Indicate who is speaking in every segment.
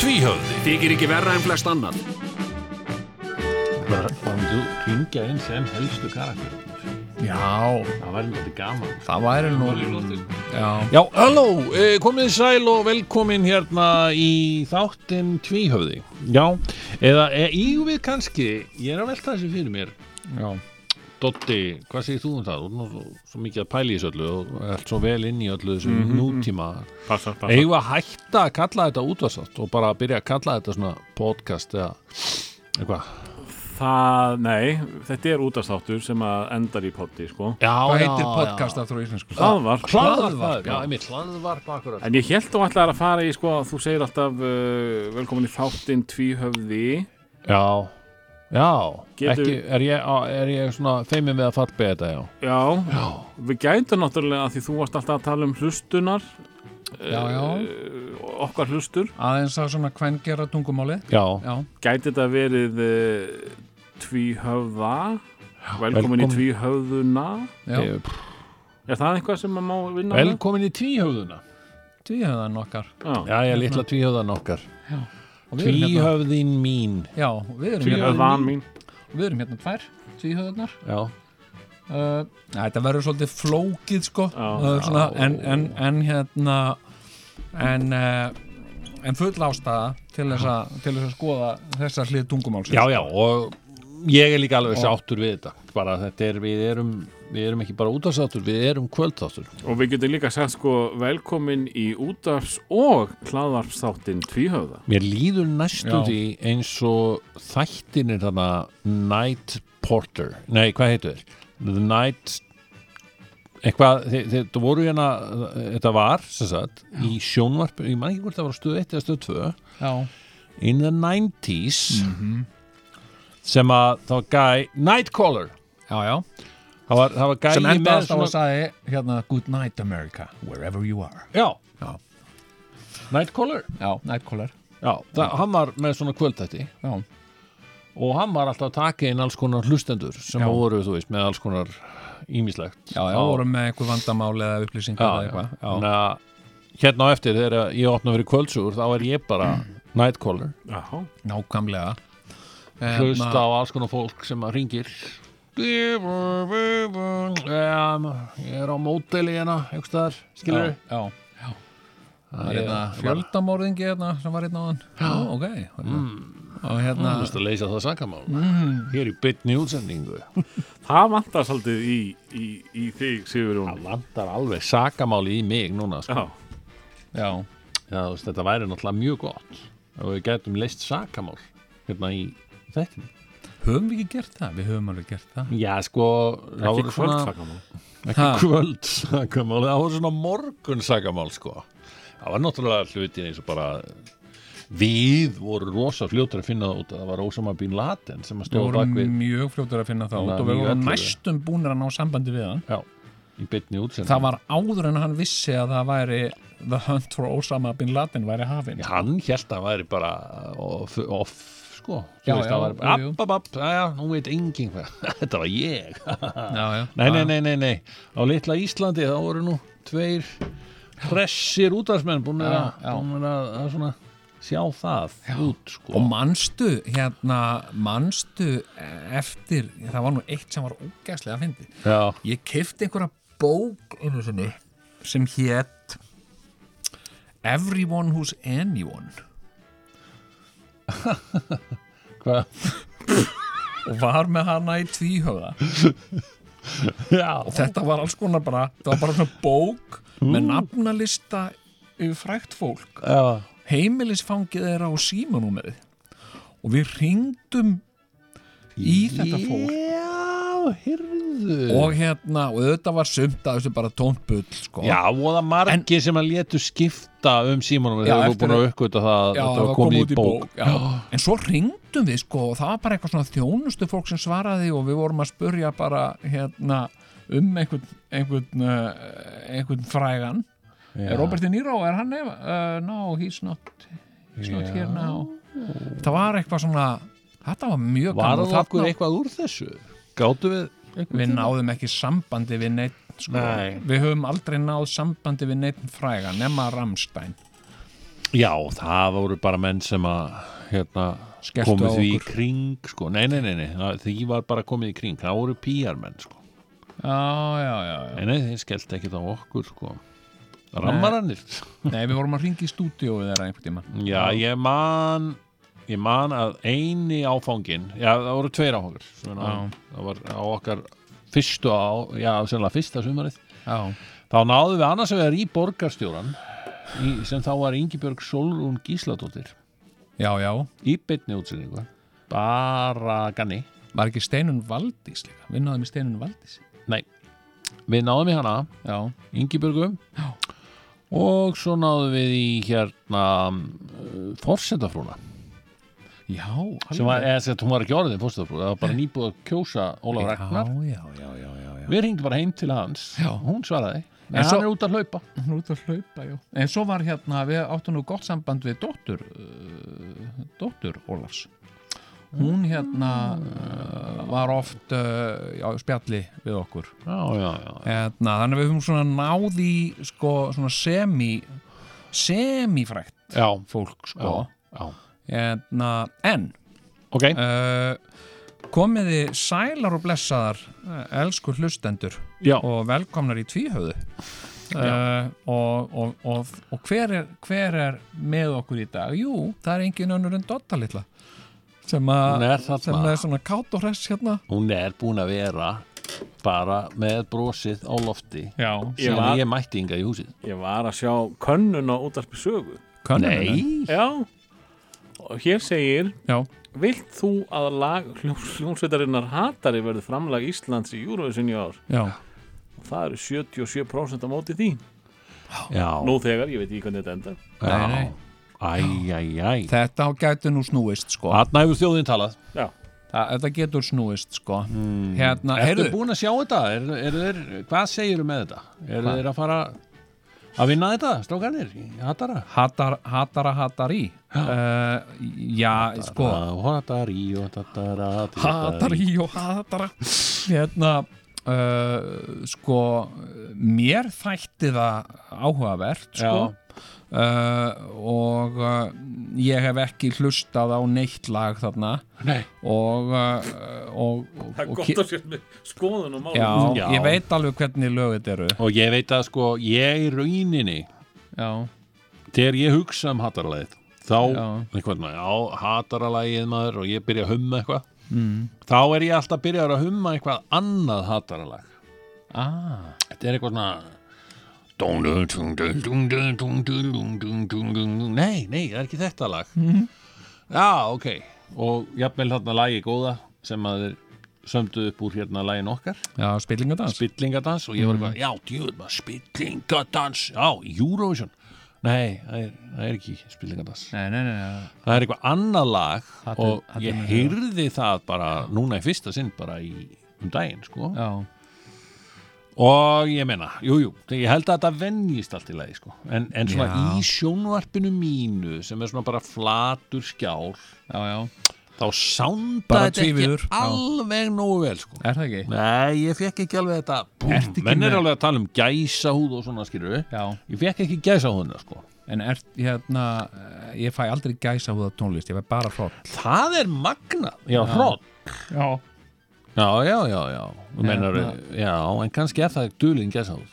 Speaker 1: Tvíhöfði þykir ekki verra en flest annan.
Speaker 2: Bara fannum þú kringja inn sem helstu karakter.
Speaker 3: Já,
Speaker 2: Það væri náttúrulega gaman.
Speaker 3: það væri nú Já,
Speaker 1: Já, halló, eh, komið sæl og velkomin hérna í þáttinn Tvíhöfði.
Speaker 2: Já, eða e, ígum við kannski, ég er að velta þessu fyrir mér.
Speaker 3: já
Speaker 2: Dotti, hvað segir þú um það? Þú er nú svo mikið að pæla í þessu öllu og ert svo vel inn í öllu þessu nútíma.
Speaker 4: Passar, passar.
Speaker 2: Eigum við að hætta að kalla þetta útvarsátt og bara byrja að kalla þetta svona podcast eða eitthvað.
Speaker 4: Það, nei, þetta er útastáttur sem að endar í potti, sko.
Speaker 2: Já,
Speaker 3: Hvað heitir podcast aftur á íslensku?
Speaker 4: Hlaðvarp.
Speaker 2: Hlaðvarp,
Speaker 3: Hlaðvarp,
Speaker 2: já,
Speaker 3: já.
Speaker 2: einmitt, hlaðvarp akkurat.
Speaker 4: En ég held þú ætlaðir að fara í, sko, þú segir alltaf uh, velkomin í þáttinn tvíhöfði.
Speaker 2: Já, já,
Speaker 4: Getur-
Speaker 2: ekki, er, ég, á- er ég svona feimið með að fallbega þetta, já.
Speaker 4: Já, já. við gætum náttúrulega að því þú varst alltaf að tala um hlustunar,
Speaker 3: Já, já,
Speaker 4: okkar hlustur.
Speaker 3: aðeins að svona hvern gera tungumáli
Speaker 2: Já,
Speaker 3: Já,
Speaker 4: Gæti þetta verið uh, tvíhöfða, velkomin
Speaker 2: velkomin.
Speaker 4: í tvíhöfðuna.
Speaker 3: já,
Speaker 2: Ég- pff,
Speaker 4: Er það eitthvað sem maður má vinna
Speaker 2: velkomin í tvíhöfðuna. Hérna.
Speaker 3: tvíhöðan okkar
Speaker 4: með? Já,
Speaker 2: Já, ég litla tvíhöfðan okkar.
Speaker 3: Og við erum hérna-
Speaker 2: Tvíhöfðin mín.
Speaker 3: Já, við erum hérna,
Speaker 4: tvíhöfðan mín.
Speaker 3: við erum hérna tvær tvíhöðanar
Speaker 2: Já,
Speaker 3: uh, næ, Þetta verður svolítið flókið sko
Speaker 4: Já.
Speaker 3: uh, svona, en, en, en hérna en, uh, en full ástæða til þess, að, til þess að skoða þessa hlið tungumáls
Speaker 2: já, já, og ég er líka alveg sáttur við þetta. Bara þetta er, við erum, við erum ekki bara útastáttur, við erum kvöldáttur.
Speaker 4: Og við getum líka sagt sko velkomin í útafs og hlaðvarpsþáttinn tvíhöfða.
Speaker 2: Mér líður næstu
Speaker 3: Já.
Speaker 2: því eins og þættinir þarna Night Porter Nei, hvað heitu þér? The Night eitthvað, þe- þe- þetta voru hérna þetta var, sem sagt, í sjónvarp ég man ekki hvort það var á stöð 1 eða stöð 2
Speaker 3: já,
Speaker 2: in the 90s
Speaker 3: Mhm.
Speaker 2: sem að það var gæ Nightcaller,
Speaker 3: já, já.
Speaker 2: það var, það var gæ
Speaker 3: sem endaðast á að sagði hérna Good night America, wherever you are
Speaker 2: Já,
Speaker 3: Já.
Speaker 2: Nightcaller
Speaker 3: Já, nightcaller
Speaker 2: Já, það, hann var með svona kvöldætti
Speaker 3: Já,
Speaker 2: og hann var alltaf að taka inn alls konar hlustendur sem
Speaker 3: Já.
Speaker 2: voru, þú veist, með alls konar ímislegt
Speaker 3: já, já, vorum með einhver vandamál eða upplýsingar
Speaker 2: já,
Speaker 3: eða
Speaker 2: já.
Speaker 3: eitthvað
Speaker 2: Þannig að Hérna á eftir þegar ég opna fyrir kvöldsugur þá er ég bara nightcaller
Speaker 4: Jaha.
Speaker 3: Nákvæmlega Hérna-
Speaker 2: hlusta á alls konar fólk sem að ringir um, Ég er á móteli hérna, einhvers staðar, skilur
Speaker 3: Já, já, Það er
Speaker 2: Ég-
Speaker 3: hérna fjöldamorðingi hérna sem var hérna á hann Já, ok mm. Og hérna
Speaker 2: Þú veist að leysa það sakamál
Speaker 3: Mm.
Speaker 2: Hér í bytni útsendingu
Speaker 4: Það vantar svolítið í, í, í þig, Sigurjón.
Speaker 2: Það landar alveg sakamál í mig núna sko.
Speaker 4: Já,
Speaker 3: Já,
Speaker 2: Já, þú veist, þetta væri náttúrulega mjög gott og við gætum leist sakamál hérna í þættinu
Speaker 3: höfum við ekki gert það? Við höfum alveg gert það
Speaker 2: Já, sko það
Speaker 4: ekki
Speaker 2: voru svona-
Speaker 4: kvöldsakamál.
Speaker 2: Ekki
Speaker 3: Ha.
Speaker 2: kvöld sakamál, það voru svona morgun sakamál sko Það var náttúrulega hlutin eins og bara við voru rosa fljótur að finna það út að það var Osama Bin Laden sem að
Speaker 3: Við
Speaker 2: stóða bak
Speaker 3: vorum
Speaker 2: við
Speaker 3: mjög fljótur að finna það
Speaker 2: Þannig
Speaker 3: út
Speaker 2: að
Speaker 3: og við
Speaker 2: mjög
Speaker 3: vorum
Speaker 2: ellefu.
Speaker 3: næstum búnir að ná sambandi við hann
Speaker 2: Já, í bytni útsending
Speaker 3: Það var áður en hann vissi að það væri The Hunt for Osama Bin Laden væri hafin
Speaker 2: Hann held að það væri bara off, off sko
Speaker 3: Já, já,
Speaker 2: það væri bara,
Speaker 3: jú, jú.
Speaker 2: app, app, app, já, já, nú veit engin hvað Þetta var ég
Speaker 3: Já, já
Speaker 2: Nei, nei, nei, nei, nei, á litla Íslandi þá voru nú tveir hressir útarsmenn búin að,
Speaker 3: Já, já.
Speaker 2: búnir að, að svona sjá það út sko.
Speaker 3: Og manstu, hérna, manstu eftir, það var nú eitt sem var ógæslega að fyndi.
Speaker 2: Já,
Speaker 3: Ég kefti einhverja bók einu sinni sem hétt Everyone Who's Anyone
Speaker 2: hvað?
Speaker 3: og var með hana í tvíhöfða
Speaker 2: Já,
Speaker 3: og þetta var alls konar bara, þetta var bara svona bók
Speaker 2: Mm.
Speaker 3: með nafnalista yfir frækt fólk
Speaker 2: já,
Speaker 3: heimilisfangið þeirra og símanúmerið og við hringdum í þetta fólk
Speaker 2: Já, hyrðu
Speaker 3: og hérna, og þetta var sumt að þessu bara tómt bull sko.
Speaker 2: Já, og það margir sem að letu skipta um símanum
Speaker 3: Já,
Speaker 2: þegar þú
Speaker 3: eftir
Speaker 2: búin að
Speaker 3: að-
Speaker 2: uppgöta það að
Speaker 3: Já,
Speaker 2: þetta var komið í bók,
Speaker 3: já. en svo ringdi rættum við sko og það var bara eitthvað svona þjónustu fólk sem svaraði og við vorum að spurja bara hérna um einhvern, einhvern, uh, einhvern frægan
Speaker 2: Já.
Speaker 3: Er Robert De Niro, er hann nefn? Uh, no, he's not, he's not
Speaker 2: Já.
Speaker 3: here now Það var eitthvað svona Þetta var mjög
Speaker 2: Var
Speaker 3: gaman og
Speaker 2: það okkur
Speaker 3: þarna-
Speaker 2: eitthvað úr þessu? Gáttu við
Speaker 3: Við náðum ekki sambandi við neitt sko.
Speaker 2: Nei.
Speaker 3: Við höfum aldrei náð sambandi við neitt fræga nema Rammstein
Speaker 2: Já, það voru bara menn sem að hérna,
Speaker 3: Skelltu á
Speaker 2: komið því í
Speaker 3: okkur.
Speaker 2: kring sko. nei, nei, nei, nei, það- því var bara komið í kring það voru PR menn sko.
Speaker 3: Já, já, já, já.
Speaker 2: nei, nei, þeir skellti ekkert á okkur sko. rammarannir
Speaker 3: Nei, við vorum að ringa í stúdíóið þeirra einhvern tíma
Speaker 2: Já, ég man ég man að eini áfangin já, það voru tveir áfangur svona, það var á okkar fyrstu á, já, sennilega fyrsta sumarið
Speaker 3: Já,
Speaker 2: þá náðum við annars vegar í borgarstjóran í, sem þá var Ingibjörg Solrún Gísladóttir
Speaker 3: já, já
Speaker 2: í beinni útsendingu bara ganni
Speaker 3: Var ekki Steinun Valdís líka? Við náðum í Steinun Valdís
Speaker 2: Nei, við náðum í hana
Speaker 3: Já,
Speaker 2: Ingibjörgu
Speaker 3: Já.
Speaker 2: og svo náðum við í hérna uh, forsetafrúna
Speaker 3: já
Speaker 2: sem var, eða sem sagt, hún var ekki orðin fórstafrú það var bara nýbúið að kjósa Ólaf Ragnar
Speaker 3: Já, já, já, já, já, já.
Speaker 2: við ringdum bara heim til hans
Speaker 3: Já.
Speaker 2: hún svaraði, en
Speaker 3: En
Speaker 2: hann
Speaker 3: svo-
Speaker 2: er út að hlaupa
Speaker 3: Hún er út að hlaupa, já En svo var hérna, við áttum nú gott samband við dóttur uh, Dóttur Ólafs Hún hérna uh, var oft uh, já, spjalli við okkur
Speaker 2: já, já, já,
Speaker 3: hérna, Þannig að við höfum svona náði sko, svona semi semifrækt
Speaker 2: já,
Speaker 3: fólk sko
Speaker 2: já, já.
Speaker 3: hérna, En
Speaker 2: ok,
Speaker 3: uh, komiði sælar og blessaðar eh, elsku hlustendur
Speaker 2: já,
Speaker 3: og velkomnar í tvíhöðu uh, og, og, og, og hver, er, hver er með okkur í dag? Jú, það er engin önnur en Dotta litla sem,
Speaker 2: hún
Speaker 3: a,
Speaker 2: er
Speaker 3: sem
Speaker 2: þarna
Speaker 3: er svona kátt og hress hérna
Speaker 2: hún er búin að vera bara með brosið á lofti
Speaker 3: Já,
Speaker 2: sem
Speaker 4: var-
Speaker 2: ég mætti yngar í húsið
Speaker 4: Ég var að sjá könnun á útarpi sögu.
Speaker 3: könnunum
Speaker 2: nei,
Speaker 4: Já, og hér segir,
Speaker 3: Já,
Speaker 4: vilt þú að lag hljó- hljómsveitarinnar hatari verði framlag Íslands í Eurovision í ár?
Speaker 3: já,
Speaker 4: Og það eru 77% á móti því.
Speaker 2: já,
Speaker 4: Nú þegar, ég veit ekki hvernig þetta endar.
Speaker 3: Nei, nei.
Speaker 2: já æ, æ, æ
Speaker 3: þetta gæti nú snúist sko
Speaker 2: Þarna hefur þjóðin talað
Speaker 4: Já,
Speaker 3: Þa, Þetta getur snúist sko mm. Hérna,
Speaker 2: Hmm. Ertu
Speaker 3: heyrðu
Speaker 2: búin að sjá þetta? Er, er þeir, hvað segiru með þetta? Eru þeir að fara að vinna þetta, strákanir? Hattara?
Speaker 3: Hatar, hatara hatari uh, Já, sko
Speaker 2: Hattari og hattara
Speaker 3: Hatari og hatara Hérna uh, Sko Mér þætti það áhugavert Sko
Speaker 2: Já.
Speaker 3: uh, Og uh, Ég hef ekki hlustað á neitt lag þarna
Speaker 2: Nei,
Speaker 3: Og uh, og, og,
Speaker 4: það er
Speaker 3: og
Speaker 4: gott
Speaker 3: ki-
Speaker 4: að sér með skoðun og málum.
Speaker 3: já,
Speaker 2: Já.
Speaker 3: ég veit alveg hvernig lög þetta eru
Speaker 2: og ég veit að sko ég í rauninni,
Speaker 3: Já,
Speaker 2: þegar ég hugsa um hattaralæðið þá,
Speaker 3: Já.
Speaker 2: einhvern veginn, á hattaralæðið maður og ég byrja að humma eitthvað mm. þá er ég alltaf byrjar að humma eitthvað annað hattaralag
Speaker 3: ah,
Speaker 2: Þetta er eitthvað svona Nei, nei, það er ekki þetta lag Já, ok Og jafnvel þarna lagi góða sem að þeir sömdu upp úr hérna lagin okkar
Speaker 3: já spillingadans
Speaker 2: Spillingadans og ég var eitthvað, já, djúður maður Spillingadans, já, Eurovision Nei, það er, það er ekki spillingadans
Speaker 3: Nei, nei, nei, nei,
Speaker 2: Það er eitthvað annað lag
Speaker 3: Hattu-
Speaker 2: og
Speaker 3: hattu
Speaker 2: ég
Speaker 3: með það.
Speaker 2: heyrði það bara núna í fyrsta sinn bara í um daginn, sko
Speaker 3: já
Speaker 2: Og ég meina, jú, jú, ég held að þetta venjist allt í lagi, sko. En, en svona
Speaker 3: Já.
Speaker 2: í sjónvarpinu mínu, sem er svona bara flatur skjál,
Speaker 3: Já, já,
Speaker 2: þá sounda þetta
Speaker 3: Bara
Speaker 2: ekki
Speaker 3: tvívíður, já.
Speaker 2: alveg nógu vel, sko.
Speaker 3: er það ekki?
Speaker 2: Nei, ég fekk ekki alveg þetta.
Speaker 3: Ertu ekki
Speaker 2: Búm, menn er
Speaker 3: með-
Speaker 2: alveg að tala um gæsahúð og svona, skilur við.
Speaker 3: Já,
Speaker 2: Ég fekk ekki gæsahúðina, sko.
Speaker 3: en er, hérna, eh, ég fæ aldrei gæsa húða tónlist, ég fæ bara hróll.
Speaker 2: Það er magna. Já, hrótt.
Speaker 3: Já.
Speaker 2: Já, já, já, já. Þú meinar,
Speaker 3: Hérna.
Speaker 2: já, en kannski er það dulinn gæsahúð.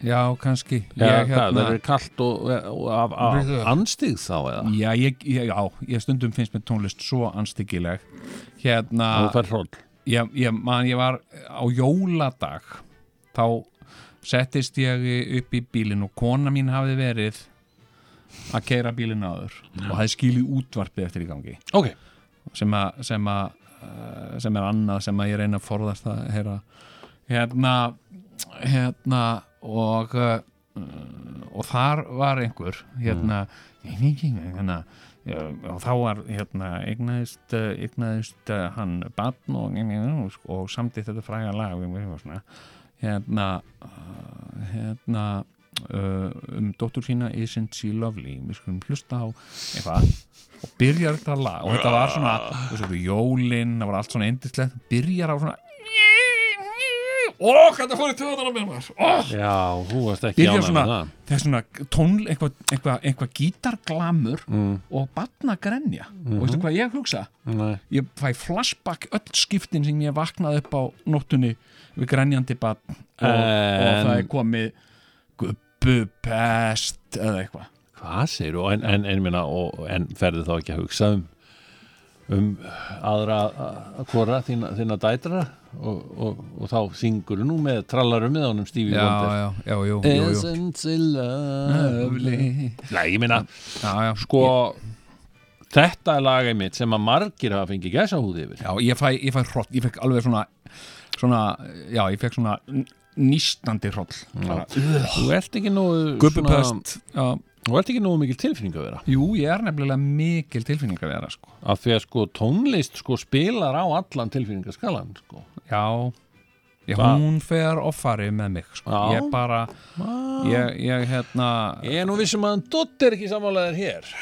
Speaker 3: Já, hérna. kannski.
Speaker 2: Já,
Speaker 3: ég,
Speaker 2: hvað, það er kallt og, og af, af
Speaker 3: Brr.
Speaker 2: anstíð þá, eða?
Speaker 3: Já, ég, ég, já, ég stundum finnst mér tónlist svo anstíkileg.
Speaker 2: Þú
Speaker 3: Hérna,
Speaker 2: fær hróll.
Speaker 3: ég, ég, man, ég var á jóladag, þá settist ég upp í bílinn og kona mín hafi verið að keira bílinn áður og hafði skilið útvarpið eftir í gangi.
Speaker 2: Ok.
Speaker 3: sem að sem, að, eh, sem er annað sem að ég reyna að forðast að heyra hérna hérna og eh, og þar var einhver hérna hérna Já, og þá var hérna eignaðist, eh, eignaðist eh, hann bann og, og, og samdi þetta fræga lag um og svona hérna uh, hérna uh, um dóttur sína Isn't She Lovely við skulum hlusta á eitthvað og byrjar þetta lag og þetta var svona þú veist, jólin, það var allt svona endislegt byrjar á svona Ó, hvað þetta fór í töðan á mér maður Ó,
Speaker 2: Já, þú varst ekki
Speaker 3: byrja
Speaker 2: ánægð
Speaker 3: svona,
Speaker 2: með það.
Speaker 3: það er svona tónl, eitthvað eitthva, eitthva gítarglamur og batna grenja og veistu hvað ég hugsa?
Speaker 2: Nei.
Speaker 3: Ég fæ flashback öll skiptin sem ég vaknaði upp á nóttunni við grenjandi batn og, og
Speaker 2: En-
Speaker 3: það er komið gubbu pest eða eitthvað
Speaker 2: Hvað segir þú? En, en, en, minna, og, en ferði þá ekki að hugsa um um aðra að hvora þína, þína dætra og, og, og þá syngur nú með trallarum með honum Stevie Wonder
Speaker 3: já, já, jú,
Speaker 2: Isn't she lovely Nei, ég meina,
Speaker 3: já, já,
Speaker 2: sko þetta er lagið mitt sem að margir hafa fengið gæsa húði yfir
Speaker 3: Já, ég fæ, ég fæ hroll, ég fekk alveg svona, svona, já, ég fekk svona n- nístandi hroll. Bara,
Speaker 2: Þú ert ekki nú
Speaker 3: Gubbupest, já,
Speaker 2: Þú ert ekki nú mikil tilfinning að vera
Speaker 3: jú, ég er nefnilega mikil tilfinning að vera, sko.
Speaker 2: af því að sko tónlist sko spilar á allan tilfinningaskalan sko.
Speaker 3: Já, ég,
Speaker 2: Hva?
Speaker 3: hún fer offari með mig, sko.
Speaker 2: Já.
Speaker 3: Ég bara, ég, ég, hérna,
Speaker 2: Ég er nú vissum að hann Dott er ekki sammálaðir hér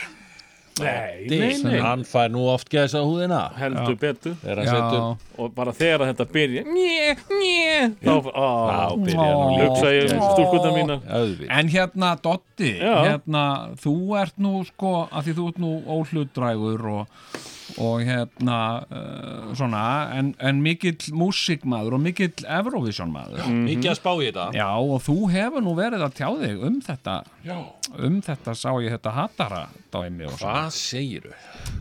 Speaker 4: Nei, nei,
Speaker 2: Sem
Speaker 4: nei,
Speaker 2: Hann fær nú oft gæsa húðina
Speaker 4: heldur betur
Speaker 2: þegar hann
Speaker 3: já,
Speaker 2: setur
Speaker 4: og bara þegar þetta byrja njö, njö, þá á,
Speaker 2: Þá byrjar hann líka
Speaker 4: hugsa ég um stúlkuna mína
Speaker 2: auðvitað
Speaker 3: En hérna, Dotti,
Speaker 4: Já.
Speaker 3: hérna, þú ert nú sko, að því þú ert nú óhlutdrægur og, og hérna, uh, svona, en, en mikill músikmaður og mikill Eurovisionmaður.
Speaker 4: Mhm.
Speaker 2: Ekki að spá í þetta
Speaker 3: Já, og þú hefur nú verið að tjá þig um þetta,
Speaker 2: Já.
Speaker 3: um þetta sá ég þetta hatara dæmi og svona.
Speaker 2: Hvað segirðu?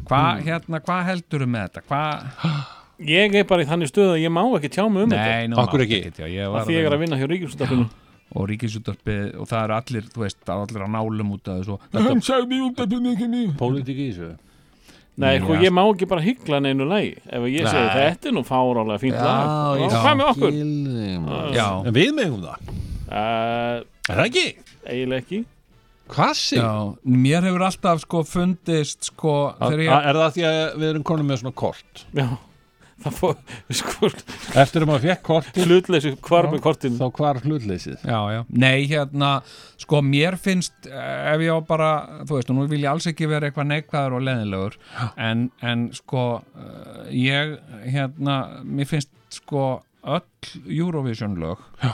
Speaker 3: Hvað,
Speaker 4: Hmm.
Speaker 3: hérna, hvað heldur með þetta? Hvað?
Speaker 4: Ég er bara í þannig stöð að ég má ekki tjá mig um þetta
Speaker 3: Nei, nú
Speaker 2: Akkur
Speaker 3: mátt
Speaker 2: ekki?
Speaker 3: Já, ég var
Speaker 4: að því ég er að vinna hjá Ríkjumstafinu
Speaker 3: og ríkisúttarpið og það eru allir, þú veist, það eru allir að nálum út af þessu. Þetta,
Speaker 2: Pólitík í þessu
Speaker 4: Nei, sko,
Speaker 3: Já.
Speaker 4: ég má ekki bara hyggla neinu lagi ef ég segi þetta er nú fárálega fínt lag Já, hvað með okkur?
Speaker 3: já,
Speaker 2: Ah. En við megum það
Speaker 4: Uh,
Speaker 2: Er það ekki?
Speaker 4: eiginlega ekki
Speaker 2: Hvað
Speaker 3: já,
Speaker 2: segirðu?
Speaker 3: mér hefur alltaf sko fundist sko, þegar ég,
Speaker 2: Er það því að við erum konum með svona kort
Speaker 4: Já, það fór, sko,
Speaker 2: Eftir að maður fekk kortið
Speaker 4: hlutleysu hvar með kortinu
Speaker 2: þá hvar hlutleysið
Speaker 3: já, já, nei, hérna, sko, mér finnst, eh, ef ég á bara, þú veist, og nú vil ég alls ekki vera eitthvað neikvæður og leðilegur, en, en sko, eh, ég, hérna, mér finnst sko öll Eurovision lög, já,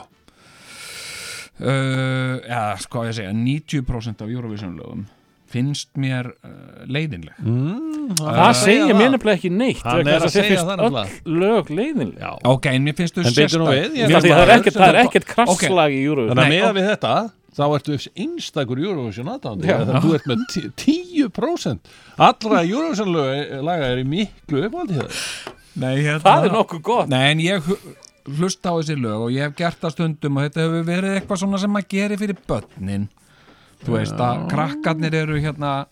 Speaker 3: Uh, já, sko ég segja 90% af Eurovision lögum finnst mér uh, leiðinleg
Speaker 2: mm,
Speaker 4: Það segja mér nefnilega ekki neitt
Speaker 2: Hann
Speaker 4: vegna
Speaker 2: er
Speaker 4: þess
Speaker 2: að segja það
Speaker 4: þér finnst
Speaker 2: nefnilega.
Speaker 4: öll lög leiðinlega
Speaker 2: Já
Speaker 3: Ok, en mér finnst þau
Speaker 2: En beitur nú við, ég
Speaker 4: Því
Speaker 2: ætla
Speaker 4: að það
Speaker 2: bara-
Speaker 4: er ekkert, það er ekkert
Speaker 3: Ok.
Speaker 4: krasslag í júru
Speaker 2: Þannig að
Speaker 3: Nei,
Speaker 2: meða
Speaker 3: og-
Speaker 2: við þetta þá ertu einstakur Eurovision aðdándi
Speaker 4: Já.
Speaker 2: þegar þú ert með tí- 10% allra Eurovision lög- laga er í miklu uppáldi það
Speaker 3: Nei, hérna,
Speaker 4: Það er nokkuð gott
Speaker 3: Nei, en ég hu- hlusta á þessi lög og ég hef gert það stundum og þetta hefur verið eitthvað svona sem maður gerir fyrir börnin Þú veist að krakkarnir eru hérna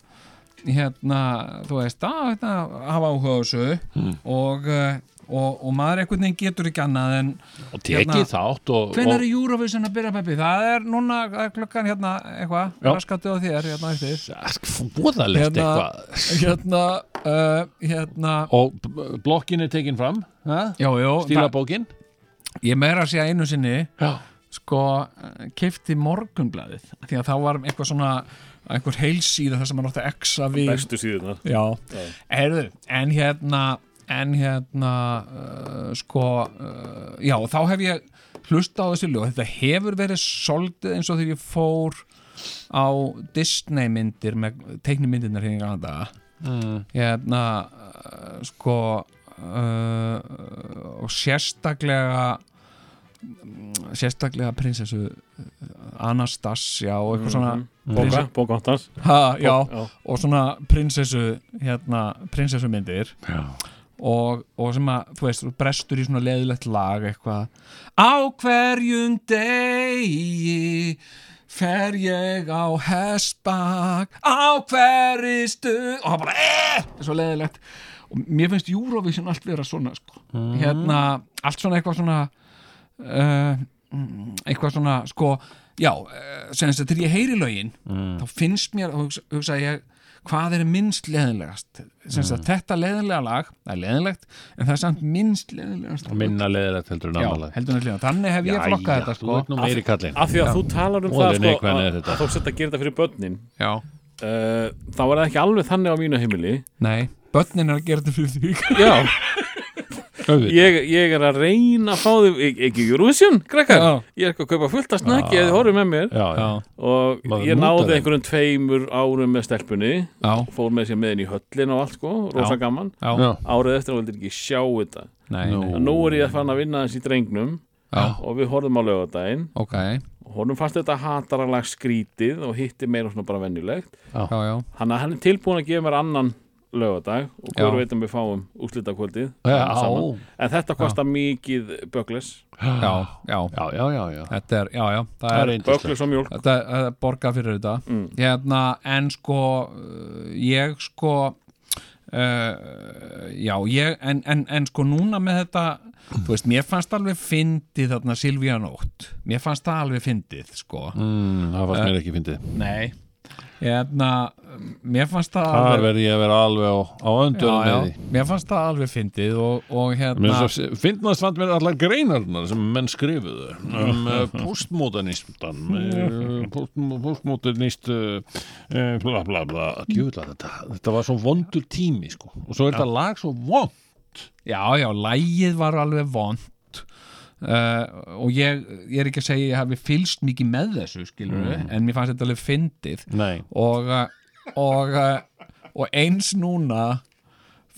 Speaker 3: hérna, þú veist að hérna, hafa áhuga á þessu
Speaker 2: Hmm.
Speaker 3: og, eh, og, og maður einhvern veginn getur ekki annað en
Speaker 2: og tekið
Speaker 3: Hérna,
Speaker 2: þátt og, og
Speaker 3: hvenær er Eurovision að byrja peppi? Það er núna það er klukkan hérna eitthvað,
Speaker 2: Já.
Speaker 3: raskattu á þér hérna eftir
Speaker 2: búðalegt
Speaker 3: Hérna-
Speaker 2: eitthvað
Speaker 3: hérna, uh, hérna
Speaker 2: og b- blokkin er tekin fram ha?
Speaker 3: Já, já, það-
Speaker 2: stílabókin
Speaker 3: Ég meira að segja einu sinni
Speaker 2: Já.
Speaker 3: sko, kefti morgunblæðið af því að þá var eitthvað svona einhver heilsíða þar sem maður átti að exa við
Speaker 4: Bestu síðuna
Speaker 3: Já, Erðu, en hérna en hérna uh, sko, uh, já, og þá hef ég hlusta á þessi lög, þetta hefur verið soldið eins og þegar ég fór á Disney myndir með teiknumyndirnar hérna í gamla daga hérna uh, sko uh, og sérstaklega sérstaklega prinsessu Anastasia og
Speaker 4: Mhm.
Speaker 3: eitthvað svona
Speaker 4: Bóka, bókantans
Speaker 3: ha, já,
Speaker 4: já.
Speaker 3: og svona prinsessu hérna, prinsessu myndir og, og sem að, þú veist, þú brestur í svona leðilegt lag eitthvað á hverjum degi fer ég á hestbak á hverri stu og það bara, eh, þetta er svo leðilegt og mér finnst Eurovision allt vera svona sko. hérna, allt svona eitthvað svona uh, eitthvað svona
Speaker 2: Mm.
Speaker 3: sko, já, eh, sem þess að þegar ég heyri lögin þá finnst mér, þá hugsa, hugsa ég hvað er minnst leðilegast sem
Speaker 2: Mm.
Speaker 3: sagt, þetta leðilega lag, það er leðilegt en það er samt minnst leðilegast
Speaker 2: minna leðilegt heldur en
Speaker 3: já,
Speaker 2: annað lag.
Speaker 3: heldur náttúrulega, þannig hef ég flokkað þetta
Speaker 2: þú
Speaker 3: sko
Speaker 2: ert nú meiri kallinn
Speaker 4: Af því að þú talar um
Speaker 2: Ó, þetta
Speaker 4: það
Speaker 2: er
Speaker 4: sko,
Speaker 2: neikvæðan
Speaker 4: að
Speaker 2: er þetta.
Speaker 4: að þú sett að gera þetta fyrir börnin
Speaker 3: já,
Speaker 4: uh, Þá er það ekki alveg þannig á mínu heimili
Speaker 3: nei, börnin er að gera þetta fyrir því
Speaker 4: Já,
Speaker 2: Auðvitað.
Speaker 4: ég, ég er að reyna að fá þau ek- Ekki Eurovision, krakkar
Speaker 3: Já.
Speaker 4: Ég er ekki að kaupa fullt af snakki eða þið horfum með mér
Speaker 2: já, já.
Speaker 3: já,
Speaker 4: Og
Speaker 2: Maður
Speaker 4: ég
Speaker 2: mútar
Speaker 4: náði
Speaker 2: þeim.
Speaker 4: einhverjum tveimur árum með stelpunni
Speaker 3: já,
Speaker 4: Fór með sér með henni í höllin og allt sko Rosa
Speaker 3: Já.
Speaker 4: gaman
Speaker 3: já,
Speaker 2: Já.
Speaker 4: Árið eftir að vildir ekki sjá þetta
Speaker 3: nei, nei,
Speaker 4: Nú er ég að fara að vinna þessi í drengnum
Speaker 3: já,
Speaker 4: Og við horfum á laugardaginn
Speaker 3: ok já,
Speaker 4: og honum fannst þetta hataralag skrítið og hitti meira svona bara venjulegt
Speaker 3: já,
Speaker 4: hann, hann er tilbúin að gefa mér annan lögadag og hver
Speaker 3: Já.
Speaker 4: veit um við fáum útlitakvöldið
Speaker 2: Já,
Speaker 4: saman. en þetta kostar mikið bögles
Speaker 3: já, já
Speaker 2: já, já, já, já.
Speaker 3: þetta er, já, já,
Speaker 2: Það
Speaker 3: það
Speaker 2: er
Speaker 3: er
Speaker 2: eindislegt.
Speaker 4: bögles og mjólk
Speaker 3: þetta þetta er borgað fyrir þetta
Speaker 4: Mm.
Speaker 3: hérna, en sko uh, ég sko uh, já, ég en, en, en sko núna með þetta þú veist, mér fannst alveg fyndið þarna Silvíja Nótt, mér fannst það alveg fyndið sko,
Speaker 2: Mm, það fannst mér ekki fyndið.
Speaker 3: nei hérna, mér fannst það
Speaker 2: Þar
Speaker 3: alveg
Speaker 2: verði ég að vera alveg á, á
Speaker 3: já,
Speaker 2: öndunum með
Speaker 3: já, mér fannst það alveg fyndið og, og
Speaker 2: Mér
Speaker 3: hérna
Speaker 2: finnst það- Fyndnast fannst mér allar greinarnar sem menn skrifuðu um eh, postmodernistan eh, post- postmodernist eh, eh, bla bla bla djúla þetta, þetta var svo vondur tími sko. og svo er þetta lag svo vond
Speaker 3: já, já, lægið var alveg vond Uh, og ég, ég er ekki að segja að ég hafi fylst mikið með þessu skilur en mér fannst þetta alveg fyndið
Speaker 2: Mm. Nei,
Speaker 3: og, uh, og, uh, og eins núna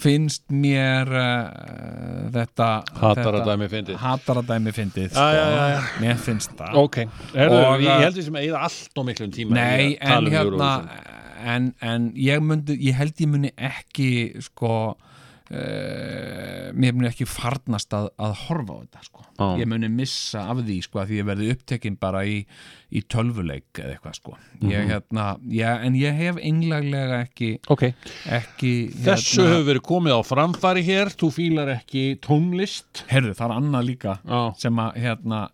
Speaker 3: finnst mér uh, þetta
Speaker 2: Hataradæmi fyndið.
Speaker 3: hataradæmi fyndið sko.
Speaker 2: Já, já, já, já.
Speaker 3: mér finnst það
Speaker 2: ok, Herðu,
Speaker 3: Og,
Speaker 2: Ah. og, ég
Speaker 3: eh,
Speaker 2: held því sem eigið allt og miklum tíma
Speaker 3: nei,
Speaker 2: í að tala
Speaker 3: en
Speaker 2: um
Speaker 3: hérna
Speaker 2: Eurovision.
Speaker 3: en, en ég, myndi, ég held ég muni ekki sko Uh, mér muni ekki farnast að, að horfa á þetta sko.
Speaker 2: Já.
Speaker 3: ég muni missa af því sko, að því ég verði upptekinn bara í, í tölvuleik eða eitthvað sko. ég,
Speaker 2: Mhm.
Speaker 3: hérna, ég, en ég hef einlaglega ekki
Speaker 2: Ok, hérna-
Speaker 3: ekki hérna,
Speaker 2: þessu hefur verið komið á framfari hér, þú fílar ekki tónlist
Speaker 3: herru, það er annað líka
Speaker 2: Já.
Speaker 3: sem að hérna,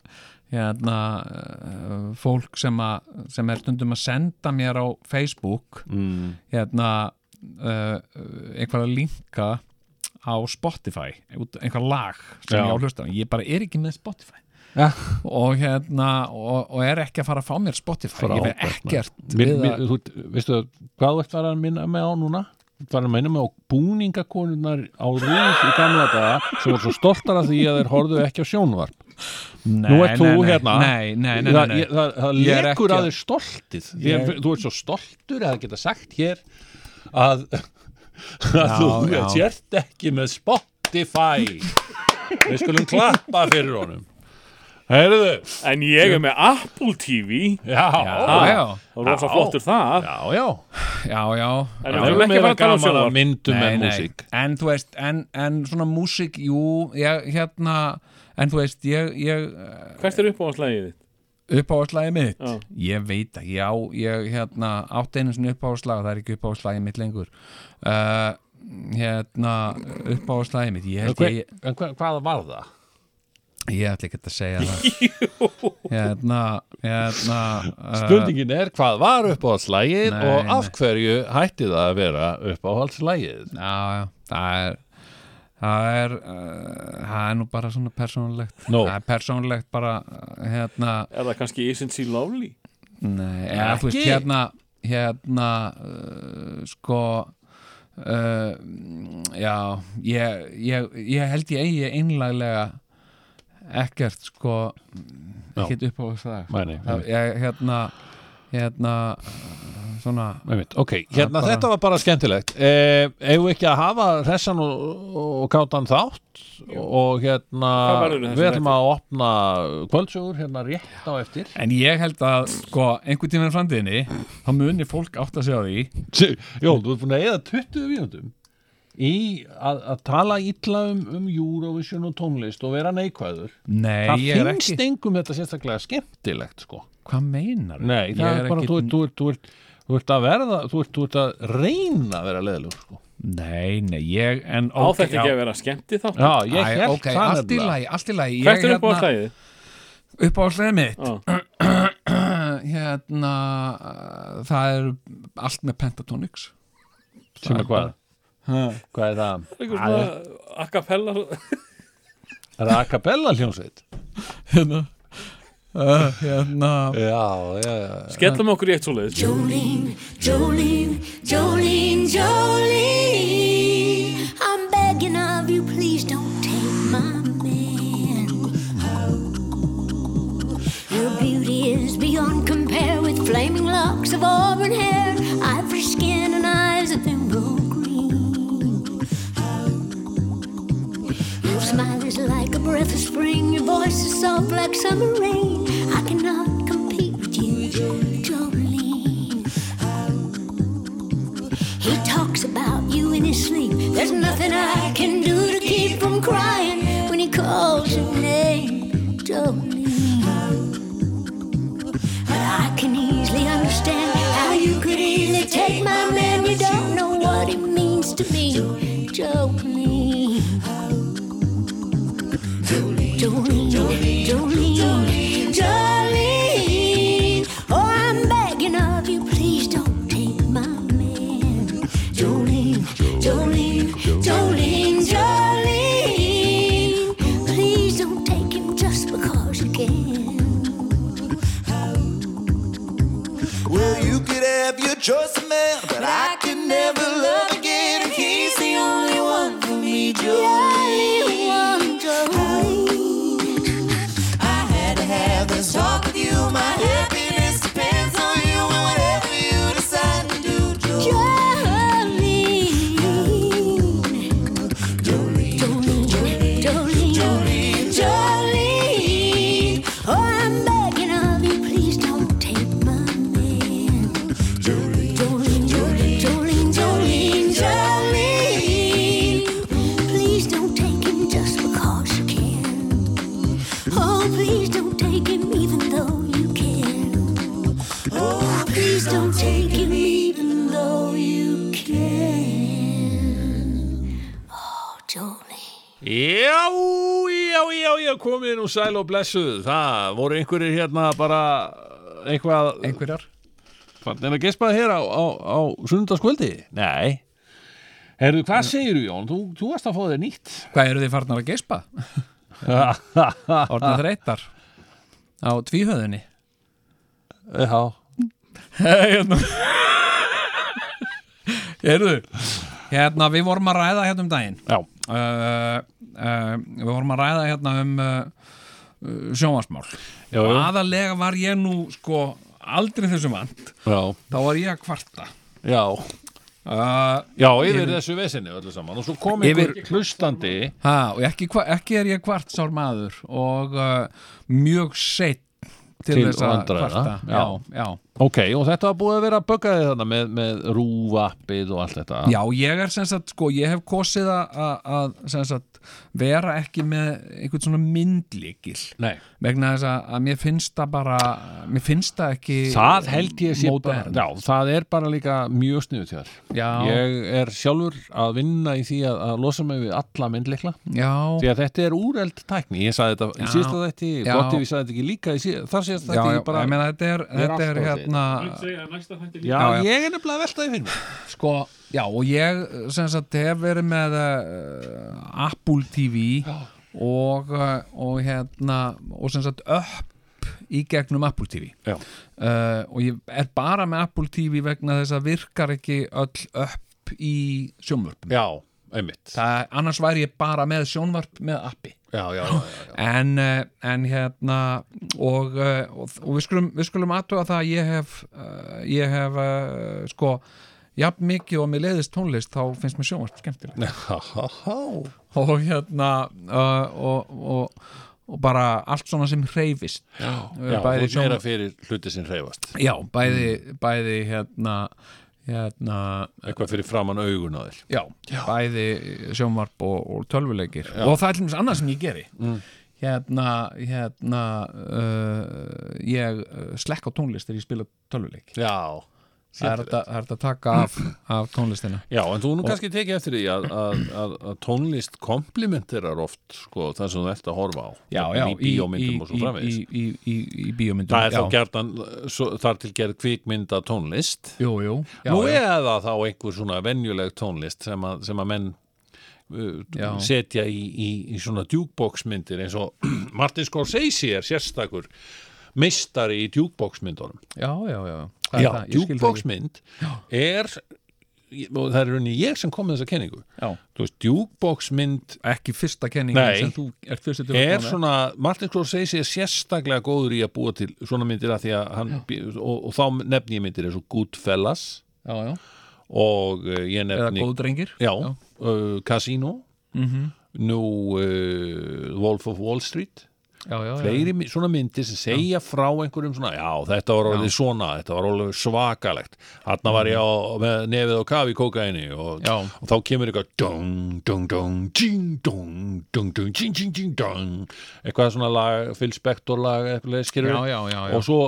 Speaker 3: hérna uh, fólk sem, að, sem er stundum að senda mér á Facebook
Speaker 2: mm.
Speaker 3: hérna uh, einhverja linka á Spotify, út- einhver lag sem
Speaker 2: Já.
Speaker 3: ég á hlusta, á. ég bara er ekki með Spotify
Speaker 2: Ja.
Speaker 3: og hérna og, og er ekki að fara að fá mér Spotify ég
Speaker 2: Frábært,
Speaker 3: er ekkert
Speaker 2: mér,
Speaker 3: við
Speaker 2: mér,
Speaker 3: að-
Speaker 2: þú, veistu hvað þú ert farað að minna með á núna þú ert farað að minna með á búningakonurnar á rúf í gamla daga sem voru svo stoltar af því að þeir horfðu ekki á sjónvarp
Speaker 3: nei,
Speaker 2: nú ert þú
Speaker 3: nei, nei,
Speaker 2: hérna
Speaker 3: nei, nei, nei,
Speaker 2: það,
Speaker 3: nei,
Speaker 2: ég- það, það
Speaker 3: Ég er
Speaker 2: lekur
Speaker 3: ekki
Speaker 2: að
Speaker 3: að-
Speaker 2: þér stoltið ég...
Speaker 3: Ég-
Speaker 2: þú ert svo stoltur að geta sagt hér að, að
Speaker 3: Já,
Speaker 2: þú
Speaker 3: já.
Speaker 2: sért ekki með Spotify við skulum klappa fyrir honum heyrðu
Speaker 4: en ég er með Apple TV
Speaker 2: já,
Speaker 3: já, já,
Speaker 2: Ah.
Speaker 4: og rosa flottur það
Speaker 2: já, já.
Speaker 3: já, já
Speaker 4: en
Speaker 2: Já,
Speaker 4: við höfum ekki að fara að tala
Speaker 2: gaman
Speaker 4: um
Speaker 2: að
Speaker 4: sjónvarp
Speaker 2: myndum
Speaker 3: Nei,
Speaker 2: en
Speaker 3: nei.
Speaker 2: músík
Speaker 3: En þú veist, en, en svona músík, jú, ég, hérna En þú veist, ég, ég
Speaker 4: hvert er uppáhanslægið þitt?
Speaker 3: uppáðslægi mitt
Speaker 4: Já.
Speaker 3: Ég veit ekki, já, ég hérna átti einu svona uppáðslæg, það er ekki uppáðslægi mitt lengur uh, Hérna, uppáðslægi mitt Ég held ég,
Speaker 2: En hva, hvað var það?
Speaker 3: ég ætla ekki að segja það Hérna, hérna uh,
Speaker 2: Eh, Spurningin er hvað var uppáhaldslægið
Speaker 3: Nei,
Speaker 2: og af hverju hætti það að vera uppáhaldslægið?
Speaker 3: Já, já, það er Það er, uh, það er nú bara svona persónulegt
Speaker 2: Nú.
Speaker 3: Það er persónulegt bara, uh, hérna
Speaker 4: er það kannski Isn't She Lovely?
Speaker 3: Nei, eða, þú veist,
Speaker 2: Ekki?
Speaker 3: hérna hérna uh, sko uh, já ég, ég, ég held ég eigi einlaglega ekkert sko
Speaker 2: Já.
Speaker 3: ekkert upp á þess að
Speaker 2: Mæni, einmitt,
Speaker 3: ég, hérna hérna uh, svona
Speaker 2: einmitt, ok, hérna
Speaker 3: bara-
Speaker 2: þetta var bara skemmtilegt eh, Eigum við ekki að hafa hressan og, og kátan þátt og hérna
Speaker 4: Hvað verður í þessum
Speaker 2: við ætlum að opna kvöldsögur hérna rétt á eftir
Speaker 3: En ég held að, sko, einhvern tímann framtíðinni þá muni fólk átt að segja því
Speaker 2: Jón, þú ert búin að eða 20 mínútum í að, að tala illa um, um Eurovision og tónlist og vera neikvæður
Speaker 3: Nei,
Speaker 2: Það
Speaker 3: ég er
Speaker 2: finnst
Speaker 3: ekki
Speaker 2: engum þetta sérstaklega skemmtilegt sko.
Speaker 3: Hvað meinar
Speaker 2: Nei, það er bara, þú, ert- þú, ert- þú, ert- þú ert að verða þú ert, þú ert að reyna að vera leðilegur sko.
Speaker 3: Nei, nei, ég en,
Speaker 4: á
Speaker 3: ok, já.
Speaker 4: þetta ekki að vera skemmti þátt
Speaker 2: Já, ég
Speaker 3: Æ,
Speaker 2: held
Speaker 3: ok,
Speaker 2: það
Speaker 3: allt í
Speaker 2: nefnilega.
Speaker 3: lagi, allt í lagi Ég
Speaker 4: hvert er
Speaker 3: hérna-
Speaker 4: uppáhanslægið?
Speaker 3: Uppáhaldslega mitt
Speaker 4: Já.
Speaker 3: hérna, uh, Það er allt með pentatonics
Speaker 2: sem er hvað? Hvað er það?
Speaker 1: Eitthvað svona acapella
Speaker 2: Er það acapella hljónsveit?
Speaker 1: Hérna uh, Hérna
Speaker 2: Já, já, já.
Speaker 4: Skellum okkur í eitt svo leiðis
Speaker 5: Jolene, Jolene, Jolene, Jolene. I'm begging of you, please don't take my man. Your beauty is beyond compare with flaming locks of auburn hair, ivory skin, and eyes of emerald green. Your smile is like a breath of spring, your voice is soft like summer rain. I cannot compete with you, Jolene. He talks about you in his sleep. There's nothing I can do to keep from crying when he calls your name, Jolene. But I can easily understand how you could easily take my man. You don't know what it means to me, Jolene. Jolene, Jolene, Jolene. Oh, I'm begging of you, please don't take my man. Jolene, Jolene, Jolene, Jolene. Please don't take him just because you can.
Speaker 6: Well, you could have your choice of man, but I can never love again. And he's the only one for me,
Speaker 5: Only
Speaker 6: Jolene.
Speaker 5: one Jolene.
Speaker 6: I had to have this talk with you. My happiness depends on you, and whatever you decide to do, Jolene.
Speaker 5: Jolene. Jolene, Jolene, Jolene, Jolene. Oh, I'm begging of you, please don't take my man. Jolene, Jolene, Jolene, Jolene, Jolene. Please don't take him just because you can. Oh, please don't take him even though you can. Oh, please don't take him even though you can. Oh, Jolene.
Speaker 1: Já, já, já, já, komið nú sæl og blessuð Það voru einhverjir hérna bara eitthvað
Speaker 3: einhverjar
Speaker 1: Þannig að gespaði hér á, á, á sunnundaskvöldi? Nei Herðu, hvað segirðu Jón? Þú, þú varst að fá þér nýtt
Speaker 3: Hvað eru þið farnar að geispa? Orðna þreytar á tvíhöðunni
Speaker 2: Já.
Speaker 3: Hérna Erðu Hérna, við vorum að ræða hérna um daginn
Speaker 2: Já.
Speaker 3: uh, uh, Við vorum að ræða hérna um uh, uh, sjónvarsmál
Speaker 2: Já,
Speaker 3: Og
Speaker 2: já.
Speaker 3: aðalega var ég nú sko aldrei þessu vant
Speaker 2: Já,
Speaker 3: Þá var ég að kvarta
Speaker 2: já.
Speaker 3: uh,
Speaker 2: Já, yfir þessu vesinni öllu saman og svo kom einhver
Speaker 3: Yfir-
Speaker 2: hlustandi
Speaker 3: ha, Og ekki, hva- ekki er ég kvart sár maður Og uh, mjög seitt til,
Speaker 2: Til
Speaker 3: þess að
Speaker 2: vandræða,
Speaker 3: kvarta
Speaker 2: já.
Speaker 3: já, já.
Speaker 2: Ok, og þetta var búið að vera að bögga þig þarna með, með rúvappið og allt þetta
Speaker 3: Já, ég er sem sagt, sko, ég hef kosið að- að að, sem sagt, vera ekki með einhvern svona myndlíkil
Speaker 2: Nei,
Speaker 3: vegna þess að, að mér finnst það bara mér finnst það ekki
Speaker 2: það held ég sé bara,
Speaker 3: mótern.
Speaker 2: já, það er bara líka mjög sniðu til þér
Speaker 3: Já,
Speaker 2: Ég er sjálfur að vinna í því að, að losa mig við alla myndleikla
Speaker 3: já,
Speaker 2: því að þetta er úreld tækni ég sagði þetta í
Speaker 3: Já.
Speaker 2: síðasta þætti,
Speaker 3: Já.
Speaker 2: gott ef ég sagði þetta ekki líka í síð, þar síðasta
Speaker 3: já,
Speaker 2: þætti
Speaker 3: já
Speaker 2: ég bara
Speaker 3: ég meina þetta er,
Speaker 2: er
Speaker 3: þetta er
Speaker 2: alltaf
Speaker 3: hérna
Speaker 4: segja næsta þætti
Speaker 2: já,
Speaker 3: já, já.
Speaker 2: ég er nefnilega veltaði fyrir mig
Speaker 3: sko, já, og ég sem sagt hef verið með uh, Apple TV og, uh, og hérna og sem sagt upp í gegnum Apple TV
Speaker 2: Já.
Speaker 3: uh, og ég er bara með Apple TV vegna þess að virkar ekki öll upp í sjónvörpum
Speaker 2: já, einmitt
Speaker 3: Það, annars væri ég bara með sjónvarp með appi
Speaker 2: já, já, já, já,
Speaker 3: en, eh, en hérna og, eh, og, og við skulum, við skulum aðtöga það að ég hef uh, ég hef uh, sko jafn mikið og mér leiðist tónlist þá finnst mér sjónvart skemmtilegt
Speaker 2: já.
Speaker 3: og hérna uh, og, og, og bara allt svona sem hreyfist já,
Speaker 2: já þú er meira fyrir hluti sem reyfast
Speaker 3: já bæði, bæði hérna hérna
Speaker 2: eitthvað fyrir framann augun á þér
Speaker 3: já, bæði sjónvarp og, og tölvuleikir og það er allir annað sem ég geri
Speaker 2: Mm.
Speaker 3: hérna, hérna uh, ég uh, slekk á tónlist þegar ég spila tölvuleik
Speaker 2: já,
Speaker 3: það er hægt að- það er hægt að taka af, af tónlistina
Speaker 2: Já, en þú nú kannski tekið eftir því að, að, að, að tónlist komplimenterar oft sko, það sem þú ert að horfa á Jafnvel í bíómyndum og svo
Speaker 3: í,
Speaker 2: framvegis
Speaker 3: í, í, í bíómyndum
Speaker 2: Það er
Speaker 3: já.
Speaker 2: þá gertan, svo, þar til gerð kvikmynda tónlist
Speaker 3: jú, jú, já,
Speaker 2: Nú
Speaker 3: já,
Speaker 2: eða þá einhver svona venjuleg tónlist sem að, sem að menn uh,
Speaker 3: já,
Speaker 2: setja í, í, í svona djúkboksmyndir eins og Martin Scorsese er sérstakur meistari í djúkboksmyndunum
Speaker 3: já, já, já. Það er
Speaker 2: Já,
Speaker 3: það, ég skil það ekki.
Speaker 2: djúkboksmynd er og það er rauninni ég sem kom með þessa kenningu
Speaker 3: Já.
Speaker 2: þú veist, djúkboksmynd
Speaker 3: ekki fyrsta kenning
Speaker 2: Nei.
Speaker 3: sem þú ert fyrst til að
Speaker 2: er
Speaker 3: koma með.
Speaker 2: svona, Martin Scorsese er sérstaklega góður í að búa til svona myndir að því að hann, og, og þá nefni ég myndir eins og Goodfellas
Speaker 3: já, já.
Speaker 2: og uh, ég
Speaker 3: eða
Speaker 2: nefni
Speaker 3: góð drengir
Speaker 2: já, Uh, Casino
Speaker 3: Mhm.
Speaker 2: nú uh, Wolf of Wall Street
Speaker 3: já, já, já.
Speaker 2: fleiri my- svona myndir sem segja frá einhverjum svona, já þetta var orðið svona þetta var orðið svakalegt þarna var ég á, með nefið á kafi kókaini og,
Speaker 3: Mhm. Já.
Speaker 2: og þá kemur eitthvað dung, dung, dung, ding, dung dung, dung, ding, ding, ding, dung eitthvað svona lag, Phil Spector lag eitthvað leið, skilur
Speaker 3: Já, já, já, já.
Speaker 2: og svo,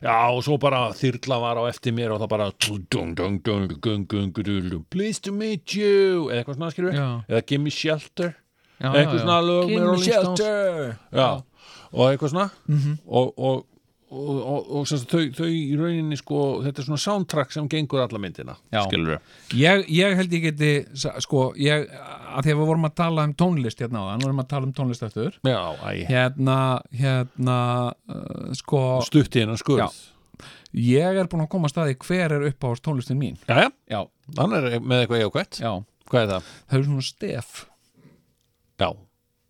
Speaker 2: já, og svo bara þyrla var á eftir mér og það bara dung, dung, dung, dung, dung, dung, dung, dung pleased to meet you, eða eitthvað svona skilur
Speaker 3: Já.
Speaker 2: eða give me shelter
Speaker 3: Já, já,
Speaker 2: eitthvað
Speaker 3: já.
Speaker 2: svona lög með Rolling Stones já, og eitthvað svona
Speaker 3: Mhm.
Speaker 2: -hmm. og, og, og, og, og, og sem sagt, þau, þau í rauninni sko, þetta er svona soundtrack sem gengur alla myndina
Speaker 3: Já.
Speaker 2: skilur við
Speaker 3: ég, ég held ég geti sa- sko, ég, að því að við vorum að tala um tónlist hérna á þann, vorum að tala um tónlist eftir
Speaker 2: já, æ,
Speaker 3: hérna, hérna uh, sko,
Speaker 2: stutti hennar skurð
Speaker 3: Já. ég er búin að koma að staði hver er upp á tónlistin mín
Speaker 2: já, já,
Speaker 3: já,
Speaker 2: hann er með eitthvað jákvætt
Speaker 3: já,
Speaker 2: hvað er það?
Speaker 3: það er svona stef
Speaker 2: Já,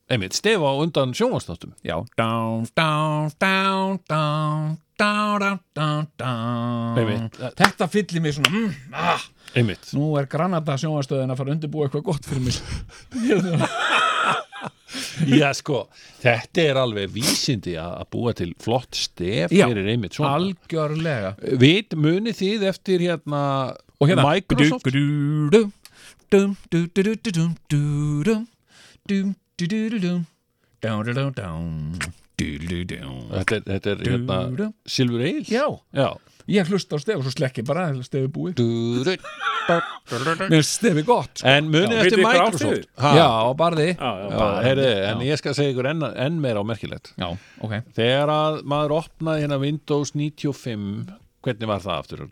Speaker 2: einmitt, stefa á undan sjónvastáttum
Speaker 3: Já Down, down, down, down Down, down, down, down
Speaker 2: Einmitt.
Speaker 3: Þetta fyllir mig svona mm, ah,
Speaker 2: einmitt,
Speaker 3: Nú er Granada sjónastöðin að fara að undirbúa eitthvað gott fyrir mig
Speaker 2: já sko þetta er alveg vísindi að að búa til flott stef
Speaker 3: Já.
Speaker 2: fyrir einmitt svona
Speaker 3: Algjörlega
Speaker 2: Vit munið þið eftir hérna,
Speaker 3: Og hérna
Speaker 2: Microsoft
Speaker 3: Dum, dum, dum, dum, dum, dum, dum, dum, dum, dum, dum, dum, dum. Down, down, down, down Dum, dum, dum.
Speaker 2: Þetta er, þetta er hérna
Speaker 3: Dú-dú.
Speaker 2: Silfur Egil
Speaker 3: Já,
Speaker 2: Já.
Speaker 3: ég hlusta á stef og svo slekki bara stefi búið
Speaker 2: Dú-dú.
Speaker 3: Mér er stefi gott sko.
Speaker 2: En munið
Speaker 4: Vitið
Speaker 2: eftir
Speaker 4: þið hvað
Speaker 2: Microsoft
Speaker 4: átti?
Speaker 2: ha,
Speaker 3: Já, barði
Speaker 4: Já, já,
Speaker 2: Já,
Speaker 4: bara- hérna.
Speaker 2: heyrðu, en ég skal segja ykkur enn, enn meira á merkilegt
Speaker 3: Já, ok
Speaker 2: Þegar að maður opnaði hérna Windows 95 Hvernig var það aftur?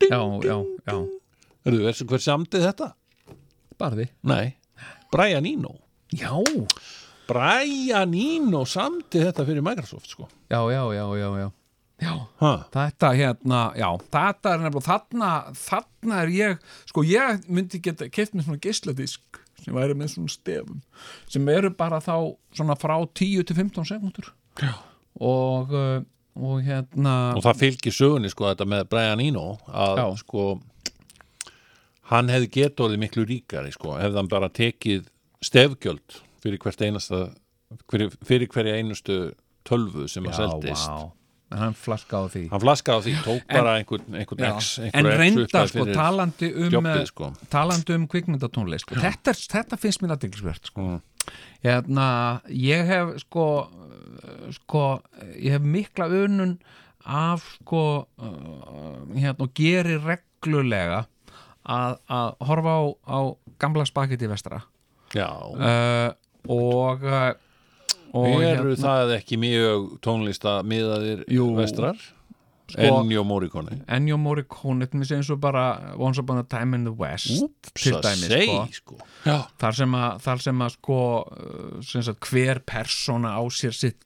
Speaker 3: Já, já, já
Speaker 2: Hörðu, veistu hver samtið þetta?
Speaker 3: Barði
Speaker 2: Nei, Brian Eno
Speaker 3: Já,
Speaker 2: Brian Eno samtið þetta fyrir Microsoft sko
Speaker 3: já, já, já, já, já. já.
Speaker 2: ha.
Speaker 3: Þetta hérna, já, þetta er nefnilega, þarna, þarna er ég, sko ég myndi geta keft með svona geisladisk sem væri með svona stefum sem eru bara þá svona frá 10 til 15 sekundur og, uh, og hérna
Speaker 2: Og það fylgir sögunni sko þetta með Brian Eno að
Speaker 3: Já.
Speaker 2: sko hann hefði getið orðið miklu ríkari sko hefði hann bara tekið stefgjöld fyrir hvert einasta fyrir, fyrir hverja einustu tölvu sem að seldist
Speaker 3: Já, vá. en hann flaskaði því
Speaker 2: hann flaskaði á því, tók bara einhvern, einhvern
Speaker 3: Já,
Speaker 2: x
Speaker 3: en
Speaker 2: einhverja X
Speaker 3: reyndar
Speaker 2: upphæð
Speaker 3: sko
Speaker 2: fyrir
Speaker 3: talandi um
Speaker 2: jobbið,
Speaker 3: eh,
Speaker 2: sko.
Speaker 3: talandi um kvikmyndatónlist og þetta, er- þetta finnst mér aðdeglisvert sko.
Speaker 2: Mm.
Speaker 3: hérna, ég hef sko, eh, sko ég hef mikla unun af sko eh, hérna, og geri reglulega að, að horfa á, á gamla spagetti vestra
Speaker 2: Já,
Speaker 3: uh, og eh, og hérna,
Speaker 2: eru það ekki mjög tónlista miðaðir
Speaker 3: Jú. Sko-
Speaker 2: vestrar Ennjó Morricone
Speaker 3: Ennjó Morricone, þetta er eins og bara Once Upon a Time in the West til
Speaker 2: Úpsa
Speaker 3: dæmis,
Speaker 2: seg,
Speaker 3: sko.
Speaker 2: sko Já,
Speaker 3: þar sem að, þar sem að sko uh, sem sagt, hver persóna á sér sitt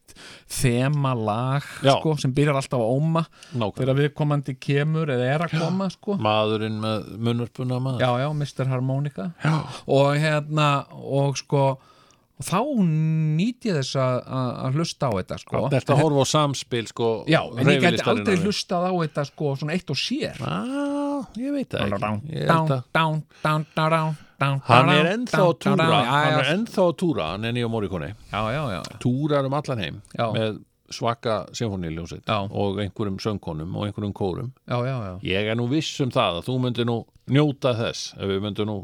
Speaker 3: þema lag
Speaker 2: Já.
Speaker 3: sko, sem byrjar alltaf að óma
Speaker 2: nákvæm
Speaker 3: þegar viðkomandi kemur eða er að koma sko.
Speaker 2: Maðurinn með munnurpuna maður
Speaker 3: já, já, Mr. Harmonica já. og hérna og sko og þá nýt ég þess að, að, að hlusta á þetta sko.
Speaker 2: Þetta horfa á samspil sko
Speaker 3: já, en ég gæti
Speaker 2: hreyfilistarinnar.
Speaker 3: aldrei hlustað á þetta sko, svona eitt og sér
Speaker 2: ah, Ég veit það
Speaker 3: Down,
Speaker 2: ekki Ég held
Speaker 3: down,
Speaker 2: að-
Speaker 3: down, down, down, down,
Speaker 2: Hann er
Speaker 3: down,
Speaker 2: ennþá að
Speaker 3: down, down,
Speaker 2: túra Hann
Speaker 3: já,
Speaker 2: er
Speaker 3: já,
Speaker 2: ennþá að túra, hann er nýja Morricone
Speaker 3: já, já, já.
Speaker 2: Túrar um allan heim
Speaker 3: Já.
Speaker 2: með svaka symfóniljónsett
Speaker 3: Já.
Speaker 2: og einhverjum söngkonum og einhverjum kórum
Speaker 3: já, já, já.
Speaker 2: Ég er nú viss um það að þú myndir nú njóta þess ef við myndir nú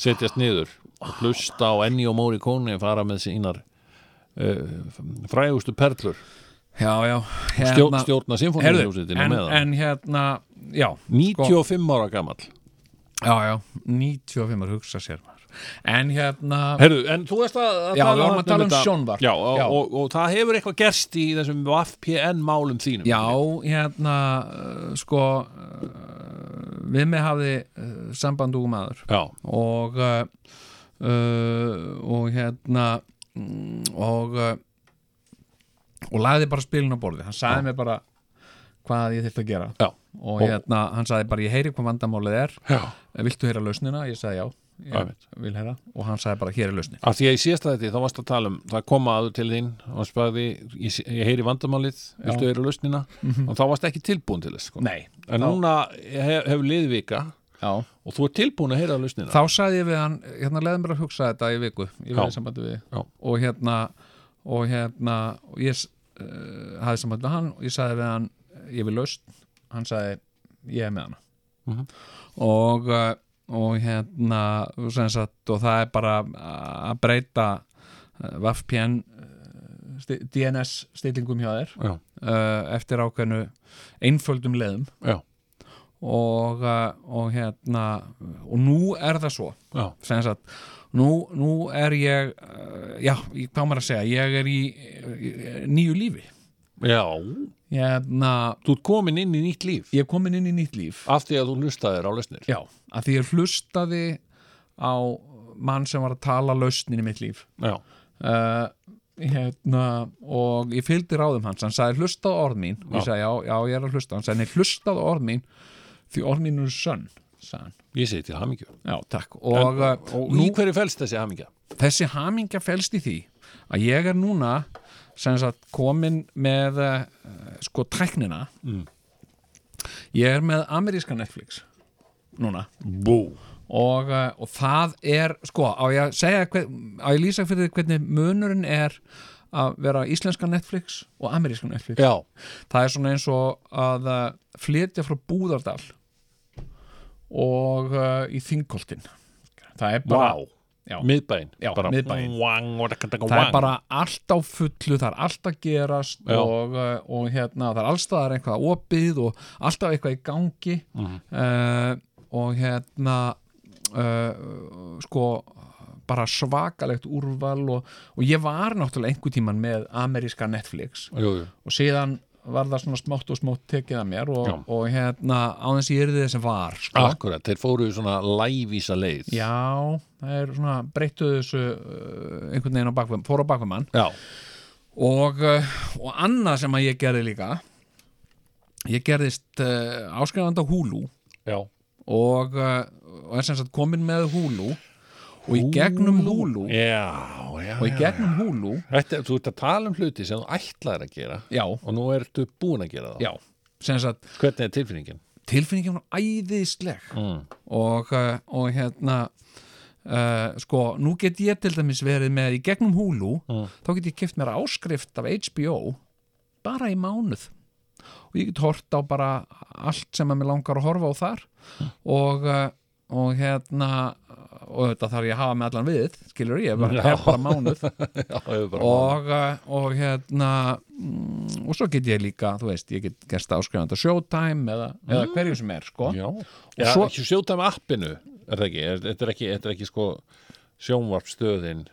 Speaker 2: setjast niður og
Speaker 3: Sko-
Speaker 2: hlusta á Ennio Morricone fara með sínar uh, frægustu eh, perlur
Speaker 3: já, já
Speaker 2: Stjó,
Speaker 3: hérna,
Speaker 2: stjórna
Speaker 3: Herðu,
Speaker 2: sinfóníuhljómsveitin
Speaker 3: en,
Speaker 2: með það
Speaker 3: en hérna, já
Speaker 2: 95 ára gamall
Speaker 3: Já, já, 95 að hugsa sér maður En hérna,
Speaker 2: Herru, en þú veist að, að
Speaker 3: Já, við vorum að tala um
Speaker 2: þetta-
Speaker 3: sjónvarp.
Speaker 2: Já, og,
Speaker 3: Já.
Speaker 2: Og, og, það hefur eitthvað gerst í þessum VPN málum þínum
Speaker 3: já, hérna uh, sko uh, við mig hafði uh, samband úr maður
Speaker 2: Já,
Speaker 3: og uh, uh, og hérna mm, og uh, og laði bara spilin á borði hann sagði mér bara hvað ég þyrfti að gera
Speaker 2: já,
Speaker 3: og hérna, hann sagði bara ég heyri hvað vandamálið er
Speaker 2: já
Speaker 3: Eh, viltu heyra lausnina? Ég sagði já,
Speaker 2: Einmitt.
Speaker 3: ég vil heyra og hann sagði bara hér er lausnin
Speaker 2: Af því að ég síðast að þetta, þá varst að tala um það koma aður til þín og spæði ég, sé- ég heyri vandamálið, viltu heyri lausnina og þá varst ekki tilbúin til þess sko.
Speaker 3: Mhm. Nei,
Speaker 2: En núna hef, hefur liðvika
Speaker 3: já
Speaker 2: og þú er tilbúin að heyra lausnina
Speaker 3: þá sagði ég við hann, hérna leiði mér að hugsa þetta í viku, ég
Speaker 2: Já.
Speaker 3: verði í sambandi við
Speaker 2: Já.
Speaker 3: og hérna og hérna, og ég uh, hafði sambandi við hann og ég sagði við hann ég vil laust, hann sagði ég er með hana Mhm. og, uh, og hérna sem sagt, og það er bara að breyta uh, VPN uh, sti- DNS stillingum hjá þér
Speaker 2: Já,
Speaker 3: uh, eftir ákveðnu einföldum leiðum
Speaker 2: já,
Speaker 3: og, uh, og hérna og nú er það svo
Speaker 2: já,
Speaker 3: sem sagt nú, nú er ég uh, já, ég hvað á maður að segja ég er í, í, í nýju lífi
Speaker 2: já
Speaker 3: hérna,
Speaker 2: Þú ert komin inn í nýtt líf
Speaker 3: ég er komin inn í nýtt líf
Speaker 2: af því að þú hlustaðir á lausnir
Speaker 3: já, að því ég hlustaði á mann sem var að tala lausnin í mitt líf
Speaker 2: Já,
Speaker 3: uh, hérna og ég fylgdi ráðum hans, hann sagði hlusta á orð mín ég
Speaker 2: Já.
Speaker 3: sagði já, já, ég er að hlusta hann sagði nei, hlusta á orð mín því orð mín eru sönn sagði hann,
Speaker 2: ég segi til hamingju
Speaker 3: já, takk og, eh, en,
Speaker 2: Og í hverju fælst þessi hamingja?
Speaker 3: þessi hamingja felst í því að ég er núna sem sagt komin með uh, sko tæknina
Speaker 2: Mm.
Speaker 3: ég er með ameríska Netflix núna
Speaker 2: Bú
Speaker 3: og, uh, og það er sko á ég að segja hver, á ég lýsa fyrir því hvernig munurinn er að vera íslenska Netflix og ameríska Netflix
Speaker 2: Já,
Speaker 3: það er svona eins og að uh, flytja frá Búðardal og uh, í Þingoltin það er bara
Speaker 2: Vá.
Speaker 3: Já.
Speaker 2: miðbæinn
Speaker 3: Já,
Speaker 2: bara,
Speaker 3: miðbæinn.
Speaker 2: wang, og taka, taka,
Speaker 3: það
Speaker 2: wang.
Speaker 3: er bara allt á fullu það er allt að gerast
Speaker 2: Já.
Speaker 3: og, uh, og hérna, það er allstaðar eitthvað opið og alltaf eitthvað í gangi
Speaker 2: Mhm.
Speaker 3: uh, og hérna uh, sko bara svakalegt úrval og, og ég var náttúrulega einhver tíman með ameríska Netflix
Speaker 2: jú, jú.
Speaker 3: og síðan var það svona smátt og smátt tekið að mér og,
Speaker 2: Já. Ah.
Speaker 3: og hérna á þess ég er þið sem var sko.
Speaker 2: Akkurat, þeir fóru í svona lævísa leið
Speaker 3: já, það er svona breyttuðu þessu uh, einhvern veginn á bakveg, fór á bakveg mann
Speaker 2: Já,
Speaker 3: og, uh, og annað sem að ég gerði líka ég gerðist uh, áskrifandi á Hulu
Speaker 2: já.
Speaker 3: og, uh, og er sem sagt komin með Hulu og í gegnum Hulu
Speaker 2: Já, já,
Speaker 3: og í gegnum Hulu
Speaker 2: Þetta, þú ert að tala um hluti sem þú ætlaðir að gera
Speaker 3: já,
Speaker 2: og nú ertu búin að gera það
Speaker 3: já sem sagt
Speaker 2: Hvernig er tilfinningin?
Speaker 3: tilfinningin var æðisleg og, uh, og hérna uh, sko, nú get ég til dæmis verið með í gegnum húlu þá get ég kipt mér áskrift af HBO bara í mánuð og ég get hort á bara allt sem að mér langar að horfa á þar og, uh, og hérna og þetta þarf ég að hafa með allan við skilur ég, er bara, hef bara mánuð
Speaker 2: Já, hefur bara
Speaker 3: og, uh, og hérna mm, og svo get ég líka, þú veist, ég get gerst áskrifandi á Showtime eða, eða hverju sem er, sko
Speaker 2: Mm. Já,
Speaker 3: og
Speaker 2: já
Speaker 3: svo-
Speaker 2: svo... sjóta með appinu er það ekki, er, þetta, er ekki þetta er ekki sko sjónvarpstöðin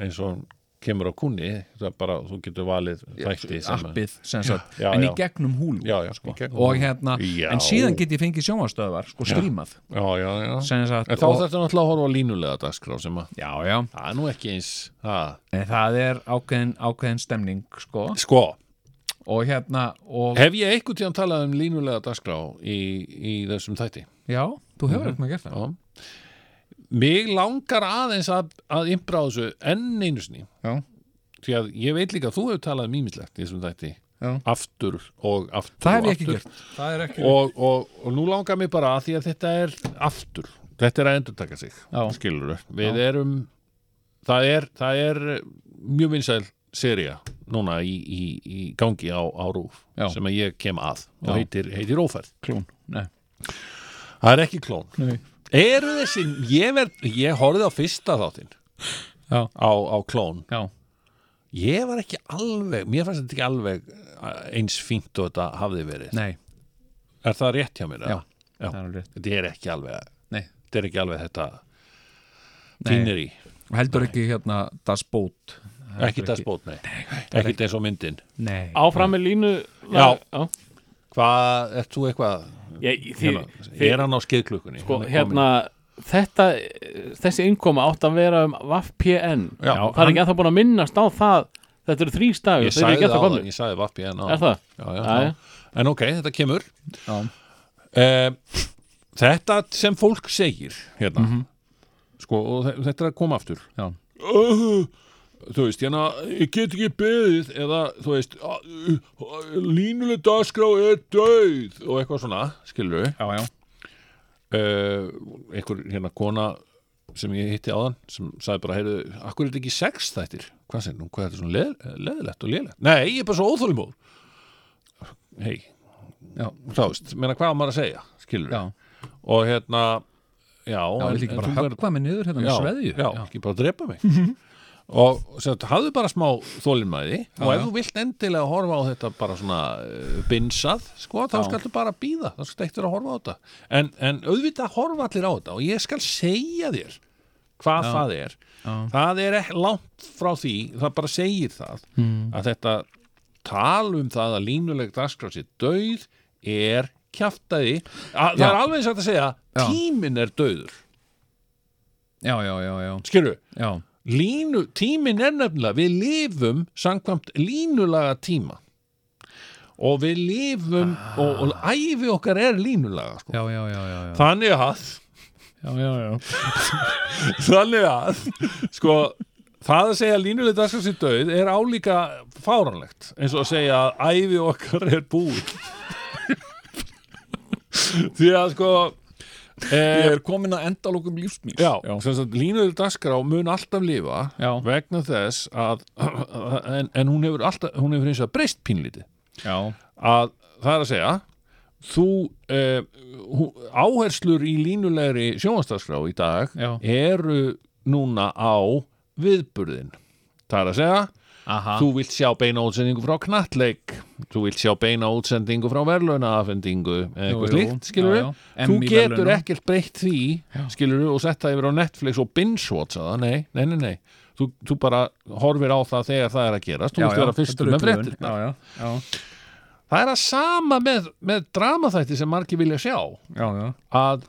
Speaker 2: eins og hún kemur á kunni, það er bara þú getur valið þætti sem að-
Speaker 3: appið sem sagt,
Speaker 2: Já,
Speaker 3: en í
Speaker 2: já.
Speaker 3: gegnum húlu
Speaker 2: Já, já, sko
Speaker 3: og hérna,
Speaker 2: Já.
Speaker 3: en síðan get ég fengið sjónvastöðvar sko strímað,
Speaker 2: Já, já, já
Speaker 3: sem sagt
Speaker 2: En þá
Speaker 3: og,
Speaker 2: þetta er náttúrulega að horfa á línulega dagskrá sem að
Speaker 3: já, já,
Speaker 2: Það er nú ekki eins ha.
Speaker 3: en það er ákveðin ákveðin stemning, sko
Speaker 2: Sko,
Speaker 3: og hérna, og,
Speaker 2: hef ég einhvern tíðan talað um línulega dagskrá í, í þessum þætti
Speaker 3: já, þú
Speaker 2: Mhm.
Speaker 3: hefur eitthvað gert það
Speaker 2: Já Mig langar aðeins að, að impra á þessu enn einu sinni
Speaker 3: já,
Speaker 2: því að ég veit líka að þú hefur talað um ímislegt í þessum þætti
Speaker 3: Já.
Speaker 2: aftur og aftur og
Speaker 3: það hef ég ekki
Speaker 2: aftur.
Speaker 3: gert það er ekki,
Speaker 2: og, og, og nú langar mig bara að því að þetta er aftur, þetta er að endurtaka sig
Speaker 3: Já.
Speaker 2: skilur við erum það er, það er mjög vinsæl seria núna í, í, í gangi á, á Rúf
Speaker 3: Já.
Speaker 2: sem að ég kem að
Speaker 3: Já.
Speaker 2: og heitir, heitir Ófærð
Speaker 3: klún, nei
Speaker 2: það er ekki klón
Speaker 3: Nei.
Speaker 2: eru þessi, ég, ver, ég horfði á fyrsta þáttinn
Speaker 3: Já.
Speaker 2: á, á klón
Speaker 3: já,
Speaker 2: ég var ekki alveg mér fannst þetta ekki alveg eh, eins fínt og þetta hafði verið
Speaker 3: Nei,
Speaker 2: er það rétt hjá mér? eða?
Speaker 3: já,
Speaker 2: Já.
Speaker 3: það er alveg rétt
Speaker 2: þetta er ekki alveg
Speaker 3: Nei.
Speaker 2: þetta er ekki alveg þetta
Speaker 3: Nei.
Speaker 2: fínir í,
Speaker 3: Og Heldur ekki hérna Das Boot Heldur
Speaker 2: ekki þess bót nei. ekki þess og myndin
Speaker 3: Nei,
Speaker 4: Áfram með línu
Speaker 2: Já.
Speaker 4: já.
Speaker 2: hvað, ert þú eitthvað
Speaker 4: Ég, þið,
Speaker 2: hérna,
Speaker 4: þið,
Speaker 2: er hann á skeiðklukkunni
Speaker 4: sko, hérna þetta, þessi innkoma átt að vera um VAFPN
Speaker 2: Já,
Speaker 4: það er ekki ennþá búin að minnast á það þetta eru þrý
Speaker 2: ég
Speaker 4: stafir, þeir eru
Speaker 2: sagði
Speaker 4: ekki
Speaker 2: það
Speaker 4: ennþá
Speaker 2: áðan,
Speaker 4: komlu
Speaker 2: ég sagði vappi en
Speaker 4: er það?
Speaker 2: já, já,
Speaker 4: Já,
Speaker 2: já.
Speaker 4: já.
Speaker 2: en ok, þetta kemur
Speaker 3: Já.
Speaker 2: Eh, þetta sem fólk segir hérna
Speaker 4: Mhm.
Speaker 2: sko, og þe- þetta er að koma aftur
Speaker 3: Já.
Speaker 2: Öh, þú veist, hérna ég get ekki beðið eða þú veist "Ah, uh, uh, línuleg dagskrá er döið og eitthvað svona, skilur við
Speaker 3: já, já
Speaker 2: Eh, einhver hérna kona sem ég hitti áðan sem sagði bara, heyrðu, akkur er þetta ekki sex þættir hvað sem, nú, hvað er þetta svona leð, leðilegt og lélegt nei, ég er bara svo óþolimóð hei
Speaker 3: Já.
Speaker 2: þá veist, meina hvað á maður að segja skilur við
Speaker 3: Já,
Speaker 2: og hérna já,
Speaker 3: já
Speaker 2: en-
Speaker 3: vildi ekki
Speaker 2: en
Speaker 3: bara
Speaker 2: þú verður-
Speaker 3: höggva mig niður hérna með
Speaker 2: já,
Speaker 3: sveðju
Speaker 2: já, ekki bara drepa mig og sem sagt, hafðu bara smá þólinmæði og ef
Speaker 3: já.
Speaker 2: þú vilt endilega horfa á þetta bara svona uh, binsað, sko, þá skaltu bara býða þá skaltu eittur að horfa á þetta en, en auðvitað horfa allir á þetta og ég skal segja þér hvað það er það er ekki langt frá því það bara segir það
Speaker 3: Hmm.
Speaker 2: að þetta tal um það að línuleg dagskrá sér döið er kjaftaði að, það
Speaker 3: Já.
Speaker 2: er alveg eins og hægt að segja
Speaker 3: Já.
Speaker 2: tíminn er döður,
Speaker 3: já, já, já, já,
Speaker 2: skilur
Speaker 3: já.
Speaker 2: línu, tímin er nefnilega við lifum samkvæmt línulaga tíma og við lifum og, og æfi okkar er línulaga sko.
Speaker 3: Já, já, já, já, já.
Speaker 2: þannig að
Speaker 3: já, já, já.
Speaker 2: þannig að sko, það að segja að línuleg dagskrá sér döið er álíka fáranlegt eins og að segja að æfi okkar er búið því að sko eh,
Speaker 7: Ég er komin að enda lókum lífsmýs
Speaker 2: Já, sem sagt línuður dagskrá mun alltaf lifa
Speaker 3: Já.
Speaker 2: vegna þess að en, en hún hefur alltaf, hún hefur eins og breyst pínlítið
Speaker 3: já.
Speaker 2: að það er að segja þú eh, hú- áherslur í línulegri sjónvastarskrá í dag
Speaker 3: Já.
Speaker 2: eru núna á viðburðin það er að segja
Speaker 3: Aha,
Speaker 2: Þú vilt sjá beina útsendingu frá knattleik Þú vilt sjá beina útsendingu frá verðlaunafendingu
Speaker 3: Jú, jú,
Speaker 2: eitthvað slíkt, skilur
Speaker 3: já, já.
Speaker 2: Þú
Speaker 3: Emmy
Speaker 2: getur
Speaker 3: verðlauna.
Speaker 2: ekkert breytt því skilur og setta yfir á Netflix og binge-watcha það, nei, nei, nei, nei. Þú, þú bara horfir á það þegar það er að gerast Þú
Speaker 3: já,
Speaker 2: vilt
Speaker 3: já,
Speaker 2: vera
Speaker 3: þetta
Speaker 2: fyrstur
Speaker 3: er
Speaker 2: með
Speaker 3: upplifun.
Speaker 2: fréttir
Speaker 3: Já, já, já,
Speaker 2: Það er að sama með, með dramaþætti sem margir vilja sjá
Speaker 3: já, já
Speaker 2: að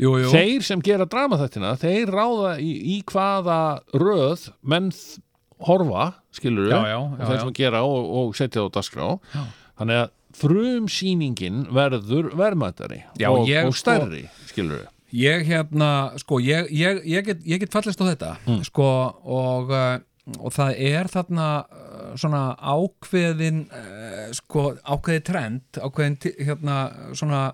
Speaker 3: Jú, jú,
Speaker 2: þeir sem gera dramaþættina þeir ráða í, í hvaða röð menn þ- horfa skilur
Speaker 3: Já, já,
Speaker 2: og
Speaker 3: já,
Speaker 2: þeir
Speaker 3: já.
Speaker 2: sem gera og, og setja það á dagskrá já. þannig að frumsýningin verður verðmættari
Speaker 3: Já,
Speaker 2: og,
Speaker 3: ég
Speaker 2: og
Speaker 3: sko-
Speaker 2: stærri skilur
Speaker 3: ég hérna, sko, ég, ég, ég, get, ég get fallist á þetta,
Speaker 4: Mm.
Speaker 3: sko, og, eh, og það er þarna eh, svona ákveðin, eh, sko, ákveði trend, ákveðin, ti- hérna, svona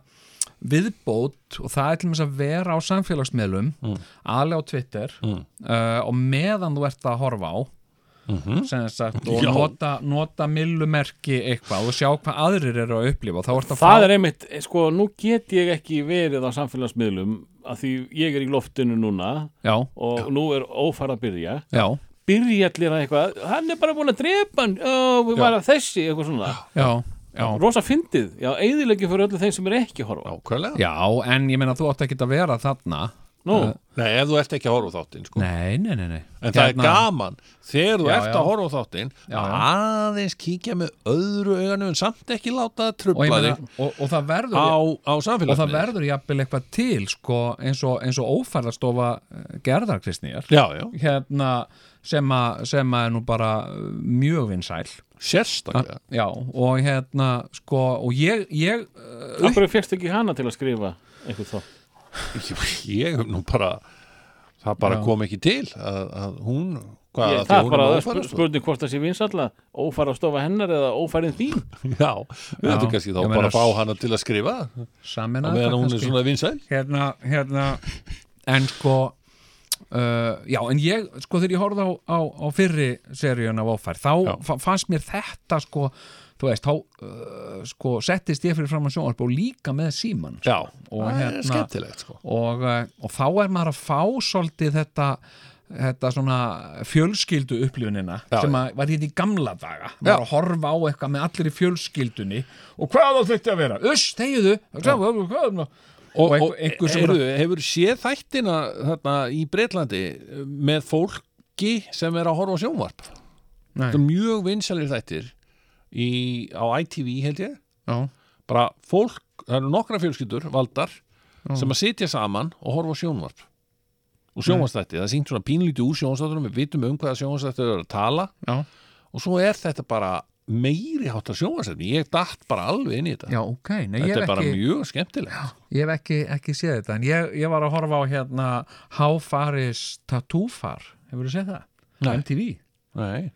Speaker 3: viðbót og það er til þess að vera á samfélagsmiðlum,
Speaker 4: Mm.
Speaker 3: aðlega á Twitter eh, og meðan þú ert að horfa á,
Speaker 4: Mhm.
Speaker 3: sem sagt, og
Speaker 2: Já.
Speaker 3: nota, nota millumerki eitthvað og sjá hvað aðrir eru að upplifa og þá ert að
Speaker 4: það
Speaker 3: fá
Speaker 4: er einmitt, eh, sko, nú get ég ekki verið á samfélagsmiðlum að því ég er í loftinu núna
Speaker 3: Já,
Speaker 4: og nú er ófæra að byrja
Speaker 3: já,
Speaker 4: byrja allir að eitthvað, hann er bara búin að drepa hann, ó, við varum þessi, eitthvað svona
Speaker 3: já, já
Speaker 4: rosa fyndið, já, eigðilegi fyrir öllu þeim sem er ekki að horfa,
Speaker 2: ákvæðlega
Speaker 3: Já, en ég meina þú átt ekki að vera þarna
Speaker 4: nú,
Speaker 2: Nei, ef þú ert ekki að horfa á þáttinn sko.
Speaker 3: Nei, nei, nei, Hérna, nei
Speaker 2: en það er gaman þegar þú
Speaker 3: Já,
Speaker 2: ert
Speaker 3: já.
Speaker 2: að horfa á þáttinn
Speaker 3: já.
Speaker 2: aðeins kíkja með öðru auganum en samt ekki láta það
Speaker 3: og, ég
Speaker 2: trubla
Speaker 3: meina,
Speaker 2: þig
Speaker 3: og, og það verður
Speaker 2: á, á
Speaker 3: og það
Speaker 2: samfélagsmiðlum
Speaker 3: verður jafnvel eitthvað til sko, eins, og, eins og ófærðarstofa eh, gerðar Kristnýjar
Speaker 2: Já, já,
Speaker 3: hérna, sem, að, sem að er nú bara eh, mjög vinsæl
Speaker 2: sérstaklega
Speaker 3: Já, og hérna sko, og ég, ég eh,
Speaker 4: af hverju fegst ekki hana til að skrifa einhvern þá,
Speaker 2: ég hef nú bara það bara kom ekki til að, að hún hvað,
Speaker 4: ég,
Speaker 2: að því
Speaker 4: það er
Speaker 2: hún
Speaker 4: bara
Speaker 2: ófær
Speaker 4: sp-
Speaker 3: sko.
Speaker 4: spurning hvort það sé vinsalla, ófæra að stofa hennar eða ófærin þín,
Speaker 2: já, við
Speaker 3: Já.
Speaker 2: þetta kannski þá
Speaker 3: Ég
Speaker 2: bara
Speaker 3: meina-
Speaker 2: að fá hana til að skrifa á
Speaker 3: samin
Speaker 2: meðan hún er svona vinsæl
Speaker 3: hérna, hérna en sko uh, já, en ég, sko þegar ég horfði á, á, á fyrri seríun af ofær þá fa- fannst mér þetta sko þú veist, þá uh, sko settist ég fyrir fram á sjónvarp og líka með síman
Speaker 2: já,
Speaker 3: og
Speaker 2: það er
Speaker 3: hérna- eh,
Speaker 2: skemmtilegt sko
Speaker 3: og, uh, og þá er maður að fá svolítið þetta þetta svona fjölskyldu upplifunina
Speaker 2: Já,
Speaker 3: sem
Speaker 2: já.
Speaker 3: að var hérna í gamla daga var að horfa á eitthvað með allir í fjölskyldunni og hvað á þetta að vera uss, þegiðu og, og, og, og, og einhver sem
Speaker 2: heyrðu, hefur séð þættina þarna í Breitlandi með fólki sem er að horfa á sjónvarp
Speaker 3: Nei.
Speaker 2: þetta er mjög vinsælir þættir í, á ITV held ég
Speaker 3: já,
Speaker 2: bara fólk, það eru nokkra fjölskyldur valdar sem að sitja saman og horfa á sjónvarp
Speaker 3: Mm.
Speaker 2: og sjónvarstætti, það er sýnt svona pínlítið úr sjónvarstættunum við vitum um hvaða sjónvarstættu eru að tala
Speaker 3: já,
Speaker 2: og svo er þetta bara meiri háttar sjónvarstættin ég datt bara alveg inn í þetta
Speaker 3: já, ok Nei, ég
Speaker 2: þetta
Speaker 3: hef
Speaker 2: er bara
Speaker 3: ekki-
Speaker 2: mjög skemmtilegt
Speaker 3: Ég hef ekki, ekki séð þetta en ég, ég var að horfa á hérna How Far is Tattoo Far hefur þú séð það?
Speaker 2: Nei.
Speaker 3: MTV
Speaker 2: Nei.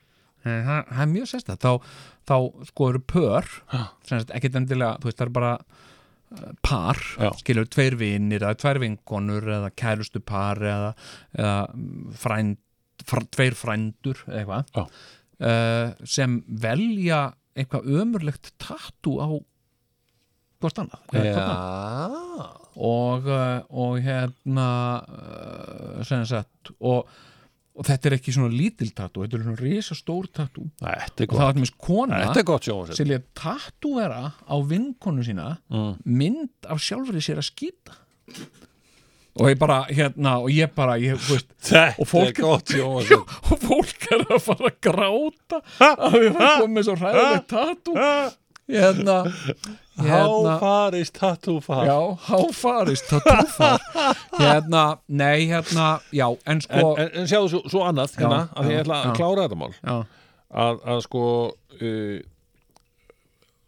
Speaker 3: Nei, það, það er mjög sérstætt þá, þá sko eru pör sem sagt, ekkit endilega, þú veist, það er bara eh, par,
Speaker 2: Já.
Speaker 3: skilur tveir vinir eða tvær vinkonur eða kærustu par eða, eða mm, frænd, fr, tveir frændur eða
Speaker 2: Já.
Speaker 3: eitthvað uh, sem velja eitthvað ömurlegt tattu á hvort annað eða hvort annað
Speaker 2: Já.
Speaker 3: og, eh, og hérna eh, sem sagt og, og þetta er ekki svona lítil tattoo þetta er svona risastór tattoo
Speaker 2: Þetta er
Speaker 3: og það
Speaker 2: gott,
Speaker 3: var til kona
Speaker 2: þetta er gott sjónvarstætti
Speaker 3: sem lét tattoo vera á vinkonu sína
Speaker 2: Mm.
Speaker 3: mynd af sjálfri sér að skýta og ég bara hérna og ég bara ég, þú veist,
Speaker 2: Þetta
Speaker 3: og fólk-
Speaker 2: er gott
Speaker 3: Já,
Speaker 2: sjónvarstætti
Speaker 3: og fólk er að fara að gráta að við erum komið svo hræðilegt tattoo hérna, hérna
Speaker 2: Háfarist tattúfar
Speaker 3: Já, háfarist, það tófar Hérna, nei, hérna Já, en
Speaker 2: En,
Speaker 3: sko
Speaker 2: en, en sjáðu svo, svo annað hérna, að
Speaker 3: já,
Speaker 2: ég ætla að
Speaker 3: já.
Speaker 2: klára þetta mál
Speaker 3: Já,
Speaker 2: að, að sko uh,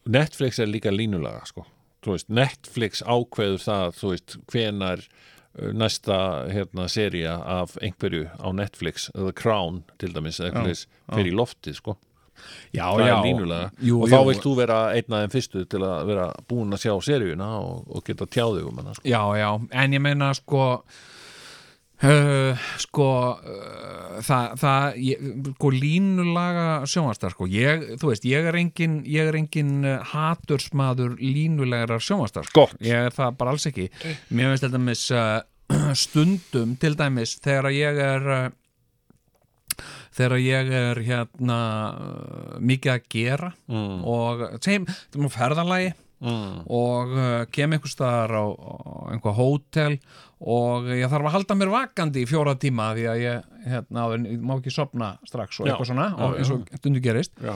Speaker 2: Netflix er líka línulega sko. Þú veist, Netflix ákveður það þú veist, hvenar uh, næsta hérna, sería af einhverju á Netflix The Crown til dæmis eða eitthvað leis, fer í loftið sko.
Speaker 3: já,
Speaker 2: það
Speaker 3: já
Speaker 2: er línulega
Speaker 3: jú,
Speaker 2: og þá
Speaker 3: jú.
Speaker 2: vilt þú vera einn af þeim fyrstu til að vera búin að sjá seríuna og, og geta tjáðið um hana sko.
Speaker 3: Já, já, en ég meina sko uh, Sko uh, Það, það ég, Sko línulaga sjónvastar sko. ég, Þú veist, ég er engin Ég er engin eh, hatursmaður Línulegarar sjónvastar sko.
Speaker 2: Gott.
Speaker 3: Ég er það bara alls ekki Mér finnst til dæmis uh, stundum Til dæmis þegar ég er uh, þegar ég er hérna uh, mikið að gera mm. og segjum, þetta er mjög ferðalagi mm. og uh, kem einhvers staðar á, á einhver hótel og ég þarf að halda mér vakandi í fjóra tíma því að ég, hérna, áður en- ég má ekki sopna strax og
Speaker 2: Já.
Speaker 3: eitthvað svona
Speaker 2: Já,
Speaker 3: og, eins og stundu gerist
Speaker 2: Já,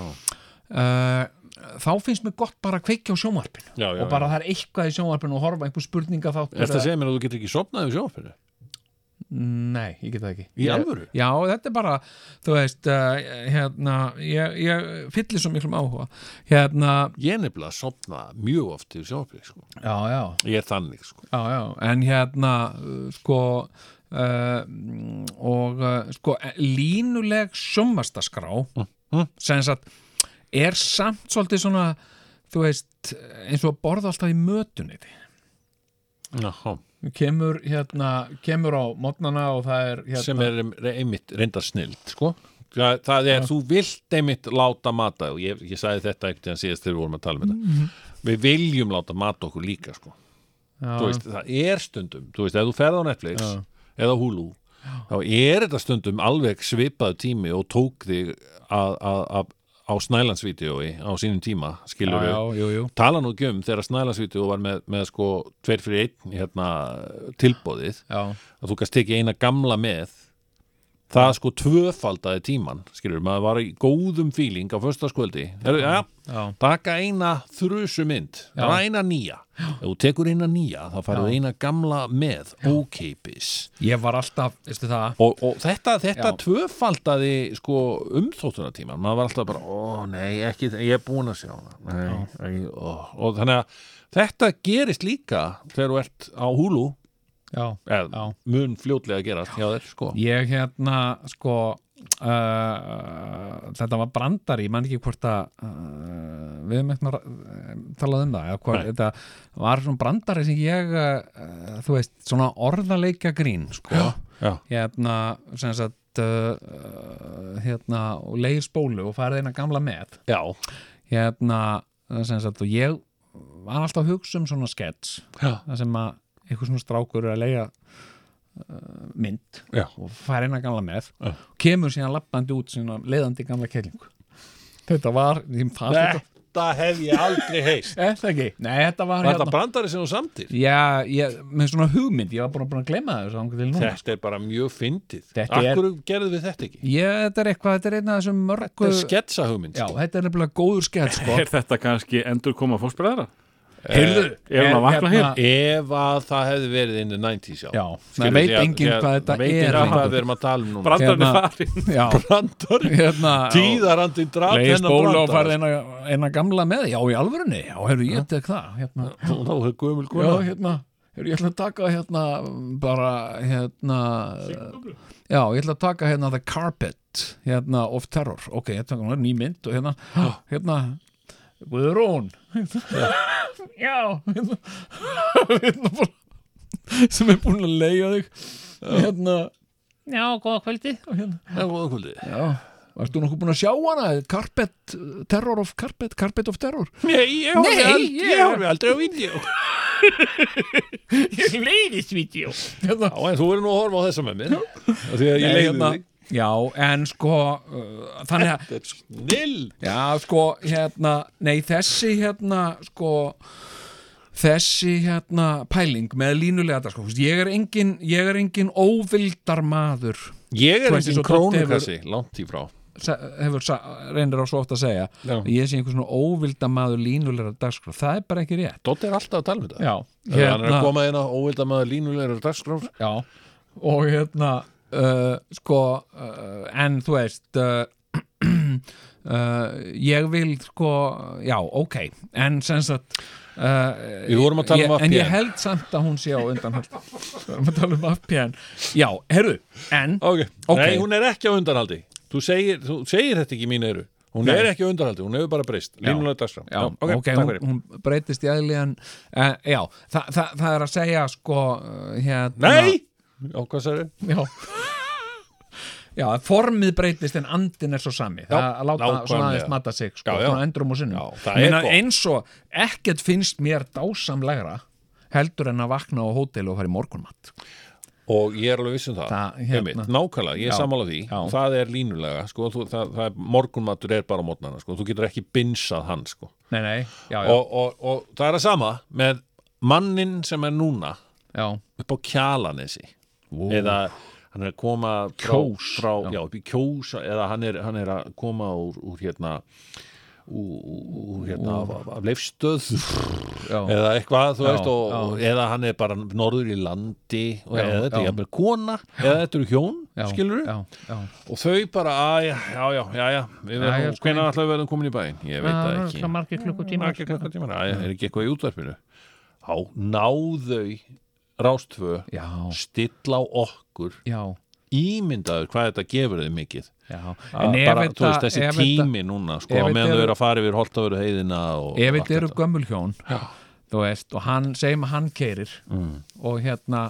Speaker 3: uh, þá finnst mér gott bara að kveikja á sjónvarpinu
Speaker 2: já, já
Speaker 3: og bara það er eitthvað í sjónvarpinu og horfa einhver spurninga þátt
Speaker 2: Er þetta að segja mér að þú getur ekki sopnað í sjónvarpinu?
Speaker 3: Nei, ég get það ekki
Speaker 2: Í alvöru?
Speaker 3: Já, þetta er bara, þú veist uh, hérna, ég, ég fyllir svo miklum áhuga hérna,
Speaker 2: Ég er nefnilega að sopna mjög oft í sjónvarpinu sko.
Speaker 3: já, já,
Speaker 2: Ég er þannig sko.
Speaker 3: já, já en hérna, uh, sko uh, og uh, sko, eh, línuleg sjómastaskrá
Speaker 2: Mm-hmm.
Speaker 3: sem sagt, er samt svolítið svona, þú veist eins og að borða alltaf í mötunni
Speaker 2: Jaha.
Speaker 3: kemur hérna, kemur á mótnana og það er hérna,
Speaker 2: sem er re- einmitt reyndar snild sko. það, það er, þú vilt einmitt láta mata og ég, ég sagði þetta einhvern veginn síðast þegar við vorum að tala um þetta
Speaker 3: Mhm.
Speaker 2: við viljum láta mata okkur líka sko. Þú veist, það er stundum þú veist, ef þú ferð á Netflix eða Hulu þá er þetta stundum alveg svipað tími og tók þig að, að, að á Snælandsvídeói á sínum tíma skilur
Speaker 3: já, já, jú, jú
Speaker 2: tala nú ekki um þegar Snælandsvídeó var með, með sko tveir fyrir einn hérna, tilbóðið
Speaker 3: já,
Speaker 2: að þú kannst tekið eina gamla með það sko tvöfaldaði tíman skilur, maður var í góðum fíling á föstaskvöldi, ja,
Speaker 3: já
Speaker 2: taka eina þrusu mynd
Speaker 3: Já.
Speaker 2: bara eina nýja, ef þú tekur eina nýja þá farið eina gamla með ókeipis
Speaker 3: Ég var alltaf, veistu það
Speaker 2: og, og þetta, þetta
Speaker 3: Já.
Speaker 2: tvöfaldaði sko umþóttunatíman maður var alltaf bara, ó nei, ekki ég er búin að sjá hana nei, ekki, ó. og þannig að þetta gerist líka þegar þú ert á húlu
Speaker 3: Já,
Speaker 2: eða
Speaker 3: Já.
Speaker 2: mun fljótlega gerast hjá þér sko
Speaker 3: ég hérna sko uh, þetta var brandari, ég man ekki hvort að uh, við hefum eitthvað uh, talað um það, eða hvort
Speaker 2: Nei.
Speaker 3: þetta var svona brandari sem ég uh, þú veist, svona orðaleika grín sko,
Speaker 2: já.
Speaker 3: hérna sem sagt uh, uh, hérna, og leiðir spólu og farið eina gamla með
Speaker 2: Já,
Speaker 3: hérna sem sagt, og ég var alltaf að hugsa um svona skets
Speaker 2: Já.
Speaker 3: það sem að einhver svona strákur er að leiga uh, mynd
Speaker 2: Já.
Speaker 3: og fær eina gamla með kemur síðan lappandi út sína leiðandi gamla kellingu þetta var því fannst þetta
Speaker 2: Þetta hef ég aldrei heist
Speaker 3: Er það ekki? Nei, þetta var hérna.
Speaker 2: Var þetta brandari sem þú samtir?
Speaker 3: Já, ég, með svona hugmynd, ég var bara búin að gleyma þessu þangað til núna
Speaker 2: Þetta er bara mjög fyndið
Speaker 3: Þetta er-
Speaker 2: Akkur gerðu við þetta ekki?
Speaker 3: Ég, þetta er eitthvað, þetta er einn af þessum
Speaker 2: Þetta
Speaker 3: mörgu
Speaker 2: er sko. sketsa hugmynd
Speaker 3: Já, þetta er nefnilega góður skett, sko
Speaker 4: Er þetta kannski endur koma fórsbræðara?
Speaker 3: Heyrðu,
Speaker 4: er hún að vakna hér?
Speaker 2: Ef að það hefði verið inn í 90s já
Speaker 3: Hérna- Já,
Speaker 2: Skilur,
Speaker 3: það veit
Speaker 2: því að-
Speaker 3: enginn
Speaker 2: því að-
Speaker 3: hvað þetta
Speaker 2: veit enginn
Speaker 3: er hérna.
Speaker 2: hvað
Speaker 3: lengur.
Speaker 2: við erum að tala um núna
Speaker 4: Brandarinn
Speaker 3: Hérna-
Speaker 4: er farin
Speaker 3: Já,
Speaker 2: Brandari
Speaker 3: hérna
Speaker 2: Tíðarandi draf
Speaker 3: Leigir spóla og farði eina, eina gamla með Já, í alvörunni, já, heyrðu, ég tek það hérna,
Speaker 2: Þá er gömul
Speaker 3: Já,
Speaker 2: kona
Speaker 3: hérna, heyrðu, ég ætla að taka hérna bara, hérna Já, ég ætla að taka hérna The Carpet, hérna, of Terror Ok, ég taka hún, ný mynd og hérna Hérna, Guðrún Já, hérna Hérna bara sem er búin að leiga þig Hérna Já, góða kvöldi hérna,
Speaker 2: Já, góða kvöldið.
Speaker 3: Já, varstu nokkuð búin að sjá hana? Carpet, uh, Terror of Carpet, Carpet of Terror
Speaker 2: Nei, ég horfi
Speaker 3: Nei,
Speaker 2: ald-
Speaker 3: ég-
Speaker 2: ég horfi aldrei á vídeo
Speaker 3: hérna.
Speaker 2: Já, en þú verður nú að horfa á þessa með mér Af Því að ég
Speaker 3: Nei,
Speaker 2: leiði
Speaker 3: hérna,
Speaker 2: þig
Speaker 3: Já, en sko uh, þannig að,
Speaker 2: Snill
Speaker 3: já, sko hérna, nei, þessi hérna sko þessi hérna pæling með línulega þetta sko, þú veist, ég er engin, ég er engin óvildar maður
Speaker 2: Ég
Speaker 3: Þú
Speaker 2: er
Speaker 3: veist, eins
Speaker 2: eins
Speaker 3: og
Speaker 2: og
Speaker 3: Doddi hefur-
Speaker 2: krónukassi, langt í frá
Speaker 3: sa- hefur sa- reynir á svo oft að segja
Speaker 2: Já.
Speaker 3: ég sé einhver svona óvildar maður línulega dagskrá, sko, það er bara ekki rétt Hérna,
Speaker 2: Dotti er alltaf að tala um þetta
Speaker 3: já,
Speaker 2: Hann er að koma inn á óvilda maður línulegur dagskrár
Speaker 3: Já, og hérna uh, sko uh, en þú veist uh, uh, ég vil sko, já, ok en sem sagt uh,
Speaker 2: Við vorum að tala um
Speaker 3: ég, en ég
Speaker 2: APN.
Speaker 3: held samt að hún sé á undan við vorum að tala um APN já, herru, en
Speaker 2: okay.
Speaker 3: Ok.
Speaker 2: Nei, hún er ekki á undanhaldi Þú segir, þú segir þetta ekki í mín eyru Hún er ekki á undanhaldi, hún hefur bara breyst Línulega dagskrá
Speaker 3: já,
Speaker 2: takk
Speaker 3: ok, hún,
Speaker 2: fyrir.
Speaker 3: hún breytist í aðlíðan uh, já, þa, þa, það er að segja sko uh, hérna
Speaker 2: Nei! Já, hvað sagði?
Speaker 3: Já Já, að formið breytist en andin er svo sami það að láta svona
Speaker 2: nákvæmlega.
Speaker 3: aðeins matta sig sko,
Speaker 2: Já, já.
Speaker 3: svona endrum og sinnum
Speaker 2: Já, það
Speaker 3: Ég
Speaker 2: er
Speaker 3: meina,
Speaker 2: gott.
Speaker 3: eins og ekkert finnst mér dásamlegra heldur en að vakna á hótel og fara í morgunmatt
Speaker 2: Og ég er alveg viss um það,
Speaker 3: Það,
Speaker 2: það
Speaker 3: hérna.
Speaker 2: Nákvæmlega, ég er
Speaker 3: Já,
Speaker 2: sammála því
Speaker 3: já.
Speaker 2: Það er línulega, sko þú, það, það er, Morgunmatur er bara mótnana, sko Þú getur ekki binsað hann, sko
Speaker 3: Nei, nei, já, já,
Speaker 2: og, og, og það er að sama með mannin sem er núna
Speaker 3: já.
Speaker 2: upp á kjalanesi eða hann er að koma frá,
Speaker 3: Kjós,
Speaker 2: frá,
Speaker 3: já.
Speaker 2: já. upp í kjós eða hann er, hann er að koma úr, úr hérna úr, úr hérna af, af, af leifstöð
Speaker 3: já.
Speaker 2: eða eitthvað, þú
Speaker 3: Já,
Speaker 2: veist og, og, eða hann er bara norður í landi og,
Speaker 3: Já,
Speaker 2: eða þetta
Speaker 3: já.
Speaker 2: er jafnvel kona eða þetta eru hjón,
Speaker 3: Já,
Speaker 2: skilur
Speaker 3: já, já.
Speaker 2: og þau bara, að, já, já, já, já við
Speaker 3: Já, já,
Speaker 2: verðum,
Speaker 3: sko,
Speaker 2: hvenær ætlaðu verðum komin í bæinn ég veit það ekki
Speaker 3: margir klukkutíma
Speaker 2: margir klukkutímar, að er ekki eitthvað í útvarpinu á náðau rástfö,
Speaker 3: Já,
Speaker 2: stilla á okkur
Speaker 3: já,
Speaker 2: ímyndaður hvað þetta gefur þau mikið
Speaker 3: já
Speaker 2: að
Speaker 3: ef
Speaker 2: bara,
Speaker 3: þetta-
Speaker 2: þú veist, þessi
Speaker 3: ef þetta-
Speaker 2: tími núna sko,
Speaker 3: ef
Speaker 2: á
Speaker 3: þetta
Speaker 2: meðan þau
Speaker 3: eru-
Speaker 2: eru að fara yfir holtavöru heiðina og
Speaker 3: ef
Speaker 2: allt
Speaker 3: þetta eru
Speaker 2: þetta.
Speaker 3: gömul hjón þú veist, og hann, segjum að hann keirir
Speaker 2: Mm.
Speaker 3: og hérna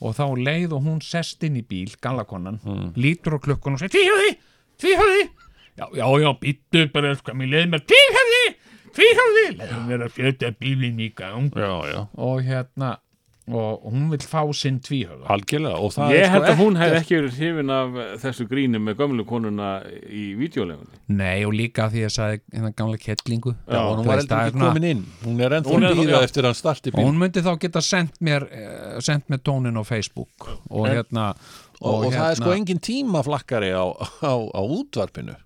Speaker 3: og þá leið og hún sest inn í bíl gallakonan,
Speaker 2: Mm.
Speaker 3: lítur á klukkun og segir tvíhjóði, tvíhjóði já, já, já, býttu bara sko, mér leið mér tvíhjóði, tvíhjóði leiðum mér að fjöta bílinn í gang
Speaker 2: já, já,
Speaker 3: og hérna og hún vil fá sinn tvíhjóða
Speaker 2: algjörlega og það
Speaker 4: Ég
Speaker 2: er
Speaker 4: held
Speaker 2: sko
Speaker 4: að hún hefði ekki verið hrifin af eh, þessu grínu með gömlu konuna í videolegunni.
Speaker 3: nei, og líka því að sagði hérna gamla kettlingu
Speaker 2: já, hún var
Speaker 3: Þú veist,
Speaker 2: heldur
Speaker 3: það er
Speaker 2: ekki
Speaker 3: svona-
Speaker 2: komin inn hún er ennþá
Speaker 4: Hún er-
Speaker 2: að býða
Speaker 4: já.
Speaker 2: eftir að hann starti
Speaker 3: og
Speaker 2: bíl og,
Speaker 3: hún myndi þá geta sendt mér uh, sendt mér tónin á Facebook og hérna og,
Speaker 2: og, það er sko
Speaker 3: hérna-
Speaker 2: engin tímaflakkari á, á, á útvarpinu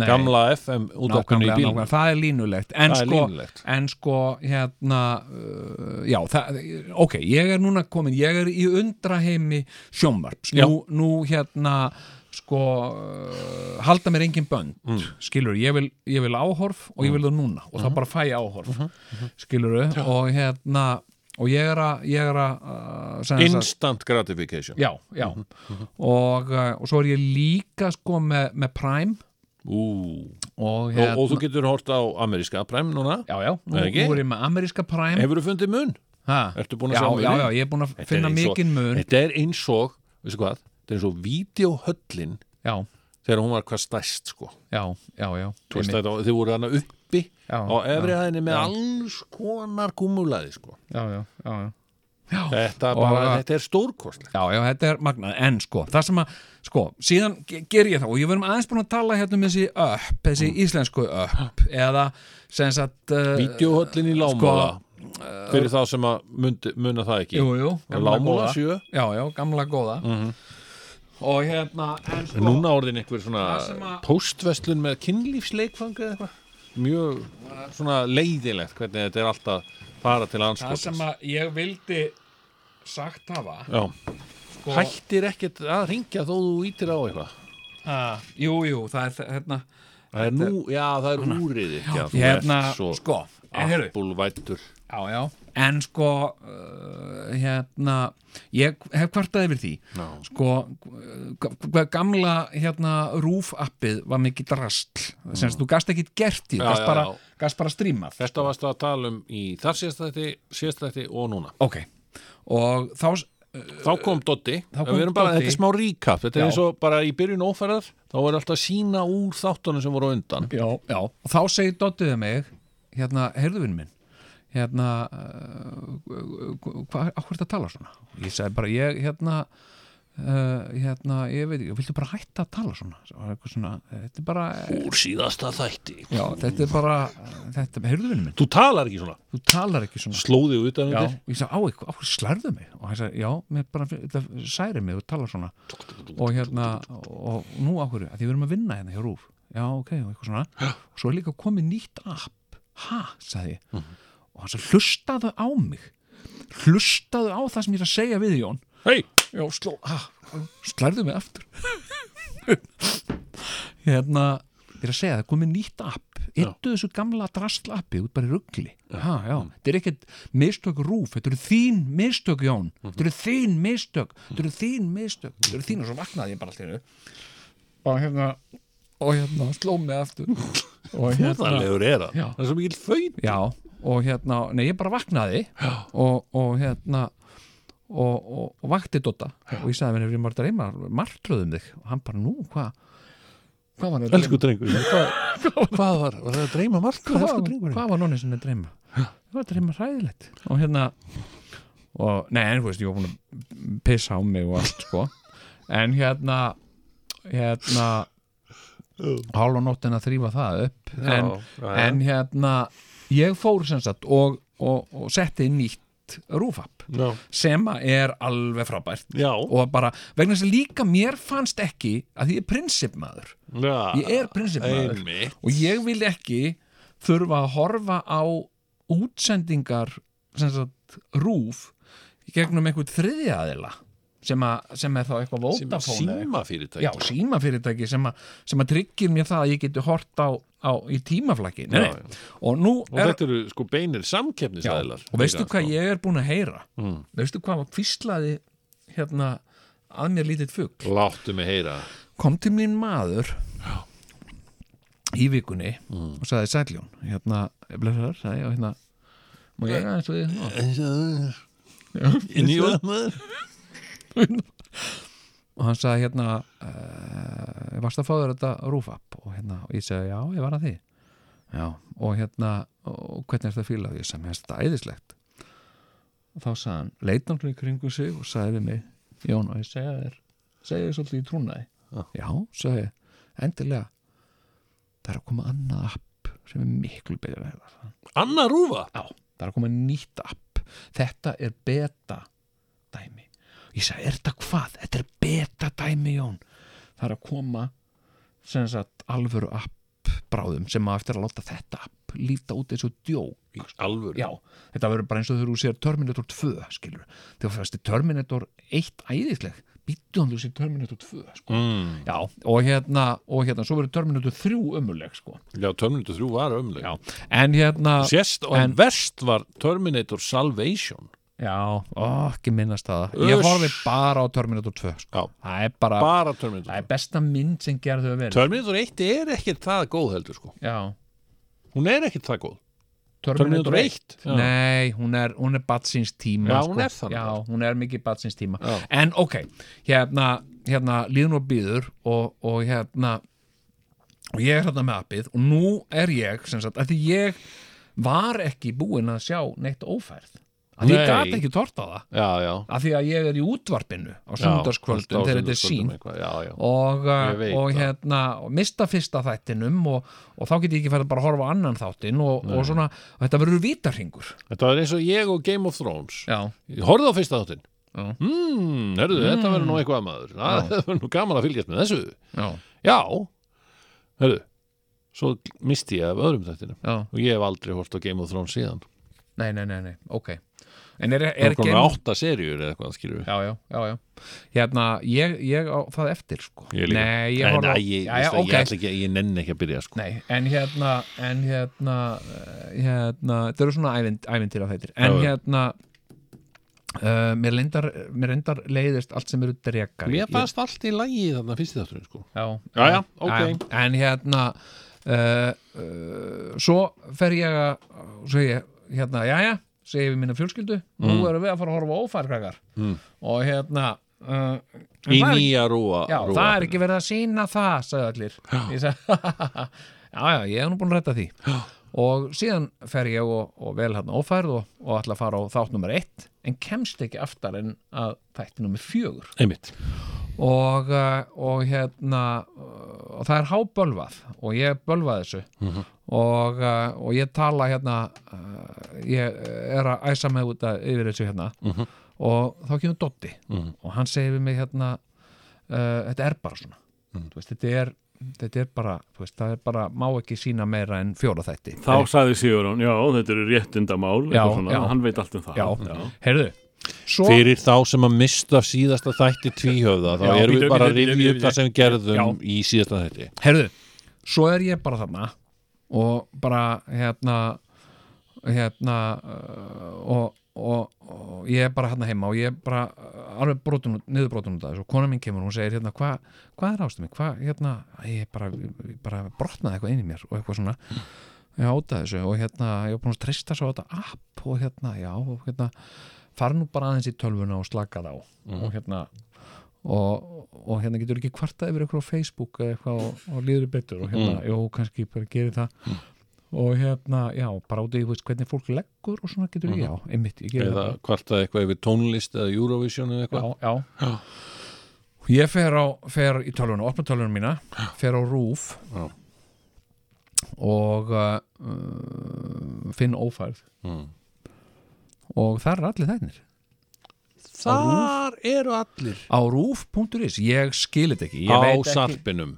Speaker 3: Nei.
Speaker 2: gamla FM útvarpinu í
Speaker 3: Nákvæmlega,
Speaker 2: bíl
Speaker 3: nákvæmlega, það er línulegt
Speaker 2: Það
Speaker 3: en
Speaker 2: er
Speaker 3: sko,
Speaker 2: línulegt.
Speaker 3: En sko hérna, uh, já, það, ok ég er núna komin, ég er í undraheimi sjónvarps,
Speaker 2: Já.
Speaker 3: nú, nú hérna sko uh, halda mér engin bönd
Speaker 2: Mm.
Speaker 3: skilur, ég vil, ég vil áhorf og ég vil það núna og
Speaker 2: Mm-hmm.
Speaker 3: það bara fæ ég áhorf mm skilur, og hérna og ég er að, ég er að uh, sem sagt-
Speaker 2: instant gratification
Speaker 3: Já, já
Speaker 2: Mhm,
Speaker 3: og, uh, og svo er ég líka sko með, með Prime
Speaker 2: Ú,
Speaker 3: og, hérna-
Speaker 2: og, og þú getur hort á ameríska præm núna
Speaker 3: Já, já, nú,
Speaker 2: Eða ekki?
Speaker 3: nú er ég með ameríska Prime
Speaker 2: Hefur þú fundið mun?
Speaker 3: ha,
Speaker 2: Ertu búin að
Speaker 3: já,
Speaker 2: sjá muninn?
Speaker 3: já, já, ég er búin að
Speaker 2: Þetta er
Speaker 3: finna
Speaker 2: eins og-
Speaker 3: mikinn mun
Speaker 2: Þetta er eins og, veistu hvað Þetta er eins og videohöllin
Speaker 3: Já,
Speaker 2: þegar hún var hvað stæst sko
Speaker 3: já, já, já
Speaker 2: Þú veist,
Speaker 3: einmitt.
Speaker 2: þetta, Þið voru hana uppi
Speaker 3: Já,
Speaker 2: á efri
Speaker 3: já,
Speaker 2: hæðinni með
Speaker 3: já.
Speaker 2: alls konar gúmulaði sko
Speaker 3: Já, já, já, já
Speaker 2: Þetta,
Speaker 3: Og
Speaker 2: bara,
Speaker 3: að-
Speaker 2: þetta er stórkostlegt
Speaker 3: Já, já, þetta er magnað, en sko, það sem að, sko, síðan ge- ger ég þá og ég verðum aðeins búin að tala hérna um þessi upp, þessi
Speaker 2: Mm.
Speaker 3: íslensku upp, eða sem sagt, uh,
Speaker 2: Vídeóhöllin í Lámóla Fyrir þá sem að mund, muna það ekki
Speaker 3: sko. jú, jú,
Speaker 2: Lámóla Mm. 7
Speaker 3: já, já, gamla góða, og hérna, en sko,
Speaker 2: Núna orðin einhver
Speaker 3: Það sem
Speaker 2: svona
Speaker 3: að-
Speaker 2: póstverslun með kynlífsleikfang eða eitthvað Mjög svona leiðilegt hvernig þetta er alltaf fara til
Speaker 3: það sem
Speaker 2: anskotis
Speaker 3: að ég vildi sagt hafa,
Speaker 2: Já,
Speaker 3: sko,
Speaker 2: hættir ekkert að ringja þó þú ítir á eitthvað
Speaker 3: að, Ah, jú, jú, það er, hérna,
Speaker 2: Það er nú, já það er úrið ekki að þú
Speaker 3: hérna,
Speaker 2: ert svo Ah.
Speaker 3: sko, en heyrðu,
Speaker 2: appulvættur
Speaker 3: Já, já, en sko uh, hérna ég hef kvartað yfir því no. sko, g- g- gamla hérna rúf appið var mikið drastl, mm. sem sagt, þú gast ekki gert í, þú
Speaker 2: Já,
Speaker 3: gast
Speaker 2: já,
Speaker 3: bara,
Speaker 2: já.
Speaker 3: gast bara strímað
Speaker 2: Þetta varst að tala um í þar síðastætti, síðastætti og núna
Speaker 3: ok, og þá s-
Speaker 2: Eh, Þá kom Dotti,
Speaker 3: Þá kom
Speaker 2: við erum bara,
Speaker 3: Doddi.
Speaker 2: þetta er smá recap Þetta er
Speaker 3: Já.
Speaker 2: eins og bara í byrjun óferðar þá er alltaf að sína úr þáttunum sem voru á undan
Speaker 3: já, já, og þá segir Dottiðið mig hérna, heyrðu vinn minn hérna uh, hvað, á hvert að tala svona ég segi bara, ég, hérna Uh, hérna, ég veit ekki, viltu bara hætta að tala svona, Það var eitthvað svona þetta er bara
Speaker 2: Úr síðasta þætti
Speaker 3: Já, þetta er bara, þetta, heyrðu vinnu minn,
Speaker 2: Þú talar ekki svona,
Speaker 3: þú talar ekki svona
Speaker 2: slóði út af
Speaker 3: Já,
Speaker 2: þetta
Speaker 3: ég sagði, á eitthvað, á hverju slærðu mig og hann sagði, já, mér bara, þetta særi mig þú talar svona og hérna, og nú á hverju, að því við erum að vinna hérna hjá Rúf, já, ok, og eitthvað svona og svo er líka komið nýtt app ha, sagði ég og hann sagði, hlustaðu á mig hlustaðu á það sem ég er að segja við þig, Jón
Speaker 2: Hei,
Speaker 3: já, sló, ha, slærðu mig aftur hérna ég er að segja það, komið nýtt app eittu þessu gamla drastl appi út bara í ruggli ha, já, þetta er ekkert mistök rúf, þetta eru þín mistök Jón, þetta eru þín mistök þetta eru þín mistök, þetta eru þín og svo vaknaði ég bara allt í hennu og hérna og hérna, sló mig aftur og hérna
Speaker 2: fúðalegur er það
Speaker 3: Já.
Speaker 2: Það er svo mikil þau
Speaker 3: já, og hérna, nei, ég bara vaknaði og, og hérna og, og, og vakti Dota og ég sagði henni, við erum að reyma martröðum þig og hann bara, nú, hvað hvað var þetta?
Speaker 2: Elsku drengur, hvað, hvað var, var það að dreyma margt
Speaker 3: um hvað,
Speaker 2: Elsku
Speaker 3: var-
Speaker 2: drengur
Speaker 3: hvað var nonni sinni að dreyma? það var að dreyma hræðilegt og hérna og, nei, en þú veist, ég var búin að pissa á mig og allt, sko en hérna hérna hálf og nóttin að þrýfa það upp en, en hérna ég fór sem sagt og, og, og setti inn nýtt rúfapp
Speaker 2: Já,
Speaker 3: sem að er alveg frábært
Speaker 2: já,
Speaker 3: og bara, vegna þess að líka mér fannst ekki að ég er prinsipmaður
Speaker 2: já
Speaker 3: ég er prinsipmaður
Speaker 2: Einmitt.
Speaker 3: og ég vil ekki þurfa að horfa á útsendingar sem sagt rúf í gegnum einhvern þriðjaðila sem, að- sem er þá eitthvað
Speaker 2: Sem
Speaker 3: vótafónu
Speaker 2: síma fyrirtæki
Speaker 3: já, símafyrirtæki sem, að- sem að tryggir mér það að ég geti hort á, á í tímaflakki nei,
Speaker 2: Já,
Speaker 3: nei. og nú
Speaker 2: Og þetta eru sko beinir sko, samkeppnisæðlar
Speaker 3: og veistu hvað ég er búin að heyra
Speaker 2: Mm.
Speaker 3: veistu hvað var fýslaði hérna að mér lítið fugg
Speaker 2: Láttu mig heyra
Speaker 3: kom til mín maður í vikunni og sagði Sæljón hérna, blessaður, sagði ég og hérna má ég aðeins við þig?" og,
Speaker 2: Inni í
Speaker 3: og hann sagði hérna uh, varst að fá þér þetta rúfapp og hérna, og ég sagði já, ég var að því já, og hérna og hvernig er þetta fílað, ég sagði, mér finnst þetta æðislegt og þá sagði hann leit hann í kringu sig og sagði við mig Jón, og ég segja þér, segja þér svolítið í trúnaði já, sagði ég, endilega það er að koma annað app sem er miklu betur að hefða
Speaker 2: Anna Rúfa
Speaker 3: já, það er að koma nýtt app þetta er beta dæmi ég sagði, er þetta hvað? þetta er beta dæmi, Jón það er að koma sem sagt alvöru app bráðum sem að eftir að láta þetta app líta út eins og djók
Speaker 2: Í alvöru
Speaker 3: já, þetta verður bara eins og þegar þú sér Terminator 2 skilur, þegar fæsti Terminator 1 æðisleg, býttu hann þú sér Terminator 2 sko.
Speaker 2: mm.
Speaker 3: já, og hérna, og hérna, svo verður Terminator 3 ömuleg, sko,
Speaker 2: Já, Terminator 3 var ömleg
Speaker 3: já, en hérna
Speaker 2: Sérst og
Speaker 3: En-
Speaker 2: verst var Terminator Salvation
Speaker 3: Já, ó, ekki minnast það
Speaker 2: Uss.
Speaker 3: Ég horfi bara á Terminator 2 sko.
Speaker 2: Já,
Speaker 3: Það er bara,
Speaker 2: bara
Speaker 3: það
Speaker 2: Terminator
Speaker 3: er besta mynd sem gerðu að vera
Speaker 2: Terminator 1 er ekkert það góð heldur sko
Speaker 3: Já,
Speaker 2: Hún er ekkert það góð
Speaker 3: Terminator
Speaker 2: Terminator
Speaker 3: 1
Speaker 2: 1
Speaker 3: Nei, hún er, hún er batsins tíma
Speaker 2: Já,
Speaker 3: sko.
Speaker 2: hún er þannig.
Speaker 3: Já, hún er mikið batsins tíma
Speaker 2: Já.
Speaker 3: En ok, hérna, hérna líðun og býður og, og hérna og ég er hérna með appið og nú er ég, sem sagt, að því ég var ekki búinn að sjá neitt ófærð af því ég
Speaker 2: Nei.
Speaker 3: gat ekki torta það
Speaker 2: já, já
Speaker 3: af því að ég er í útvarpinu á
Speaker 2: Já,
Speaker 3: sundarskvöldum
Speaker 2: á
Speaker 3: þegar þetta er sín
Speaker 2: sunnudagskvöldum eitthvað, já, já.
Speaker 3: og, uh,
Speaker 2: Ég veit
Speaker 3: og
Speaker 2: það.
Speaker 3: hérna og mista fyrsta þættinum og, og þá get ég ekki fært að bara horfa á annan þáttin og, og svona, og þetta verður vítarhingur
Speaker 2: Þetta var eins og ég og Game of Thrones
Speaker 3: já,
Speaker 2: Ég horfði á fyrsta þáttinn
Speaker 3: Já.
Speaker 2: Hmm, herðu, þetta verður nú eitthvað maður Na,
Speaker 3: Já.
Speaker 2: Það verður nú gaman að fylgjast með þessu
Speaker 3: já,
Speaker 2: Já, herðu Svo misti ég af öðrum þættinum
Speaker 3: já
Speaker 2: Og ég hef aldrei hort á Game of Thrones síðan
Speaker 3: nei, nei, nei, nei, ok en er,
Speaker 2: Það
Speaker 3: er
Speaker 2: er komin
Speaker 3: Game-
Speaker 2: með átta seríur eða eitthvað, skilur við
Speaker 3: já, já, já, já hérna, ég, ég á það eftir sko.
Speaker 2: Ég líka.
Speaker 3: nei, ég
Speaker 2: Nei,
Speaker 3: horfa á-
Speaker 2: nei, ég,
Speaker 3: Já,
Speaker 2: já,
Speaker 3: já,
Speaker 2: ég,
Speaker 3: ok.
Speaker 2: ætla ekki, ég nenni ekki að byrja sko.
Speaker 3: Nei, en hérna en hérna, eh, hérna þetta eru svona ævind, ævintýra þættir en
Speaker 2: Já, já.
Speaker 3: hérna uh, mér, lindar, mér reyndar leiðist allt sem eru drekar
Speaker 2: Mér fannst allt í lagi þarna fyrst í þátturinn sko.
Speaker 3: Já,
Speaker 2: Já, já, ok.
Speaker 3: En hérna uh, uh, svo fer ég að segi, ég, hérna, já, já segi við mína fjölskyldu,
Speaker 2: Mm.
Speaker 3: nú erum við að fara að horfa á ófærkrakar mm. og hérna uh,
Speaker 2: Í
Speaker 3: en það er ekki-
Speaker 2: nýja rúa
Speaker 3: Já, það er ekki verið að sína það, sagði allir Ég sagði, já, já, ég er nú búin að retta því Og síðan fer ég og, og vel hérna ófærð og, og ætla að fara á þátt nummer eitt En kemst ekki aftar en að þætti nummer fjögur
Speaker 2: Einmitt
Speaker 3: og, uh, og hérna uh, og það er hábölvað og ég bölvað þessu og, uh, og ég tala hérna uh, ég er að æsa mig út að, yfir þessu hérna og þá kemur Dotti og hann segir við mig hérna uh, þetta er bara svona Þú veist, þetta, er, þetta er bara þú veist, það er bara, má ekki sína meira en fjóra þætti
Speaker 4: Þá sagði Sigurón, já, þetta eru réttindamál
Speaker 3: Já,
Speaker 4: eitthvað svona,
Speaker 3: já.
Speaker 4: hann veit allt um það
Speaker 3: já, heyrðu svo,
Speaker 2: Fyrir þá sem að mista síðasta þætti tvíhöfða þá
Speaker 3: Já,
Speaker 2: erum
Speaker 3: bíddu,
Speaker 2: við bara að
Speaker 3: bíddu,
Speaker 2: rifja
Speaker 3: bíddu,
Speaker 2: upp það sem við gerðum
Speaker 3: Já.
Speaker 2: í síðasta þætti
Speaker 3: heyrðu, svo er ég bara þarna og bara hérna hérna uh, og, og, og ég er bara hérna heima og ég er bara uh, alveg brotum, niður brotum út af þessu og kona mín kemur og hún segir hérna hva, hvað er ástum mig, hvað hérna æ, ég bara, ég bara brotnaði eitthvað inn í mér og eitthvað svona ég áta þessu og hérna ég var búin að treysta svo á þetta app og hérna já og hérna fara nú bara aðeins í tölvuna og slaka þá og hérna og, og hérna getur ekki kvartað yfir eitthvað á Facebook eða eitthvað og, og líður þér betur og hérna, jú, kannski bara gerir það og hérna, já, bara út í þú veist, hvernig fólk leggur og svona getur já, einmitt, ég gerir
Speaker 2: eða
Speaker 3: það
Speaker 2: kvartaði eitthvað yfir tónlist eða Eurovision eða eitthvað
Speaker 3: já, já. ég fer, á, fer í tölvuna, opna tölvuna mína fer á rúf
Speaker 2: Já.
Speaker 3: og uh, finn ófærð
Speaker 2: Mm.
Speaker 3: og þar er allir þærnir
Speaker 2: Þar eru allir
Speaker 3: á rúf.is, ég skil þetta ekki
Speaker 2: á
Speaker 3: ég veit ekki,
Speaker 2: sarpinum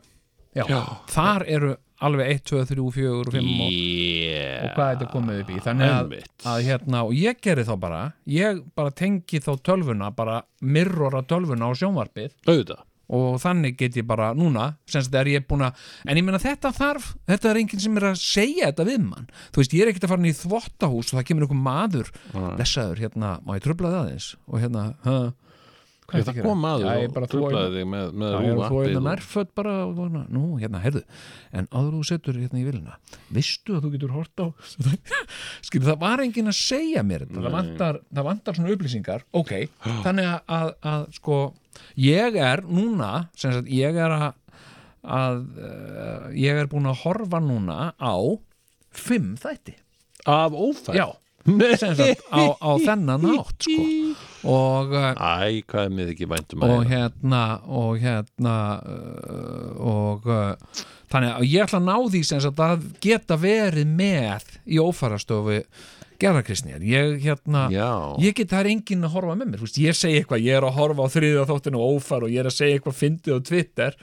Speaker 3: já, þar eru alveg 1, 2, 3, 4 og 5 og
Speaker 2: yeah.
Speaker 3: og hvað þetta komið upp í þannig að,
Speaker 2: Einmitt.
Speaker 3: að hérna, og ég geri þá bara ég bara tengi þá tölvuna bara mirrora tölvuna á sjónvarpið
Speaker 2: auðvitað
Speaker 3: og þannig get ég bara núna sem þetta er ég búin að, en ég meina þetta þarf þetta er enginn sem er að segja þetta við mann þú veist, ég er ekkert að fara inn í þvottahús og það kemur einhver maður,
Speaker 2: Ah.
Speaker 3: blessaður hérna, má ég tröfla það aðeins og hérna, hæ hvað ertu að
Speaker 2: það
Speaker 3: gera?
Speaker 2: kom aður
Speaker 3: Já, ég er bara
Speaker 2: og
Speaker 3: að þvo hérna-
Speaker 2: trublaði þig með, með
Speaker 3: Já, ég er
Speaker 2: rúa
Speaker 3: að þú hérna nærföt bara og svona, nú, hérna, herðu en áður þú setur hérna í vilina vistu að þú getur hort á skilur, það var enginn að segja mér þetta það vantar, það vantar svona upplýsingar ok, þannig að, að, að sko, ég er núna sem sagt, ég er að, að uh, ég er búin að horfa núna á fimm þætti
Speaker 2: af ófæð
Speaker 3: já, sem sagt á, á þennan hátt sko, og uh,
Speaker 2: Æ, hvað er mér ekki væntum að
Speaker 3: og
Speaker 2: hérna
Speaker 3: hérna og hérna uh, og uh, þannig að ég ætla að ná því sem sagt að geta verið með í ófarastofu gerðarkristnir ég hérna
Speaker 2: Já.
Speaker 3: ég get það er enginn að horfa með mér þú veist, ég segi eitthvað, ég er að horfa á þriða þóttinu og ófar og ég er að segja eitthvað fyndið á Twitter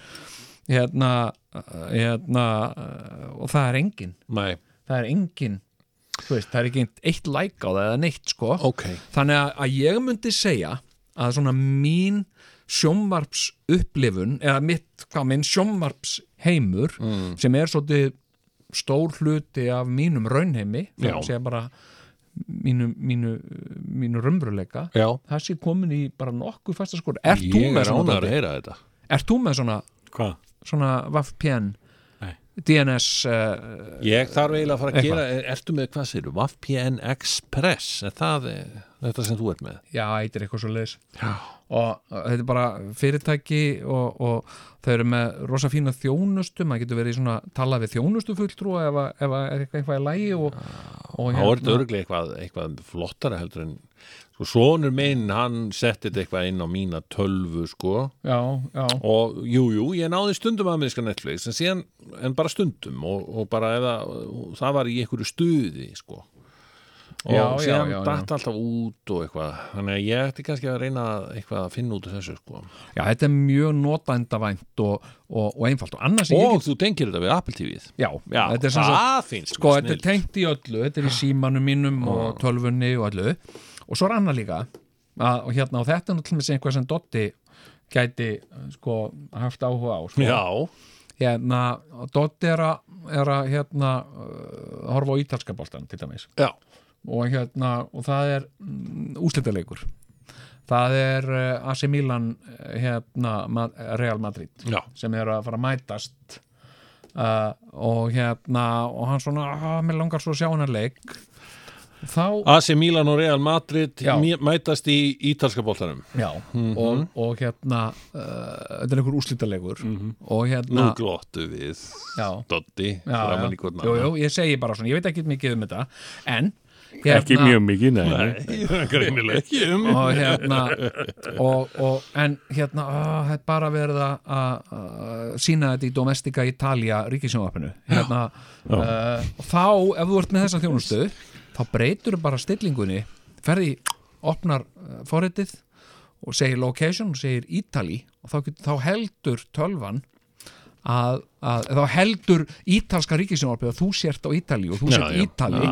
Speaker 3: hérna, uh, hérna uh, og það er enginn
Speaker 2: Nei,
Speaker 3: það er enginn þú veist, það er ekki eitt like á það eða neitt sko
Speaker 2: ok
Speaker 3: þannig að, að ég myndi segja að svona mín sjómvarps upplifun eða mitt, hvað minn sjómvarps heimur
Speaker 2: Mm.
Speaker 3: sem er svolítið stór hluti af mínum raunheimi
Speaker 2: Já.
Speaker 3: þannig að bara mínu, mínu, mínu römbruleika
Speaker 2: Já,
Speaker 3: það sé komin í bara nokkuð fasta skor Ert þú
Speaker 2: ég
Speaker 3: með
Speaker 2: er
Speaker 3: svona,
Speaker 2: ánar að
Speaker 3: Doddi?
Speaker 2: heyra þetta
Speaker 3: Ert þú með svona,
Speaker 4: Hvað?
Speaker 3: svona VAFPN
Speaker 4: Nei.
Speaker 3: DNS uh,
Speaker 2: Ég þarf eiginlega að fara að
Speaker 3: Eitthvað.
Speaker 2: gera, er, ertu með hvað séru? VPN Express, er það eh, þetta sem þú ert með?
Speaker 3: já, eitthvað eitthvað svo leiðis og uh, þetta er bara fyrirtæki og, og þau eru með rosa fína þjónustu, maður getur verið í svona tala við þjónustu fulltrú ef, að- ef að er eitthvað eitthvað í lægi og, og hérna,
Speaker 2: þá er þetta örglega eitthvað, eitthvað flottara heldur en sko, sonur minn, hann setti þetta eitthvað inn á mína tölvu sko
Speaker 3: já, já,
Speaker 2: og jú, jú, ég náði stundum ameríska Netflix en síðan, en bara stundum og, og bara eða, og það var í einhverju stuði sko og
Speaker 3: Já, já,
Speaker 2: síðan
Speaker 3: já, já.
Speaker 2: datt alltaf út og eitthvað þannig að ég ætti kannski að reyna að- eitthvað að finna út af þessu sko
Speaker 3: já, þetta er mjög notændavænt og, og, og einfalt og annars
Speaker 2: og þú tengir þetta við Apple TV-ið
Speaker 3: já,
Speaker 2: Já,
Speaker 3: þetta er sem sagt
Speaker 2: það finnst
Speaker 3: sko,
Speaker 2: mér
Speaker 3: þetta er
Speaker 2: snilld. Ah.
Speaker 3: tengt í öllu, þetta er í símanum mínum og tölfunni og öllu og svo er annað líka að, og hérna, og þetta er náttúrulega einhver sem Dotti gæti eh, sko haft áhuga á sko.
Speaker 2: Já,
Speaker 3: hérna, Dotti er að, er að hérna, uh, horfa á ítalska boltan til dæmis
Speaker 2: já,
Speaker 3: og, hérna, og það er mm, úslitaleikur það er uh, AC Milan eh, hérna, Ma- Real Madrid
Speaker 2: já
Speaker 3: sem eru að fara að mætast uh, og hérna og hann svona, að mér langar svo að sjá hennar leik þá,
Speaker 2: AC Milan og Real Madrid
Speaker 3: Já.
Speaker 2: mæ- mætast í ítalska bóttanum
Speaker 3: já og, og hérna uh, þetta er einhver úrslítalegur og
Speaker 2: Nú
Speaker 3: hérna
Speaker 2: glottu við
Speaker 3: Já.
Speaker 2: Doddi
Speaker 3: já,
Speaker 2: framan í
Speaker 3: já.
Speaker 2: hvorn
Speaker 3: jú, jú,
Speaker 2: annan.
Speaker 3: ég segi bara svona, ég veit ekki mikið um þetta en Hérna-
Speaker 4: Ekki mjög mikið, nei, nei.
Speaker 2: Nei, greinilega ekki um
Speaker 3: og hérna og, og, en hérna á, það er bara verið að- að að sína þetta í Domestika Italia ríkisjónvarpinu hérna, uh, og þá ef þú ert með þessa þjónustu þá breytur þú bara stillingunni ferði, opnar uh, forritið og segir location og segir Ítali og þá, getur, þá heldur tölvan að, að þá heldur ítalska ríkisjónvarpið að þú sért á Ítali og þú sért
Speaker 2: já. Ah.
Speaker 3: Ítali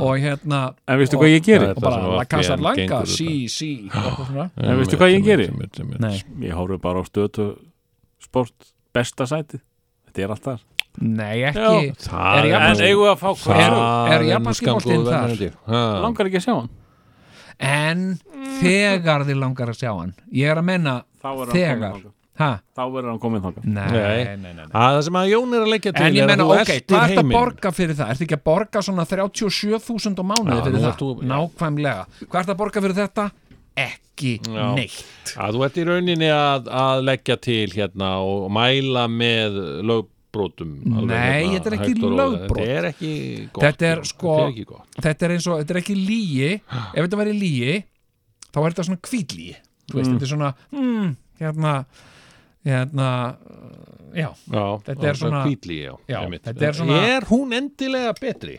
Speaker 3: og hérna
Speaker 4: En veistu hvað ég geri? Ah.
Speaker 3: og
Speaker 2: Þetta sem
Speaker 3: bara
Speaker 2: að
Speaker 3: La Casa
Speaker 2: VPN
Speaker 3: Blanca,
Speaker 2: gengur
Speaker 3: sí, sí og eitthvað svona.
Speaker 4: En veistu hvað ég geri?
Speaker 3: Nei,
Speaker 4: Ég horfi bara á stötu sport besta sæti Þetta er allt þar
Speaker 3: nei ekki
Speaker 2: Það
Speaker 3: Er
Speaker 2: er
Speaker 3: japanski-
Speaker 4: En eigum við að fá hvað
Speaker 2: það
Speaker 3: Er- er
Speaker 2: nú
Speaker 3: japanski
Speaker 2: skammgóður
Speaker 3: boltinn
Speaker 2: venjar,
Speaker 3: þar?
Speaker 2: held ég. Ha.
Speaker 4: Langar ekki að sjá hann
Speaker 3: en þegar þið langar að sjá hann ég er að menna
Speaker 4: Þá verður hann
Speaker 3: þegar
Speaker 4: kominn þangað.
Speaker 3: ha,
Speaker 4: Þá verður hann komin þangað
Speaker 3: nei,
Speaker 2: Nei.
Speaker 3: nei, nei, nei.
Speaker 2: Það sem að Jón er að leggja til er
Speaker 3: en ég
Speaker 2: að
Speaker 3: menna,
Speaker 2: þú
Speaker 3: ok,
Speaker 2: eltir
Speaker 3: hvað ertu að
Speaker 2: heiminn.
Speaker 3: borga fyrir það ertu ekki að borga svona 37.000 á mánuði
Speaker 2: Já,
Speaker 3: fyrir
Speaker 2: nú
Speaker 3: það,
Speaker 2: ert þú- já.
Speaker 3: nákvæmlega hvað ertu að borga fyrir þetta? ekki
Speaker 2: Já.
Speaker 3: neitt
Speaker 2: að þú ert í rauninni að, að leggja til hérna og mæla með lögbrotum alveg hérna
Speaker 3: Nei, þetta er ekki
Speaker 2: hægt og rólega.
Speaker 3: lögbrot.
Speaker 2: þetta er ekki gott
Speaker 3: Þetta er
Speaker 2: Jón.
Speaker 3: sko-
Speaker 2: þetta er ekki gott.
Speaker 3: þetta er eins og, þetta er ekki lígi ef þetta væri lígi, þá er þetta svona kvítlígi þú veist, þetta er svona mm, hérna hérna, uh, já
Speaker 2: Já,
Speaker 3: Þetta er
Speaker 2: það
Speaker 3: svona-
Speaker 2: hvítli, já,
Speaker 3: Já,
Speaker 2: einmitt.
Speaker 3: þetta er svona-
Speaker 2: er hún endilega betri?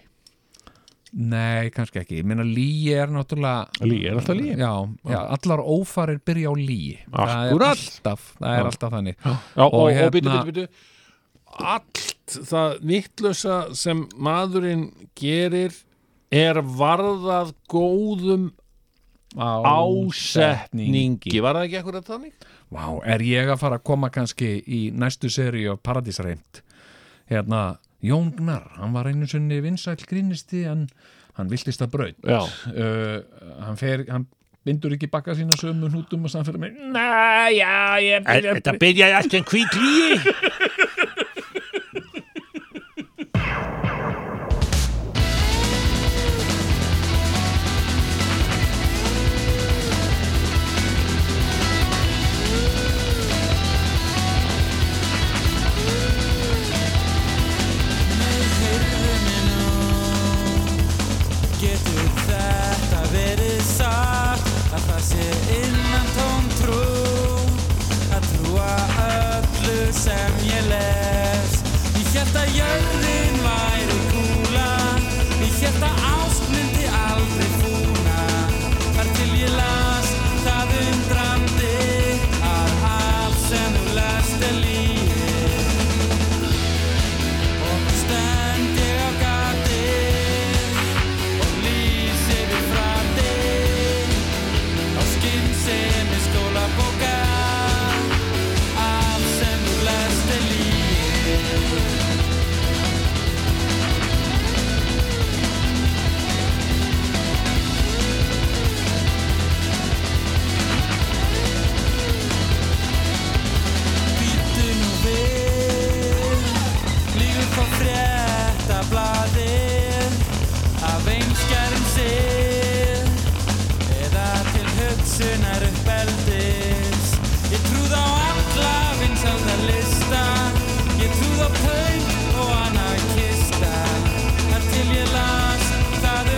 Speaker 3: Nei, kannski ekki. Ég meina líi er náttúrulega...
Speaker 2: Lí, er alltaf lí
Speaker 3: Já, já, allar ófarir byrja á líi.
Speaker 2: Akkúrat.
Speaker 3: Það er alltaf, það er alltaf þannig.
Speaker 2: Já, og,
Speaker 3: Og
Speaker 2: og,
Speaker 3: hérna-
Speaker 2: byrju, byrju, byrju Allt það vittlösa sem maðurinn gerir er varðað góðum ásetningi Var það ekki akkurat þannig?
Speaker 3: Vá, er ég að fara að koma kannski í næstu seri af Paradísreimt? Hérna, Jón Gnar, hann var einu sinni vinsæll grínisti en hann viltist að braut.
Speaker 2: Já,
Speaker 3: uh, hann fer, hann bindur ekki bakka sína sömu hnútum og sann fyrir mig Nei, já, ég byrja Þetta byrjaði
Speaker 6: Getur þetta verið satt að það sé innan tóm trú að trúa öllu sem ég les Ég held að jörðin væri kúla Ég held að ást myndi aldrei fúna Þar til ég las það undrandi að allt sem þú lest er lífið Og nú stend ég á gati og lýs yfir fram þig á skynsemi skólabóka allt sem þú lest er lífið Býttu nú við Lífur frá frétta blaðið Af einskjærum sig Eða til hugsunar uppeldis Ég trúð á alla vinsaldar lista Ég trúð á pöng og annað kista Þar til ég las það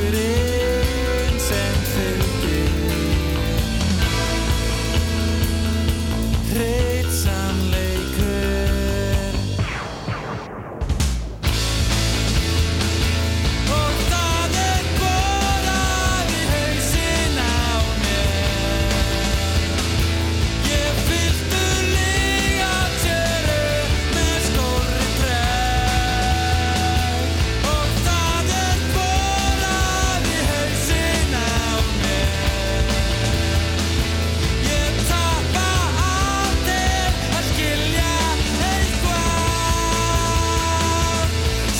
Speaker 6: myrkurinn sem fylgir Hreitt sannleikur Og það er borað í hausinn á mér Ég fylgtu líga tjöru með skóri tref Og það er borað í hausinn á mér Ég tappa af þér að skilja eitthvað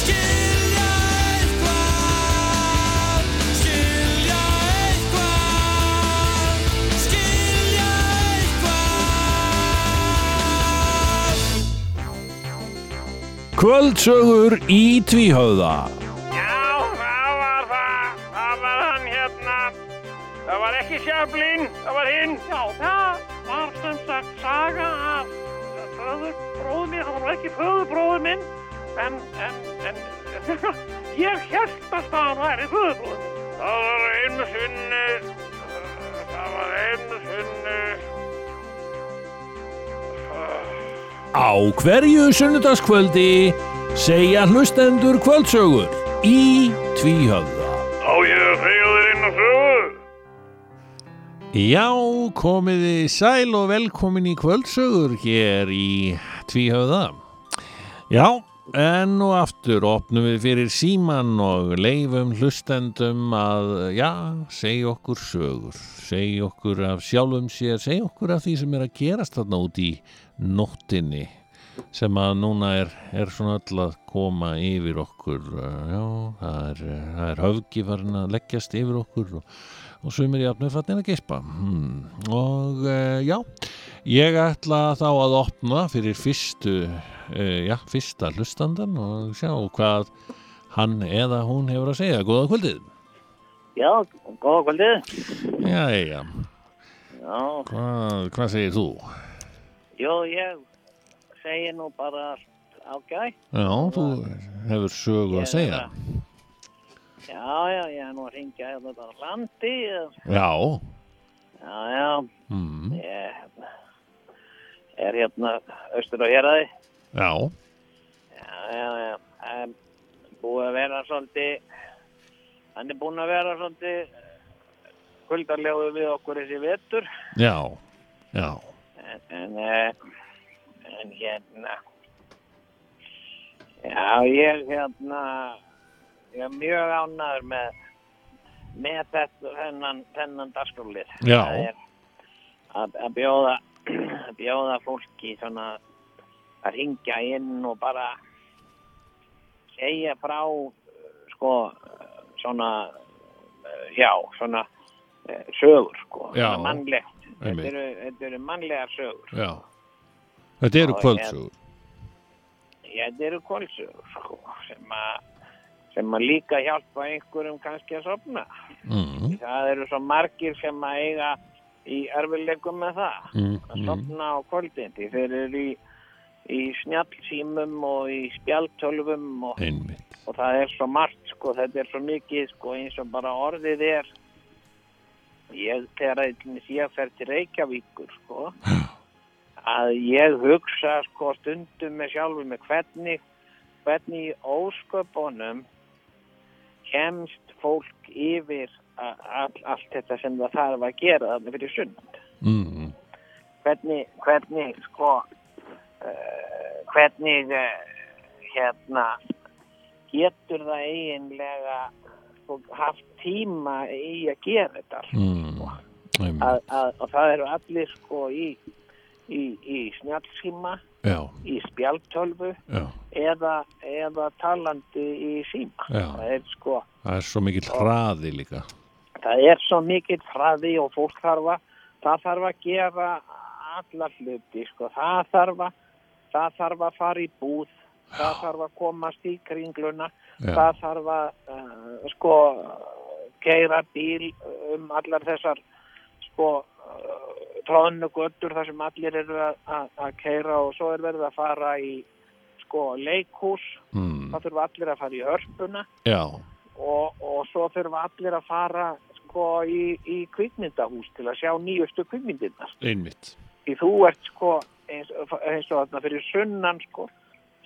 Speaker 6: Skilja eitthvað, skilja eitthvað, skilja eitthvað
Speaker 2: Kvöldsögur í tvíhöfða
Speaker 8: Já, það var það. Það var hann hérna. Það var ekki Sjöflin, það var hinn. Já, það var sem sagt saga af föðurbróðu minn. Það var ekki föðurbróðu minn, en, en, en, ég held að það væri föðurbróðu minn. Það var einu sinni, það var einu sinni.
Speaker 2: Á hverju sunnudagskvöldi segja hlustendur kvöldsögur í tvíhöfða.
Speaker 8: Á ég að segja þér inn á sögu?
Speaker 2: Já, komiði sæl og velkomin í kvöldsögur hér í tvíhöfða. Já, enn og aftur opnum við fyrir síman og leifum hlustendum að, já, segja okkur sögur, segja okkur af sjálfum sér, segja okkur af því sem er að gerast þarna út í nóttinni sem að núna er, er svona öll að koma yfir okkur uh, já, það er, uh, það er höfgi farin að leggjast yfir okkur og, og sumir jafnir fattin að geispa hmm. og uh, já ég ætla þá að opna fyrir fyrstu uh, já, fyrsta hlustandan og sjá hvað hann eða hún hefur að segja, góða kvöldið
Speaker 9: Já, góða kvöldið.
Speaker 2: já, já,
Speaker 9: Já,
Speaker 2: hvað, hvað segir þú?
Speaker 9: jú, ég segi nú bara allt ágætt.
Speaker 2: já, þú hefur sögu að segja
Speaker 9: Já, já, ég er nú að ringja hérna bara á landi.
Speaker 2: já,
Speaker 9: Já, já,
Speaker 2: mm.
Speaker 9: ég er hérna austur á hérraði.
Speaker 2: já
Speaker 9: Já, já, já, en búið að vera svolítið, hann er búin að vera svolítið kuldalegu við okkur þessi vetur.
Speaker 2: Já, já,
Speaker 9: en, en, eh, en hérna já ég hérna ég er mjög ánæður með með þetta þennan, þennan dagskólið
Speaker 2: Já.
Speaker 9: Það er að, að bjóða að bjóða fólki svona að ringja inn og bara segja frá eh, sko eh, svona eh, já svona eh, sögur sko
Speaker 2: Já.
Speaker 9: Svona mannlegt Þetta
Speaker 2: Einmitt.
Speaker 9: eru, þetta eru mannlegar sögur.
Speaker 2: já. Þetta eru
Speaker 9: Já, ég-
Speaker 2: kvöldsögur.
Speaker 9: Já, Þetta eru kvöldsögur, sko, sem að sem að líka hjálpa einhverjum kannski að sofna.
Speaker 2: Mm,
Speaker 9: Það eru svo margir sem að eiga í erfileikum með það,
Speaker 2: mm,
Speaker 9: að
Speaker 2: mm,
Speaker 9: sofna á kvöldin. Því þeir eru í, í snjallsýmum og í spjaltölvum og,
Speaker 2: einmitt.
Speaker 9: og það er svo margt, sko, þetta er svo mikið, sko, eins og bara orðið er. Ég, þegar að- til dæmis ég fer til Reykjavíkur, sko, að ég hugsa sko stundum með sjálfum með hvernig, hvernig í ósköpunum kemst fólk yfir a- all, allt þetta sem það þarf að gera þarna fyrir sund.
Speaker 2: Mm,
Speaker 9: Hvernig, hvernig sko, uh, hvernig uh, hérna getur það eiginlega sko, haft tíma í að gera þetta allt
Speaker 2: mm, einmitt.
Speaker 9: að, að, og það eru allir sko í, í, í snjallsíma,
Speaker 2: Já,
Speaker 9: í spjaltölvu
Speaker 2: já.
Speaker 9: eða, eða talandi í síma.
Speaker 2: Já.
Speaker 9: Það er sko,
Speaker 2: Það er svo mikill hraði líka.
Speaker 9: það er svo mikill hraði og fólk þarf að, það þarf að gera alla hluti sko, það þarf að, það þarf að fara í búð, það þarf að komast í kringluna,
Speaker 2: Já.
Speaker 9: það þarf að uh, sko keira bíl um allar þessar sko uh, tróðnu göttur þar sem allir eru að- að að keira og svo er verið að fara í sko leikhús,
Speaker 2: Mm,
Speaker 9: það þurfa allir að fara í hörpuna
Speaker 2: já,
Speaker 9: og, og svo þurfa allir að fara sko í, í kvikmyndahús til að sjá nýjustu kvikmyndirnar
Speaker 2: einmitt
Speaker 9: því þú ert sko eins, eins og þarna fyrir sunnan sko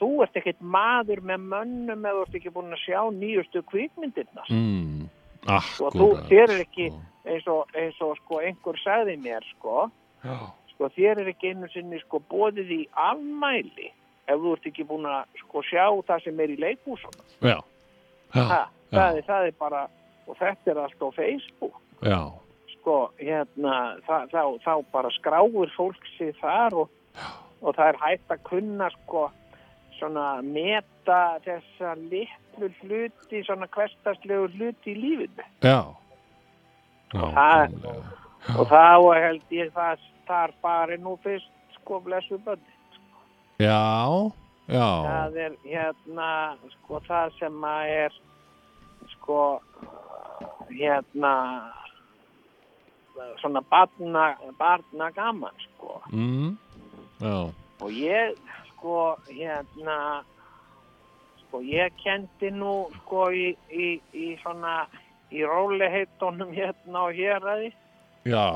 Speaker 9: þú ert ekkert maður með mönnum eða þú ert ekki búin að sjá nýjustu kvikmyndirnar
Speaker 2: mm,
Speaker 9: og þú
Speaker 2: Akkurat
Speaker 9: þér er ekki
Speaker 2: sko.
Speaker 9: eins og, eins og sko einhver sagði mér sko sko þér er ekki einu sinni sko bóðið í afmæli ef þú ert ekki búin að sko sjá það sem er í leikhúsum
Speaker 2: Já, já,
Speaker 9: ha, það, er, það er bara og þetta er allt á Facebook
Speaker 2: já
Speaker 9: sko hérna þá, þá, þá bara skráir fólk sig þar og, og það er hægt að kunna sko svona meta þessa litlu hluti svona hverstaslegu hluti í lífinu
Speaker 2: Já
Speaker 9: það-
Speaker 2: Nákvæmlega.
Speaker 9: og þá held ég það þar bara nú fyrst sko blessu bönni
Speaker 2: Já, já
Speaker 9: það er hérna sko það sem að er sko hérna svona barna, barna gaman sko
Speaker 2: mm, Já,
Speaker 9: og ég sko hérna sko ég kendi nú sko í, í, í svona í róliheitunum hérna og hér aði
Speaker 2: já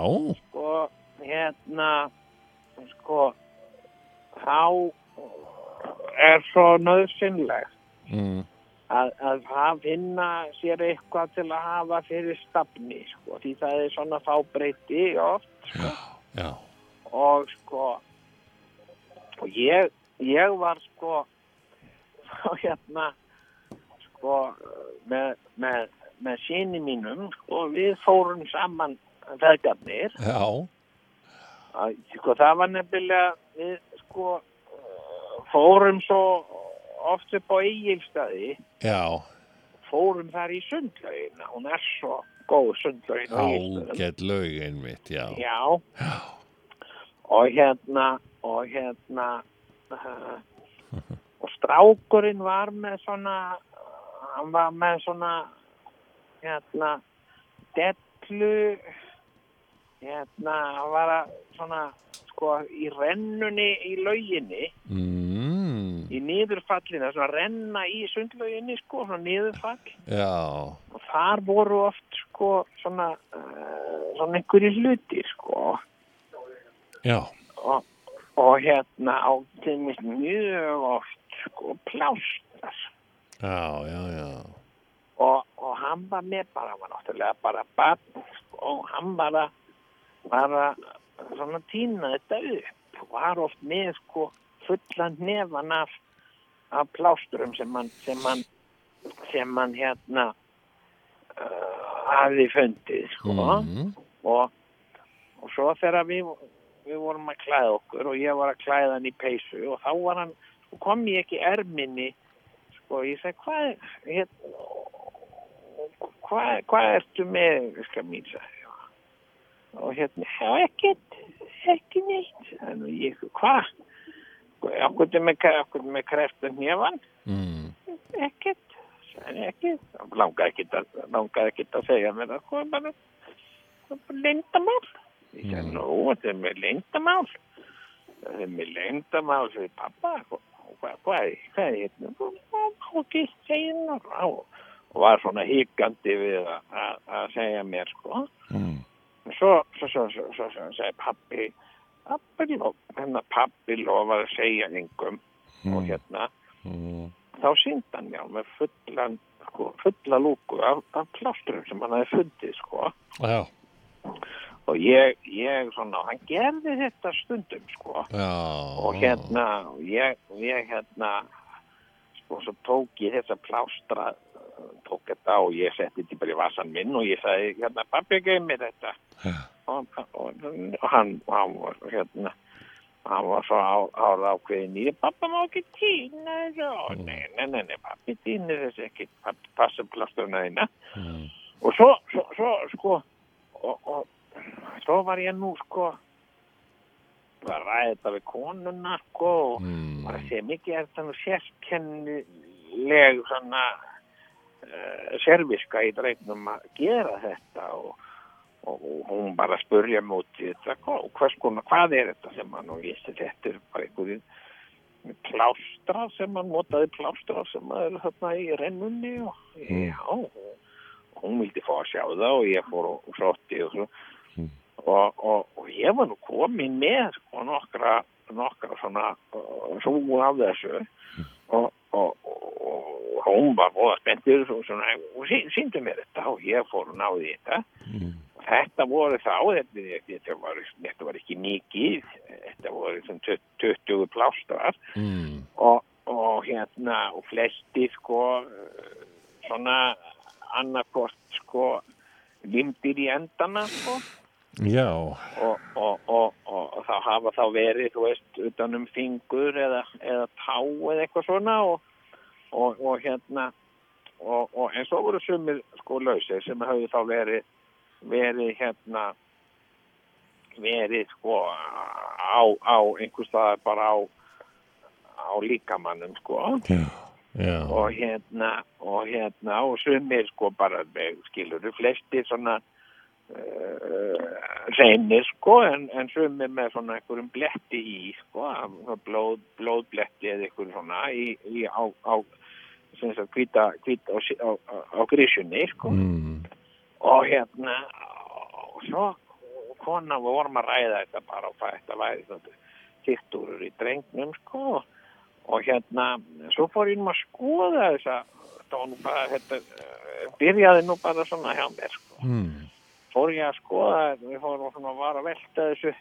Speaker 9: sko, hérna, sko, þá er svo nöðsynlegt
Speaker 2: mm,
Speaker 9: að, að það finna sér eitthvað til að hafa fyrir stafni, sko, því það er svona fábreyti oft
Speaker 2: Já,
Speaker 9: og sko, og ég, ég var sko, þá hérna, sko, með, með, með síni mínum, sko, við fórum saman vegarnir
Speaker 2: já
Speaker 9: Æ, Sko, það var nefnilega, við sko uh, fórum svo oft upp á Egilstaði,
Speaker 2: Já,
Speaker 9: fórum þar í sundlaugina, hún er svo góð sundlaugin á Egilstaðum.
Speaker 2: ágætt lög einmitt, já
Speaker 9: Já. Og hérna, og hérna, uh, og strákurinn var með svona, hann var með svona, hérna, dellu, hérna, hann var að svona, sko, í rennunni í lauginni,
Speaker 2: mm,
Speaker 9: í niðurfallinu, svona renna í sundlauginni, sko, svona niðurfall
Speaker 2: Já,
Speaker 9: og þar voru oft sko svona, uh, svona einhverju hlutir sko
Speaker 2: já
Speaker 9: og, og hérna á þeimist mjög oft sko plástar
Speaker 2: Já, já, já
Speaker 9: og, og hann var með bara, hann var náttúrulega bara barn sko, og hann var að var að svona týna þetta upp og var oft með sko fullan nefan af, af plásturum sem hann sem hann, sem hann hérna uh, hafi fundið sko
Speaker 2: mm,
Speaker 9: og, og svo þegar við, við vorum að klæða okkur og ég var að klæða hann í peysu og þá var hann, sko, kom ég ekki erminni sko, ég segi hvað hérna, hér, hvað, hvað ertu með skal mín sagði ég. og hérna, já ekkert ekki neitt en ég, hvað okkur með, okkur með kreftun nefan
Speaker 2: mm,
Speaker 9: ekkert sagði ég, ekkert langaði ekkert að, langaði ekkert að segja mér það sko, bara, bara lindamál ég sagði,
Speaker 2: Mm.
Speaker 9: nú, þetta er með lindamál þetta er með lindamál sagði pappa, hvað, hvað, hvað, hvað er hérna Nú, það má ekki segja nú á og var svona híkandi við að- að að segja mér sko
Speaker 2: mm,
Speaker 9: En svo, svo, svo, svo, svo, svo segi pappi pappi, lo, hérna, pappi lofaði að segja hengum og hérna
Speaker 2: mm,
Speaker 9: þá síndi hann já með fullan sko, fulla lúku af, af plásturum sem hann hafi fundið sko
Speaker 2: Já,
Speaker 9: og ég, ég svona, hann gerði þetta stundum sko
Speaker 2: já Ah.
Speaker 9: og hérna og ég, ég hérna sko svo tók ég þessa plástra uh, tók þetta og ég setti þetta bara í vasan minn og ég sagði hérna pappi geimi þetta
Speaker 2: Já.
Speaker 9: og, og, og hann, hann var hérna hann var svo á, ára ákveðin í pappa má ekki týna þessu Ó, nei, nei, nei, nei, pappi týnir þessu ekki pappi passa plásturna þína
Speaker 2: Mm.
Speaker 9: og svo, svo, svo sko og, og svo var ég nú sko að ræða þetta við konuna sko og
Speaker 2: mm,
Speaker 9: bara sé mikið er þetta nú sérkennileg svona uh, serviska í dreifnum að gera þetta og, og, og hún bara spurja mig út í þetta hva- hvers konar, hvað er þetta sem hann og ég sé þetta er bara einhverjum plástra sem hann notaði plástra sem að er þarna í rennunni og já, og hún vildi fá að sjá það og ég fór og frótti og svo og, og, og ég var nú komin með sko nokkra, nokkra svona svo af þessu og, og, og, og hún var bóða spenntur og, svona, og sí, síndi mér þetta og ég fór og náði í þetta og þetta voru þá þetta, þetta, var, þetta var ekki mikið þetta voru sem 20 plástrar
Speaker 2: mm.
Speaker 9: og, og hérna og flesti sko eh, svona annarkort sko limdir í endana sko
Speaker 2: Já,
Speaker 9: og, og, og, og, og þá hafa þá verið, þú veist, utan um fingur eða, eða tá eða eitthvað svona og, og, og hérna og, og en svo voru sumir sko lausir sem hafði þá verið verið hérna verið sko á, á einhvers staðar bara á á líkamannum sko
Speaker 2: já, já
Speaker 9: og hérna og hérna og sumir sko bara skilur þú flesti svona uh, reynir sko en, en sumir með svona einhverjum bletti í sko af- blóð, blóðbletti eða einhverjum svona í, í á, á sem sagt hvita, hvita á, á, á grísunni sko
Speaker 2: mm.
Speaker 9: og hérna og svo kona við vorum að ræða þetta bara og hvað þetta væri kittúrur í drengnum sko og hérna svo fór ég nú að skoða þessa þetta var nú bara þetta eh, byrjaði nú bara svona hjá mér sko
Speaker 2: Mm.
Speaker 9: fór ég að skoða þetta við fórum svona að vara að velta þessu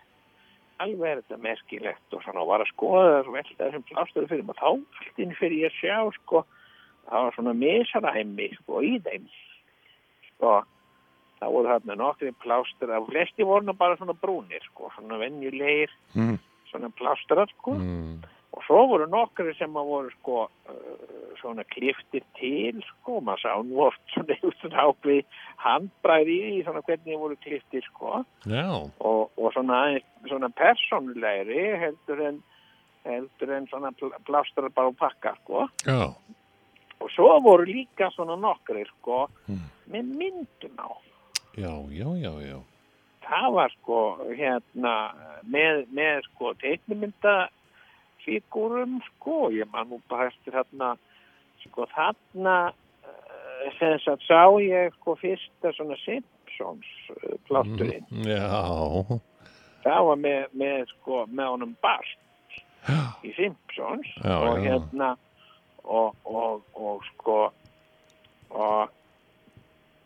Speaker 9: alveg er þetta merkilegt og svona var að skoða þessu velta þessum plástöru fyrir maður þá allt inn fyrir ég að sjá sko það var svona misaræmi sko í þeim sko það voru þarna nokkri plástur að flesti voru nú bara svona brúnir sko svona venjulegir
Speaker 2: Mm.
Speaker 9: svona plástrar sko
Speaker 2: Mm.
Speaker 9: og svo voru nokkri sem að voru sko uh, svona kliftir til sko, maður sá nú oft svona út svona ákveð handbræði í því, svona hvernig þeir voru kliftir sko
Speaker 2: Já,
Speaker 9: og, og svona, aðeins- svona persónulegri heldur en heldur en svona pl- plástrar bara og pakka sko
Speaker 2: já
Speaker 9: og svo voru líka svona nokkri sko með myndum á
Speaker 2: Já, já, já, já
Speaker 9: það var sko hérna með, með sko teiknumyndafígúrum sko ég man nú bara eftir þarna sko þarna eh, sem sagt sá ég sko fyrsta svona Simpsons eh, plátturinn
Speaker 2: Mm. Já,
Speaker 9: það var með, með sko með honum Bart í Simpsons
Speaker 2: Já,
Speaker 9: og
Speaker 2: já.
Speaker 9: hérna og, og, og sko og,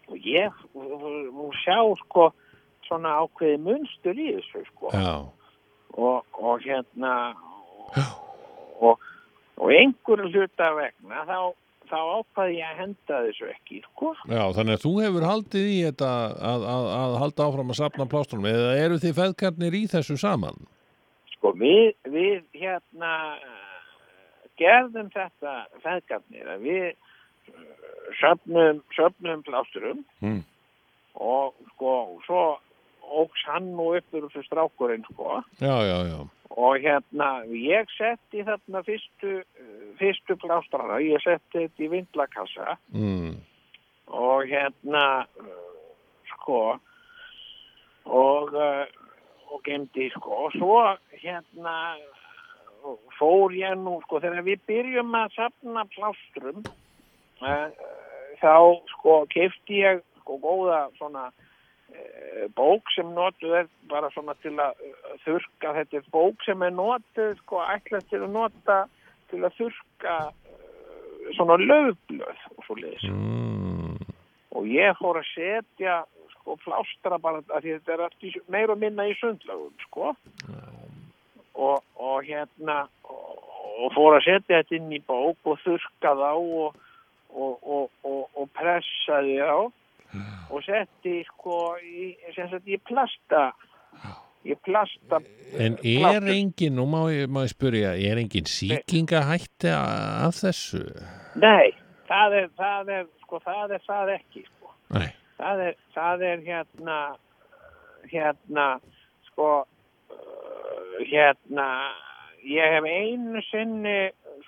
Speaker 9: og ég og sjá sko svona ákveði munstur í þessu sko
Speaker 2: já
Speaker 9: og, og hérna og, og einhverju hluta vegna þá, þá ákvaði ég að henda þessu ekki sko
Speaker 2: Já, þannig að þú hefur haldið í þetta að, að, að halda áfram að sapna plástunum eða eru þið feðkarnir í þessu saman?
Speaker 9: Sko, við, við hérna eh, gerðum þetta feðgarnir að við eh, söfnum, söfnum plásturum
Speaker 2: Mm.
Speaker 9: og sko, svo óks hann nú upp úr þessu strákurinn sko
Speaker 2: Já, já, já.
Speaker 9: og hérna, ég setti þarna fyrstu, eh, fyrstu plástrana, ég setti þetta í vindlakassa
Speaker 2: Mm.
Speaker 9: og hérna uh, sko og uh, og gemdi sko og svo hérna uh, fór ég nú sko þegar við byrjum að safna plástrum uh, þá sko kefti ég sko góða svona uh, bók sem notuð er bara svona til að uh, þurrka þetta er bók sem er notuð sko ætlað til að nota til að þurrka uh, svona löfblöð og svo leiðis
Speaker 2: Mm.
Speaker 9: og ég fór að setja sko plástra bara að því þetta er allt í, meira og minna í sundlögum sko og, og hérna og, og fór að setja þetta inn í bók og þurrka þá og, og, og, og, og pressaði þá og setti sko í, sem sagt í plasta í plasta
Speaker 2: En er engin, nú má ég, má ég spyrja, er engin sýkingahætti a- af þessu?
Speaker 9: nei, það er, það er sko það er það ekki sko
Speaker 2: Nei.
Speaker 9: það er, það er hérna hérna sko uh, hérna ég hef einu sinni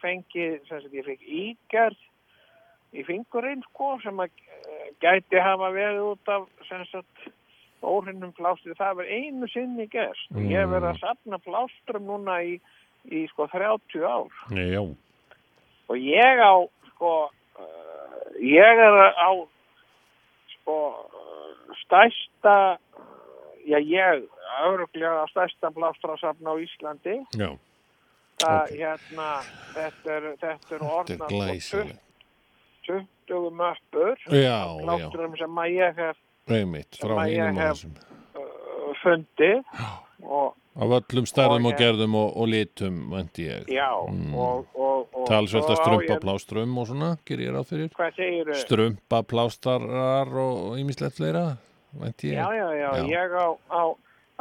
Speaker 9: fengið sem sagt ég fekk ígerð í fingurinn sko sem að uh, gæti hafa verið út af sem sagt óhrinnum plástri það var einu sinni gerst ég hef verið að safna plástrum núna í í sko 30 ár
Speaker 2: Já,
Speaker 9: og ég á sko uh, ég er á sko uh, stærsta já ég öruglega stærsta blástrasafn á Íslandi
Speaker 2: já,
Speaker 9: það
Speaker 2: Ok.
Speaker 9: hérna þetta er, þetta er
Speaker 2: þetta er
Speaker 9: orðna
Speaker 2: glæsileg
Speaker 9: 20 möppur
Speaker 2: Já, já,
Speaker 9: blástrum sem að ég hef
Speaker 2: einmitt, frá
Speaker 9: Sem að ég
Speaker 2: einum og
Speaker 9: hef-
Speaker 2: þessum
Speaker 9: uh, fundið og
Speaker 2: Af öllum stærðum og
Speaker 9: Og ég-
Speaker 2: gerðum og, og litum, vendi ég
Speaker 9: já og, og, og
Speaker 2: Mm. Talsvert
Speaker 9: svo
Speaker 2: að
Speaker 9: á
Speaker 2: strömpa
Speaker 9: ég- Eh.
Speaker 2: plástrum og svona, ger ég ráð fyrir
Speaker 9: hvað segirðu?
Speaker 2: Strömpa plástarar og ímislegt fleira, vendi ég
Speaker 9: Já, já, já,
Speaker 2: Já.
Speaker 9: ég á, á,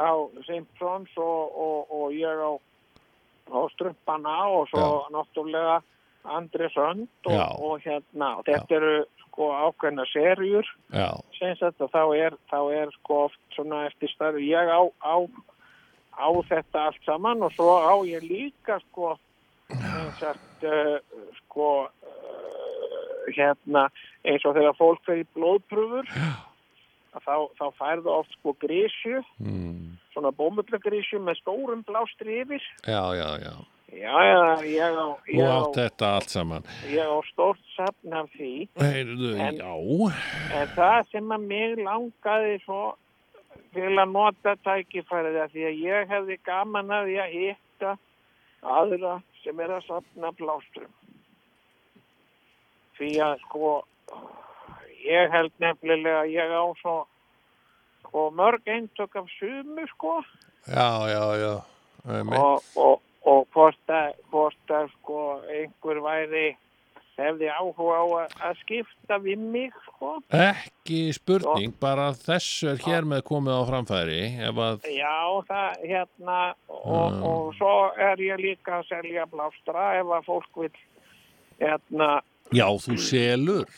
Speaker 9: á Simpsons og, og, og ég á, á Strumpana og svo náttúrulega Andri Sönd og,
Speaker 2: Já.
Speaker 9: og hérna, og þetta eru sko ákveðna serjur
Speaker 2: já,
Speaker 9: sem þetta þá er, þá er sko oft svona eftir stærðu, ég á, á, á þetta allt saman og svo á ég líka sko eins og uh, sko uh, hérna eins og þegar fólk fer í blóðpröfur að þá, þá færðu oft sko grísju,
Speaker 2: mm,
Speaker 9: svona bómullagrísju með stórum blástri yfir
Speaker 2: já, já, já
Speaker 9: já, já, ég á,
Speaker 2: Þú
Speaker 9: ég á,
Speaker 2: átt þetta allt saman
Speaker 9: ég á stórt safn af því
Speaker 2: Heyrðu,
Speaker 9: En-
Speaker 2: já
Speaker 9: En það sem að mig langaði svo til að nota tækifærið að því að ég hefði gaman að því að hitta aðra sem er að safna blástrum. Því að sko, ég held nefnilega að ég á svo sko, mörg eintök af sumu sko
Speaker 2: Já, já, já einmitt.
Speaker 9: og, og, og hvort að, hvort að sko einhver væri hefði áhuga á að, að skipta við mig sko.
Speaker 2: Ekki spurning, bara þessu er hér með komið á framfæri ef að,
Speaker 9: Já, það hérna og,
Speaker 2: Mm.
Speaker 9: og svo er ég líka að selja blástra ef að fólk vil hérna,
Speaker 2: já, þú selur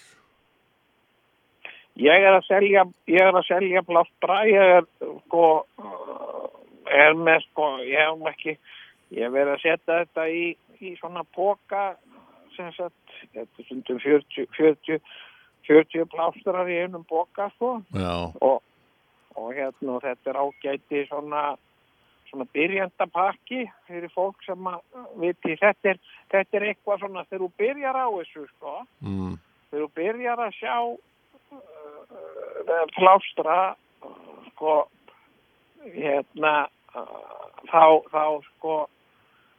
Speaker 9: ég er að selja ég er að selja blástra ég er sko er með sko, ég hef nú ekki ég hef verið að setja þetta í í svona póka sem sagt, þetta er stundum 40 40, 40 blástrar í einum póka sko
Speaker 2: Já,
Speaker 9: og, og hérna og þetta er ágæti svona, svona byrjandapakki fyrir fólk sem að viti þetta er, þetta er eitthvað svona þegar þú byrjar á þessu sko
Speaker 2: mm,
Speaker 9: þegar þú byrjar að sjá uh, plástra uh, sko hérna uh, þá, þá sko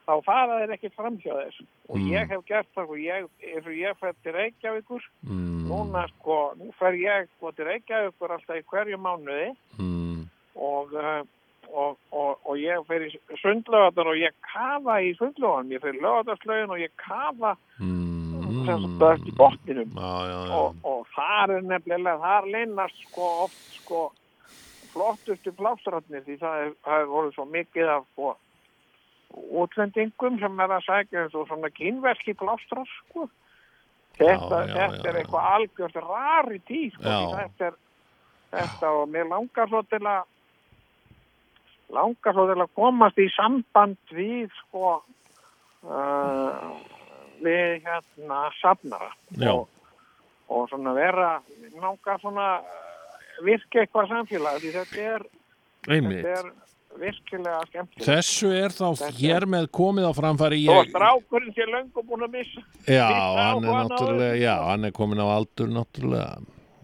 Speaker 9: þá fara þeir ekki framhjá þess og
Speaker 2: Mm.
Speaker 9: ég hef gert það og ég, eins og ég fer til Reykjavíkur
Speaker 2: mm,
Speaker 9: núna sko, nú fer ég sko til Reykjavíkur alltaf í hverju mánuði
Speaker 2: mm,
Speaker 9: og, uh, og, og, og ég fer í sundlöðar og ég kafa í sundlöðan, ég fer í löðarslöðin og ég kafa
Speaker 2: mm,
Speaker 9: sem sagt börn í botninum
Speaker 2: Já, já, já
Speaker 9: og, og þar er nefnilega, þar leynast sko oft sko flottustu plástrarnir því það hef- það hefur voru svo mikið af sko útlendingum sem er að sækja eins og svona kínverski plástrar sko þetta,
Speaker 2: Já, já,
Speaker 9: þetta
Speaker 2: já,
Speaker 9: er
Speaker 2: já.
Speaker 9: eitthvað algjörst rari tí sko,
Speaker 2: Já.
Speaker 9: því þetta er þetta og mér langar svo til að langar svo til að komast í samband við sko uh, við hérna safnara
Speaker 2: Já.
Speaker 9: og, og svona vera langar svona eh, virka eitthvað samfélag því þetta er, þetta
Speaker 2: Einmitt
Speaker 9: er virkilega skemmtilegt
Speaker 2: Þessu er þá hér með komið á framfæri
Speaker 9: Þó að
Speaker 2: ég,
Speaker 9: strákurinn sé löngu búin að missa
Speaker 2: Já,
Speaker 9: Fyrst á
Speaker 2: hann er
Speaker 9: hann á
Speaker 2: náttúrulega
Speaker 9: öðru.
Speaker 2: Já, hann er komin á aldur náttúrulega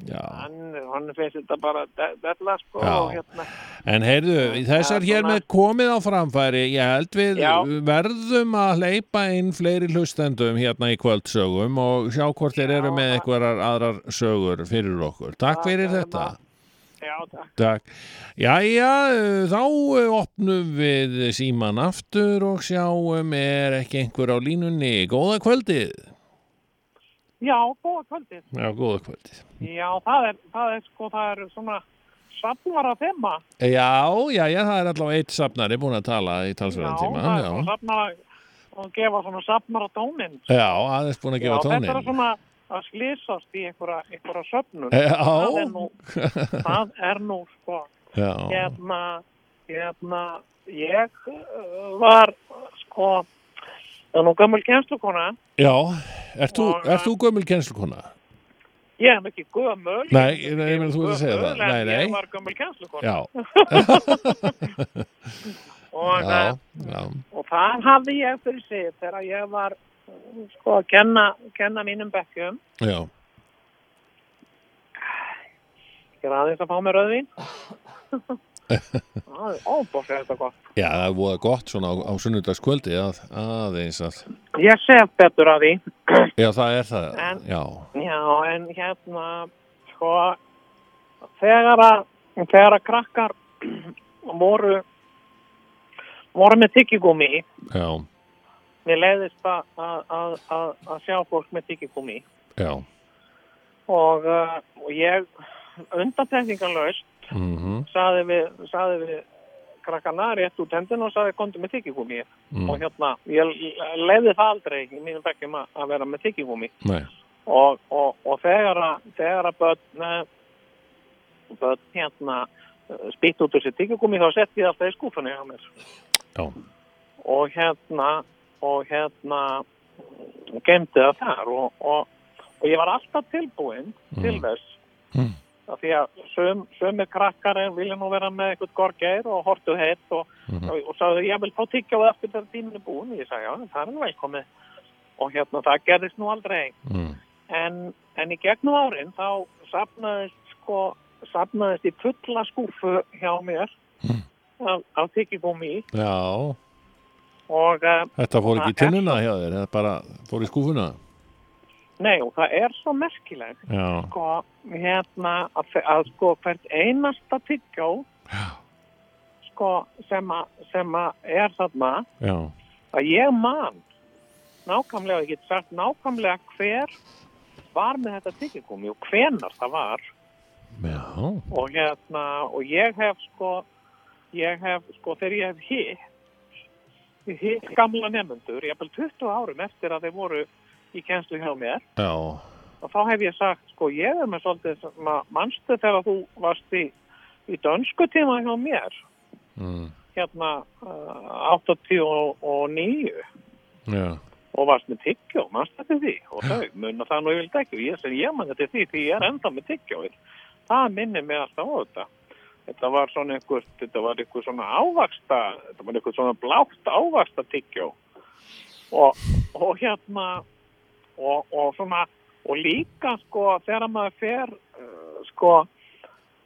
Speaker 2: Já,
Speaker 9: hann, hann finnst þetta bara de- della sko
Speaker 2: Já.
Speaker 9: og hérna
Speaker 2: en heyrðu, þess
Speaker 9: það
Speaker 2: er
Speaker 9: er
Speaker 2: hér
Speaker 9: svona-
Speaker 2: með komið á framfæri Ég held við
Speaker 9: Já.
Speaker 2: verðum að hleypa inn fleiri hlustendum hérna í kvöldsögum og sjá hvort þeir eru með einhverjar aðrar sögur fyrir okkur Takk fyrir
Speaker 9: það er
Speaker 2: þetta
Speaker 9: maður. já, takk
Speaker 2: Takk. Jæja, uh, þá uh, opnum við síman aftur og sjáum er ekki einhver á línunni. Góða kvöldið.
Speaker 9: já, góða kvöldið
Speaker 2: Já, góða kvöldið.
Speaker 9: já, það er, það er sko, það er svona safnara þema
Speaker 2: Já, jæja, það er allavega eitt safnari búin að tala í talsverðan tíma.
Speaker 9: það er svona
Speaker 2: Já,
Speaker 9: safnara og gefa svona safnara tónin
Speaker 2: já, aðeins búin að
Speaker 9: já,
Speaker 2: gefa
Speaker 9: þetta er
Speaker 2: tónin.
Speaker 9: svona að slýsast í einhverja, einhverja söfnun það er nú,
Speaker 2: Já,
Speaker 9: það er nú sko
Speaker 2: já,
Speaker 9: hérna, hérna, ég uh, var, sko, það er nú gömul kennslukona,
Speaker 2: já. Ert þú,
Speaker 9: Og-
Speaker 2: ert þú gömul kennslukona?
Speaker 9: ég er nú ekki gömul.
Speaker 2: Nei,
Speaker 9: ég er nú
Speaker 2: nei,
Speaker 9: ekki
Speaker 2: ég meina, þú ert að
Speaker 9: gömul,
Speaker 2: segja það.
Speaker 9: en
Speaker 2: Nei, nei.
Speaker 9: Ég var gömul kennslukona.
Speaker 2: Já.
Speaker 9: og, eh,
Speaker 10: já, já,
Speaker 9: og það hafði ég fyrir sig þegar ég var uh, sko að kenna, kenna mínum bekkjum
Speaker 10: já,
Speaker 9: ég er aðeins að fá mér röðvin það er óbúrslega þetta gott
Speaker 10: já, það er voða gott svona á, á sunnudagskvöldi að, aðeins að,
Speaker 9: ég sef betur af því
Speaker 10: já, það er það,
Speaker 9: En-
Speaker 10: já,
Speaker 9: Já, en hérna, sko, þegar að, þegar að krakkar voru, voru með tyggigúmi,
Speaker 10: já,
Speaker 9: mér leiðist að, að, að, að- að sjá fólk með tyggigúmi
Speaker 10: já,
Speaker 9: og, uh, og ég undantekningarlaust
Speaker 10: mhm, mhm,
Speaker 9: saði við, saði við krakkana rétt út hendin og saði komdu með tyggigúmi
Speaker 2: mhm. Mm.
Speaker 9: og hérna, ég leiði það aldrei í mínum bekkjum að- að vera með tyggigúmi
Speaker 10: nei,
Speaker 9: og, og, og þegar að, þegar að börn, eh, börn hérna eh, spýtt út úr sér tyggegummi þá sett ég alltaf í skúfunni á mér
Speaker 10: já,
Speaker 9: og hérna og hérna gemdi það þar og, og, og ég var alltaf tilbúinn til þess
Speaker 10: Mm.
Speaker 9: af því að sum, sumir krakkar eh, vilja nú vera með eitthvað gorgeir og hortu heitt og,
Speaker 10: Mhm.
Speaker 9: og, og sagði ég vil fá tyggjóð eftir þegar tíminu búin ég sagði já það er nú velkomið og hérna það gerðist nú aldrei
Speaker 10: mhm,
Speaker 9: en, en í gegnum árin þá safnaðist sko safnaðist í fulla skúfu hjá mér af, af tyggigúmi
Speaker 10: já,
Speaker 9: og uh,
Speaker 10: þetta fór ekki í
Speaker 9: Það er
Speaker 10: tinnuna hjá þér, þetta bara fór í skúfuna,
Speaker 9: nei og það er svo merkilegt
Speaker 10: já,
Speaker 9: sko hérna að, þe- að sko hvert einasta tyggjó sko sem að, sem að er þarna
Speaker 10: já,
Speaker 9: að ég man nákvæmlega, ég get sagt nákvæmlega hver var með þetta tyggigúmi og hvenar það var
Speaker 10: já,
Speaker 9: og hérna og ég hef sko ég hef sko þegar ég hef hitt ég hitt gamla nefnendur ég hef 20 árum eftir að þeir voru í kennslu hjá mér
Speaker 10: já,
Speaker 9: og þá hef ég sagt sko ég er með svolítið ma- manstu þegar þú varst í, í dönsku tíma hjá mér
Speaker 10: mhm,
Speaker 9: hérna uh, 89
Speaker 10: já,
Speaker 9: og varst með tyggjó, mannst þetta því og þau munna það nú yfirlega ekki og ég sem ég mann þetta því því ég er enda með tyggjóið það minnir mig alltaf á þetta þetta var svona einhver þetta var einhver svona ávaksta þetta var einhver svona blátt ávaksta tyggjó og, og hérna og, og svona og líka sko þegar maður fer uh, sko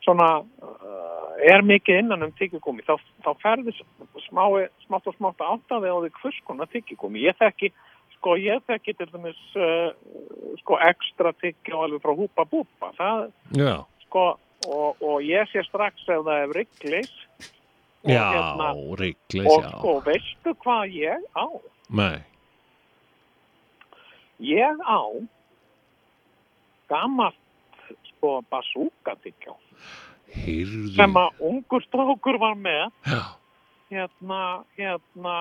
Speaker 9: svona uh, er mikið innan um tyggigúmi þá, þá ferði smái, smátt og smátt áttaði á því hvers konar tyggigúmi ég þekki, sko ég þekki til dæmis uh, sko ekstra tyggjó alveg frá húpa búpa það
Speaker 2: já,
Speaker 9: sko og, og ég sé strax ef það er rygglis og,
Speaker 2: já,
Speaker 9: hérna,
Speaker 2: reiklis,
Speaker 9: og
Speaker 2: já,
Speaker 9: sko veistu hvað ég á
Speaker 2: nei,
Speaker 9: ég á gamalt sko basúka tyggjó
Speaker 2: Mm. heyrðu,
Speaker 9: sem að ungur strákur var með hérna, hérna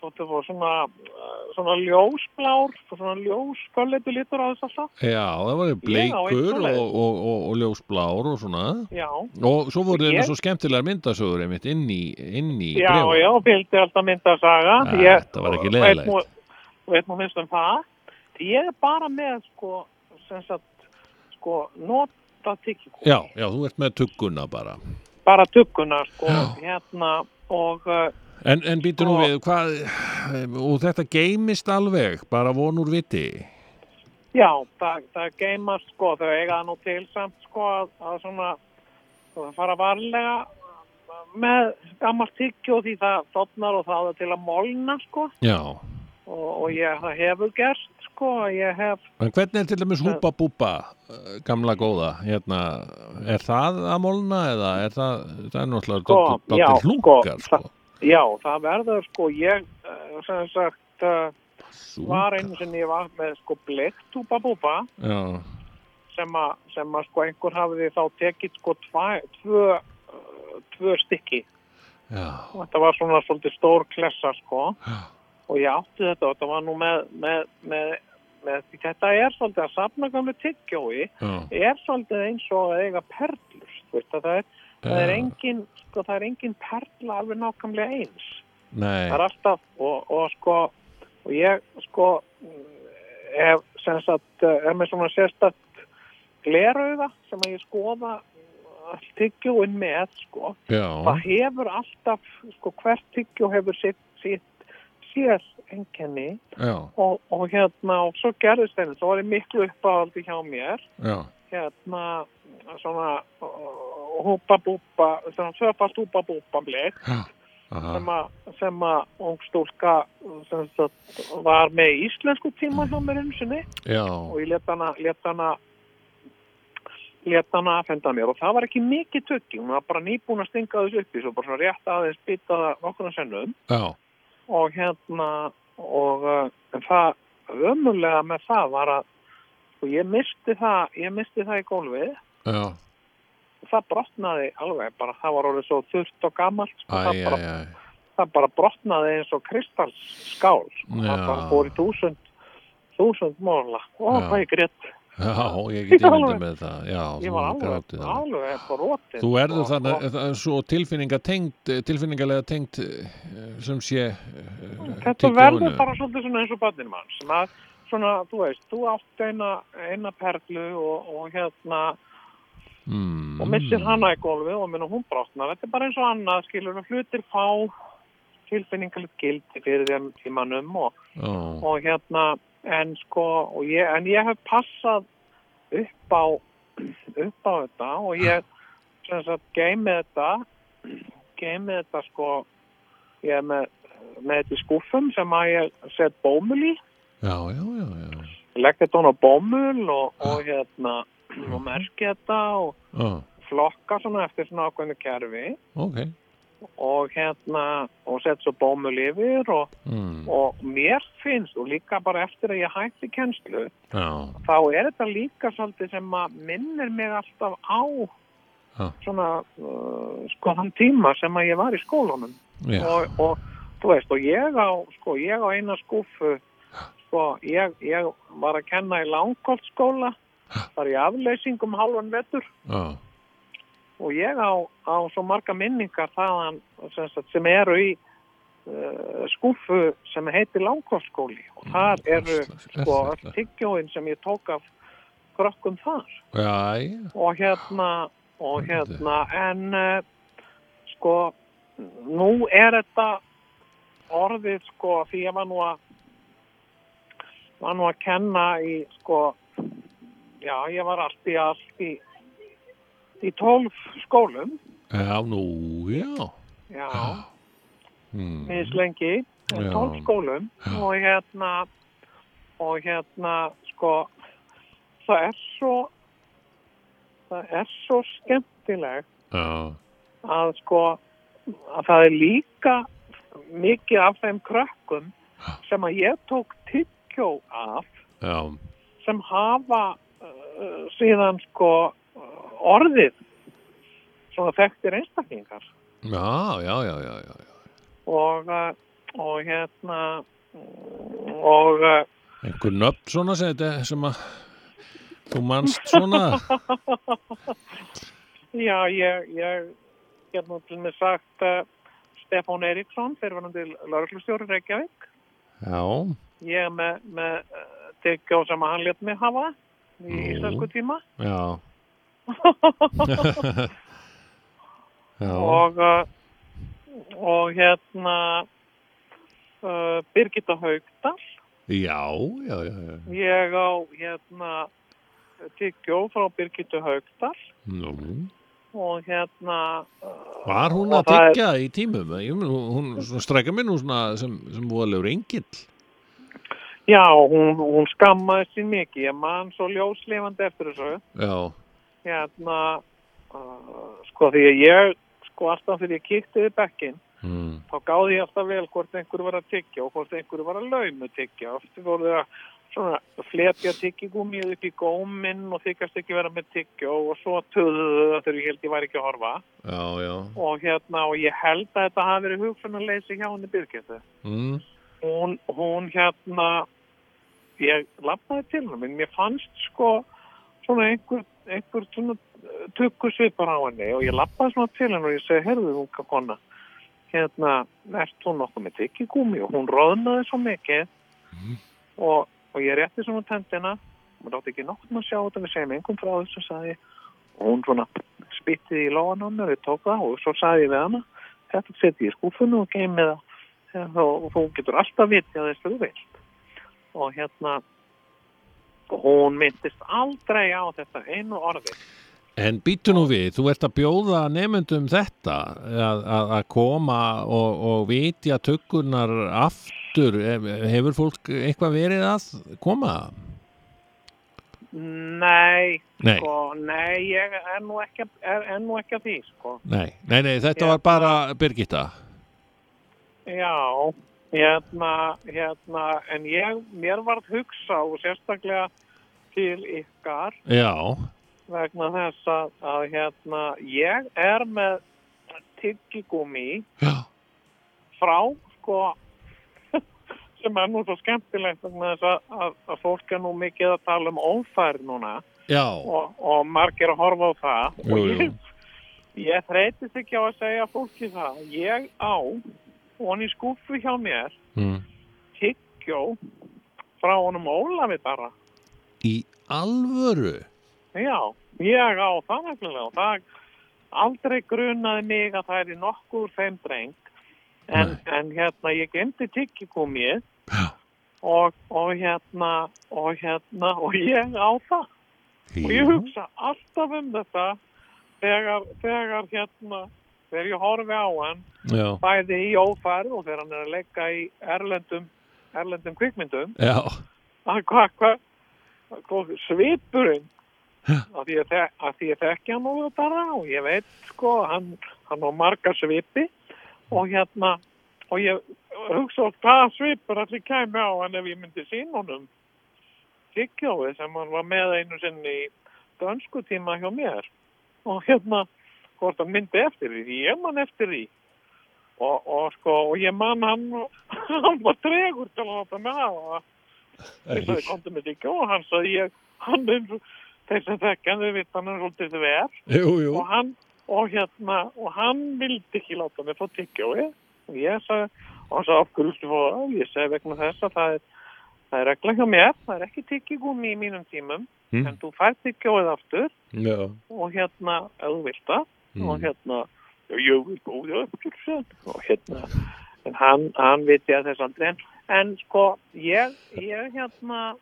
Speaker 9: þetta var svona uh, svona ljósblár svona ljóskölliti litur á þess alltaf
Speaker 2: já, það var
Speaker 9: Ég á eitt
Speaker 2: bleikur og,
Speaker 9: svoleiðis.
Speaker 2: og, og, og ljósblár og svona,
Speaker 9: já,
Speaker 2: og svo voru þeirna
Speaker 9: Ég-
Speaker 2: svo skemmtilegar myndasögur einmitt inn í, inn í
Speaker 9: já,
Speaker 2: bréfunum.
Speaker 9: já, fylgdi alltaf myndasaga
Speaker 2: Æ,
Speaker 9: Ég-
Speaker 2: þetta var ekki
Speaker 9: veit
Speaker 2: leiðilegt.
Speaker 9: nú- veit nú minnst um það ég er bara með sko sem sagt sko nota tyggikúmi
Speaker 2: Já, já, þú ert með tugguna bara.
Speaker 9: bara tugguna sko
Speaker 2: Já.
Speaker 9: hérna og uh,
Speaker 2: En, en býtu nú
Speaker 9: Sko-
Speaker 2: við, hvað, og þetta geymist alveg, bara vonur viti.
Speaker 9: Já, það, það geimast sko, þau eiga það nú til samt sko að, að svona að fara varlega með gammalt tyggjóð því það stofnar og það er til að molna sko
Speaker 2: Já,
Speaker 9: og, og ég það hefur gerst sko, ég hef,
Speaker 2: en hvernig er til dæmis húpa búpa, eh, gamla góða, hérna, er það að molna eða er það, það er náttúrulega
Speaker 9: Sko,
Speaker 2: dálítið-
Speaker 9: já,
Speaker 2: dálítið hlúkar,
Speaker 9: sko,
Speaker 2: sko.
Speaker 9: já það verður sko, ég eh, sem sagt eh,
Speaker 2: Súkar.
Speaker 9: var einu sinni ég var með sko blikt húpa búpa
Speaker 2: Já,
Speaker 9: sem að, sem að sko einhver hafiði þá tekið sko tva, tvö, eh, tvö stykki
Speaker 2: já,
Speaker 9: og þetta var svona svolítið stór klessa sko og ég átti þetta og þetta var nú með, með, með, með því þetta er svolítið að safna gamlu tyggjói
Speaker 2: já,
Speaker 9: er svolítið eins og að eiga perlur þú veist, að það, er, það, er
Speaker 2: Já.
Speaker 9: engin, sko, það er engin perla alveg nákvæmlega eins
Speaker 2: nei,
Speaker 9: það er alltaf og, og sko og ég sko hef sem sagt er með svona sérstakt glerauða sem að ég skoða tyggjóin með sko. það
Speaker 10: Já,
Speaker 9: hefur alltaf sko, hvert tyggjó hefur sitt, sitt sér enkenni
Speaker 10: já,
Speaker 9: og, og hérna og svo gerðist þeim, það var í miklu uppáhaldi hjá mér
Speaker 10: já
Speaker 9: hérna svona uh, húpa-búpa svona tvöfalt húpa-búpa blik
Speaker 10: Aha.
Speaker 9: sem að, sem að ung stúlka sem sagt, var með í íslensku tíma hjá mér einu sinni
Speaker 10: Já,
Speaker 9: og ég let hana let hana let hana aðfenda mér og það var ekki mikið tökki, hún var bara nýbúin að stinga þessu upp í svo bara svona rétt aðeins býta það nokkurna sennum
Speaker 10: já,
Speaker 9: og hérna og uh, en það ömulega með það var að og ég misti það, ég misti það í gólfið
Speaker 10: já
Speaker 9: og það brotnaði alveg bara, það var orðið svo þurft og gamalt sko,
Speaker 10: Æ,
Speaker 9: það,
Speaker 10: æ,
Speaker 9: bara,
Speaker 10: æ
Speaker 9: það bara brotnaði eins og kristalsskál og það
Speaker 10: Já.
Speaker 9: bara fór í þúsund þúsund morla og
Speaker 10: Já.
Speaker 9: það er greitt
Speaker 10: Já, ég get
Speaker 9: Ég
Speaker 10: ímyndið
Speaker 9: var alveg-
Speaker 10: með það Já,
Speaker 9: ég
Speaker 10: þú
Speaker 9: var
Speaker 10: grátið
Speaker 9: alveg,
Speaker 10: það
Speaker 9: alveg eitthvað rótið
Speaker 10: Þú erður
Speaker 9: sko,
Speaker 10: þannig
Speaker 9: og
Speaker 10: það er svo tilfinninga tengt tilfinningalega tengt eh, sem sé eh,
Speaker 9: þetta
Speaker 10: tyggjóinu.
Speaker 9: verður bara svolítið svona eins og börnin mann sem að svona, þú veist, þú átt eina, eina perlu og, og hérna
Speaker 10: mm.
Speaker 9: og missir hana í gólfi og minna hún brotnar þetta er bara eins og annað, skilur og hlutir fá tilfinningalegt gildi fyrir þeim tímanum og,
Speaker 10: Já,
Speaker 9: og hérna en sko, og ég, en ég hef passað upp á upp á þetta og ég sem sagt geymið þetta geymið þetta sko ég er með, með þetta í skúfum sem að ég set bómul í
Speaker 10: já, já, já, já.
Speaker 9: legg þetta hún á bómul og, og hérna og merki þetta og
Speaker 10: já.
Speaker 9: flokka svona eftir svona ákveðinu kerfi
Speaker 10: Ok
Speaker 9: og hérna og sett svo bómul yfir og,
Speaker 10: mm.
Speaker 9: og mér finnst og líka bara eftir að ég hætti kennslu
Speaker 10: Já,
Speaker 9: þá er þetta líka svolítið sem að minnir mig alltaf á
Speaker 10: Já.
Speaker 9: svona uh, sko þann tíma sem að ég var í skólanum
Speaker 10: já,
Speaker 9: og, og þú veist og ég á sko ég á eina skúfu sko ég, ég var að kenna í langkoltskóla þar í afleysingum halvan vetur
Speaker 10: já,
Speaker 9: og ég á, á svo marga minningar þaðan sem, sagt, sem eru í uh, skúfu sem heitir langkostskóli og
Speaker 10: Mm,
Speaker 9: þar eru sko öll tyggjóin sem ég tók af krökkum þar
Speaker 10: já, já.
Speaker 9: og hérna og hérna en uh, sko nú er þetta orðið sko því ég var nú að var nú að kenna í sko já ég var allt í allt í í tólf skólum
Speaker 10: Já, nú, já
Speaker 9: já,
Speaker 10: mm.
Speaker 9: minnst lengi
Speaker 10: Já.
Speaker 9: tólf skólum og hérna og hérna sko það er svo það er svo skemmtilegt
Speaker 10: Já,
Speaker 9: að sko að það er líka mikið af þeim krökkum sem að ég tók tyggjó af
Speaker 10: já,
Speaker 9: sem hafa uh, síðan sko uh, orðið svona þekktir einstaklingar
Speaker 10: já, já, já, já, já.
Speaker 9: og, uh, og hérna mm, og uh,
Speaker 10: Einhver nöfn svona sem þetta sem að þú manst svona
Speaker 9: já, ég, ég get nú til mig sagt uh, Stefán Eriksson, fyrirvænandi lauruglustjóri Reykjavík.
Speaker 10: Já,
Speaker 9: Ég er með, með uh, tyggjó sem að hann let mig hafa í
Speaker 10: Nú.
Speaker 9: íslensku tíma
Speaker 10: já Já,
Speaker 9: og uh, og hérna uh, Birgitta Haugdal
Speaker 10: já, já, já, já.
Speaker 9: ég á hérna tyggjó frá Birgitta Haugdal
Speaker 10: Nú.
Speaker 9: og hérna
Speaker 10: Var hún
Speaker 9: Og
Speaker 10: að
Speaker 9: það er-
Speaker 10: tyggja í tímum? Ég mun- Hún, hún strækja mér nú svona sem, sem voðalegur engill.
Speaker 9: Já, hún, hún skammaði sín mikið. Ég man svo ljóslefandi eftir þessu.
Speaker 10: Já,
Speaker 9: Hérna, uh, sko því að ég, sko alltaf þegar ég kíkti við bekkinn,
Speaker 2: Hmm.
Speaker 10: mm.
Speaker 9: þá gáði ég alltaf vel hvort einhver var að tyggja og hvort einhver var að laumu tyggja. Oft voru þau að svona fletja tyggjigúmið upp í góminn og þykast ekki vera með tyggjó og svo töðuðu þau þegar ég held ég væri ekki að horfa.
Speaker 10: já, já.
Speaker 9: Og hérna, og ég held að þetta hafi verið hugsunarleysi hjá henni Birgittu.
Speaker 2: Hmm.
Speaker 10: Mm.
Speaker 9: hún, hún hérna ég lafnaði til henni en mér fannst sko svona einhver, einhver svona tukku svipar á henni og ég lafnaði svona til henni og ég segi, heyrðu hún kona hérna, ert hún nokkuð með tyggi gúmi og hún roðnaði svo mikið og, og ég rétti svona tendina og maður átti ekki nokkuð að sjá þetta við segjum engum frá þessu sagði ég. og hún svona spyttið í lóan á mér og ég tók það og svo sagði ég við hana þetta setið ég í skúfunu og geymið það og þú getur alltaf vitið að þess þú vilt og hérna hún myndist aldrei á þetta einu orði
Speaker 2: En býtu nú við, þú ert að bjóða nefndum þetta að, að, að koma og, og vitja tökurnar aftur Hef- hefur fólk eitthvað verið að koma?
Speaker 9: Nei,
Speaker 2: Nei.
Speaker 9: sko, nei ég er nú ekki, er, er nú ekki að því, sko.
Speaker 2: Nei, nei, nei þetta var bara Birgitta
Speaker 9: Já, hérna, hérna, en ég, mér varð hugsa og sérstaklega til ykkar
Speaker 2: Já,
Speaker 9: vegna þess að, að hérna, ég er með tyggigúmi
Speaker 2: Já.
Speaker 9: frá, sko, sem er nú svo skemmtilegt vegna þess að, að, að fólk er nú mikið að tala um ófæri núna.
Speaker 2: já,
Speaker 9: og, og margir að horfa á það
Speaker 2: Jú,
Speaker 9: og
Speaker 2: jú.
Speaker 9: ég, ég þreytist ekki á að segja fólki það ég á og í skúfu hjá mér
Speaker 2: Mm.
Speaker 9: tyggjó frá honum Ólafi bara
Speaker 2: í alvöru
Speaker 9: já, ég á það nefnilega og það aldrei grunaði mig að það er í nokkur þeim dreng en, en hérna ég gemdi tyggjigúmið og, og hérna og hérna og ég á það og ég hugsa alltaf um þetta þegar, þegar hérna þegar ég horfi á hann
Speaker 2: Já,
Speaker 9: bæði í ófærð og þegar hann er að leggja í erlendum erlendum kvikmyndum
Speaker 2: já,
Speaker 9: að hvað hva, hva, svipurinn að því að, þe- að því að þekki hann og bara og ég veit sko hann, hann á marga svipi og hérna og ég hugsa oft hvað svipur allir kæmi á hann ef ég myndi sín honum tyggjóði sem hann var með einu sinni í dönsku tíma hjá mér og hérna hvort hann myndi eftir því, því ég man eftir því og, og sko og ég man hann hann var tregur til að láta með hafa það ég sagði komdu með tyggjó og hann sagði ég hann er eins og þeir sem þekka hann þau vita hann er svolítið þver
Speaker 2: jú, jú
Speaker 9: og hann, og hérna, og hann vildi ekki láta mig fá tyggjói og ég sagði, og hann sagði af hverju viltu fá það, ég sagði vegna þess að það er það er regla hjá mér, það er ekki tyggjigúmi í mínum tímum,
Speaker 2: Mm.
Speaker 9: en þú fær tyggjóið aftur
Speaker 2: Já,
Speaker 9: og hérna, ef þú vilt það
Speaker 2: Mm.
Speaker 9: og hérna, já, ég vil góða aftur síðan. og hérna en hann, hann viti að þess andri en, en sko, ég, ég hérna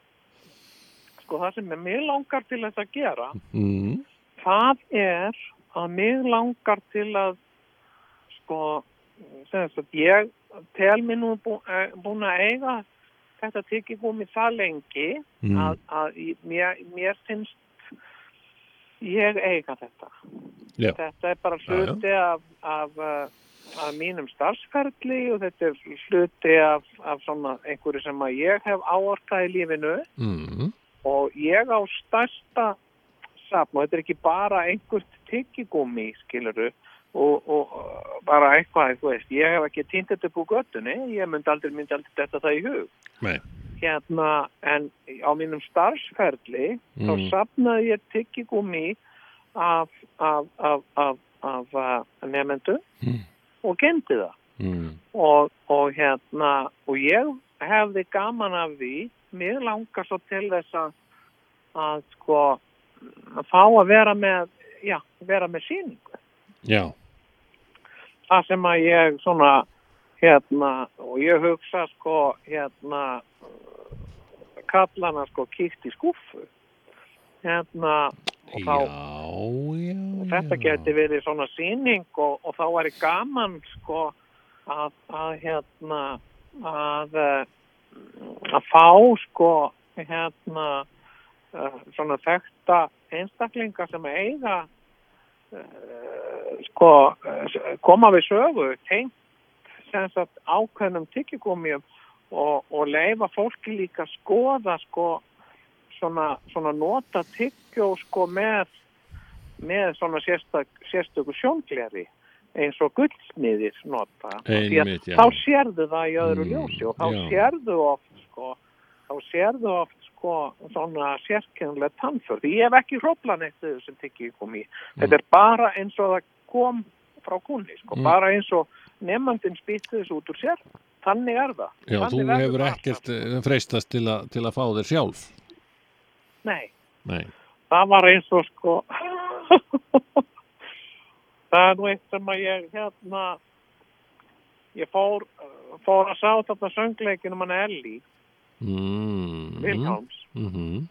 Speaker 9: sko það sem er mjög langar til þess að gera
Speaker 2: mm.
Speaker 9: það er að mig langar til að sko sem sagt, ég tel mér nú bú, eh, búin að eiga þetta tekið gómi það lengi
Speaker 2: Mm.
Speaker 9: að, að í- mér, mér finnst ég eiga þetta
Speaker 2: Já.
Speaker 9: þetta er bara hluti af, af, eh, af mínum starfsferðli og þetta er hluti af, af svona einhverju sem að ég hef áorkað í lífinu
Speaker 2: Mm.
Speaker 9: og ég á stærsta safn og þetta er ekki bara einhvert tyggigúmi, skiluru og, og uh, bara eitthvað, þú veist ég hef ekki týnt þetta upp úr göttunni ég myndi aldrei, myndi aldrei þetta það í hug
Speaker 2: Nei.
Speaker 9: hérna, en á mínum starfsferli þá
Speaker 2: Mm.
Speaker 9: safnaði ég tyggigúmi af, af, af, af, af, af nefnendu
Speaker 2: Mm.
Speaker 9: og gendi það
Speaker 2: Mm.
Speaker 9: og, og hérna og ég hefði gaman af því mér langar svo til þess að að sko að fá að vera með já, vera með síningu
Speaker 2: Já,
Speaker 9: það sem að ég svona hérna og ég hugsa sko hérna uh, kallana sko kýtt í skúffu hérna og þá
Speaker 2: já, já
Speaker 9: þetta geti verið svona síning og, og þá væri gaman sko að, að hérna að eh, að fá sko hérna eh, svona þekta einstaklinga sem eiga eh, sko eh, koma við sögu tengt sem sagt ákveðnum tyggigúmium og, og leifa fólki líka að skoða sko svona, svona nota tyggjó sko með með svona sérstak, sérstöku sjóngleri eins og gullsmiðir nota Af því að
Speaker 2: Einmitt, já.
Speaker 9: þá sérðu það í öðru
Speaker 2: Mm,
Speaker 9: ljósi og þá
Speaker 2: já.
Speaker 9: sérðu oft sko, þá sérðu oft sko svona sérkennilega tannför því ég hef ekki hróplan eitt þau sem tyggjó kom í þetta er bara eins og það kom frá kunni sko,
Speaker 2: Mm.
Speaker 9: bara eins og nefnandinn spýtti þessu út úr sér þannig er það
Speaker 2: Já, þú
Speaker 9: Þannig verður
Speaker 2: hefur
Speaker 9: það
Speaker 2: ekkert eh, freistast til, a, til að fá þér sjálf
Speaker 9: Nei,
Speaker 2: Nei,
Speaker 9: það var eins og sko það er nú eitt sem að ég hérna ég fór, fór að sá þetta söngleikin um hann Ellie
Speaker 2: Mhm.
Speaker 4: Mm.
Speaker 9: Vilhjálms
Speaker 4: Mm
Speaker 2: Mm-hmm.
Speaker 4: -hmm.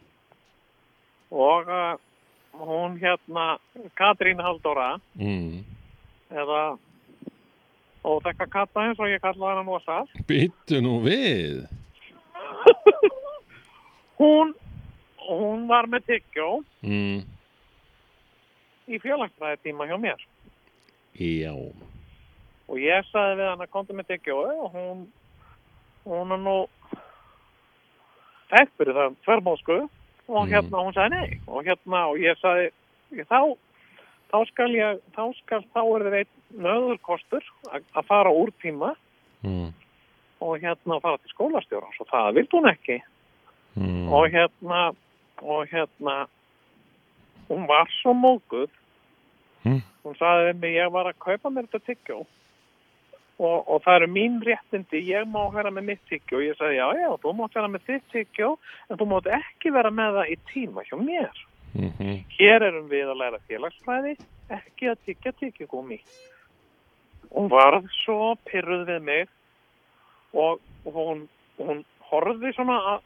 Speaker 9: og uh, hún hérna Katrín Haldóra
Speaker 4: Mm.
Speaker 9: eða óþekka katta eins og ég kallaði hann ósa
Speaker 2: Byttu nú við
Speaker 9: hún, hún var með tyggjó
Speaker 4: Mm.
Speaker 9: í félagsfræði tíma hjá mér
Speaker 4: Já.
Speaker 9: og ég sagði við hann að komdu með tyggjó og hún hún er nú þekkt fyrir það þvermóðsku og
Speaker 4: Mm.
Speaker 9: hérna hún sagði nei og hérna og ég sagði ég, þá þá skal ég þá skal þá er það einn nöður kostur að, að fara úr tíma
Speaker 2: Mm.
Speaker 9: og hérna fara til skólastjóra og það vildi hún ekki
Speaker 2: Mm.
Speaker 9: og hérna og hérna hún var svo móguð
Speaker 2: Mm.
Speaker 9: hún sagði við mig ég var að kaupa mér þetta tyggjó og, og það eru mín réttindi ég má vera með mitt tyggjó ég sagði já já, þú mátt vera með þitt tyggjó en þú mátt ekki vera með það í tíma hjá mér
Speaker 2: Mhm.
Speaker 9: hér erum við að læra félagsfræði ekki að tyggja tyggjugúmi hún var svo pyrruð við mig og og hún, hún horfði svona að,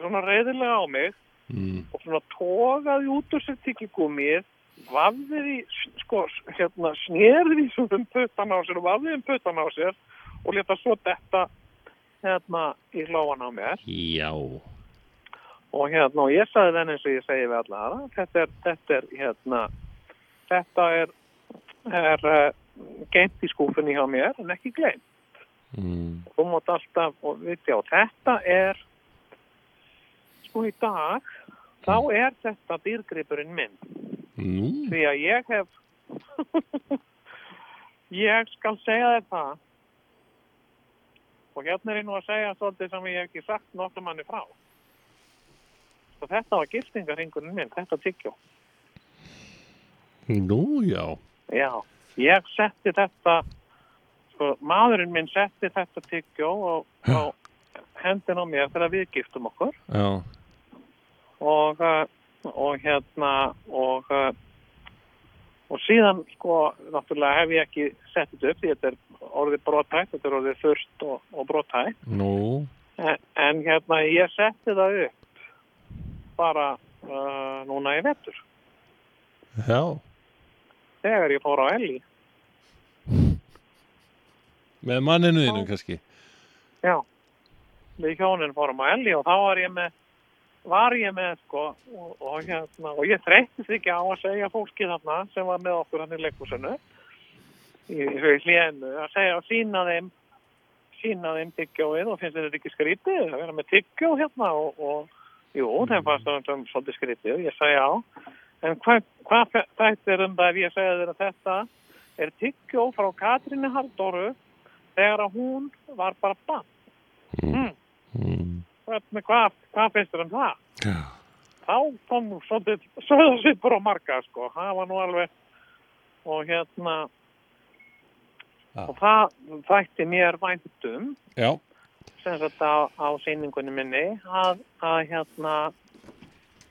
Speaker 9: svona reyðilega á mig
Speaker 2: Mm.
Speaker 9: og svona tógaði út úr sér tyggigúmið vafðið í, sko, hérna, snerðið í svona um puttan á sér og vafðið um puttan á sér og leta svo detta hérna í hlóan á mér
Speaker 4: Já.
Speaker 9: og hérna, og ég sagði þenni eins og ég segi við alla aðra, þetta er, þetta er hérna, þetta er er uh, geimt í skúfunni hjá mér en ekki gleym
Speaker 2: Mm.
Speaker 9: þú mátt alltaf og vitja og þetta er sko í dag þá er þetta dýrgripurinn minn
Speaker 2: Nú
Speaker 9: því að ég hef ég skal segja þér það og hérna er ég nú að segja svolítið sem ég hef ekki sagt nokkuð manni frá og þetta var giftingarringurinn minn, þetta tyggjó
Speaker 2: Nú, já
Speaker 9: Já, ég setti þetta sko, maðurinn minn setti þetta tyggjó og, og hendin á mér þegar við giftum okkur
Speaker 2: Já,
Speaker 9: og, uh, og hérna og uh, og síðan sko náttúrulega hef ég ekki sett þetta upp því þetta er orðið brotætt, þetta er orðið þurft og, og brotætt
Speaker 2: nú
Speaker 9: en, en hérna ég setti það upp bara uh, núna í vettur
Speaker 2: Já,
Speaker 9: þegar ég fór á Elli
Speaker 2: með manninu þínu kannski
Speaker 9: Já, við hjónin fórum á Elli og þá var ég með, var ég með sko og, og, hérna, og ég þreyttist ekki á að segja fólki þarna sem var með okkur hann í leikúsinu í hljénu að segja og sína þeim sína þeim tyggjóið og finnst þeir þetta ekki skrítið að vera með tyggjó hérna og, og jú, þeim fannst það sem svolítið skrítið og ég sagði já en hvað hva, þetta er um það ef ég segja þeir að þetta er tyggjó frá Katrínu Haldóru þegar að hún var bara bann mm. Hvernig, hvað, hvað finnst þér um það?
Speaker 2: Já.
Speaker 9: þá kom nú svolítið söðarsvipur á marga sko, það var nú alveg og hérna
Speaker 2: Já.
Speaker 9: og það þætti mér væntum
Speaker 2: Já,
Speaker 9: sem sagt á, á sýningunni minni að, að hérna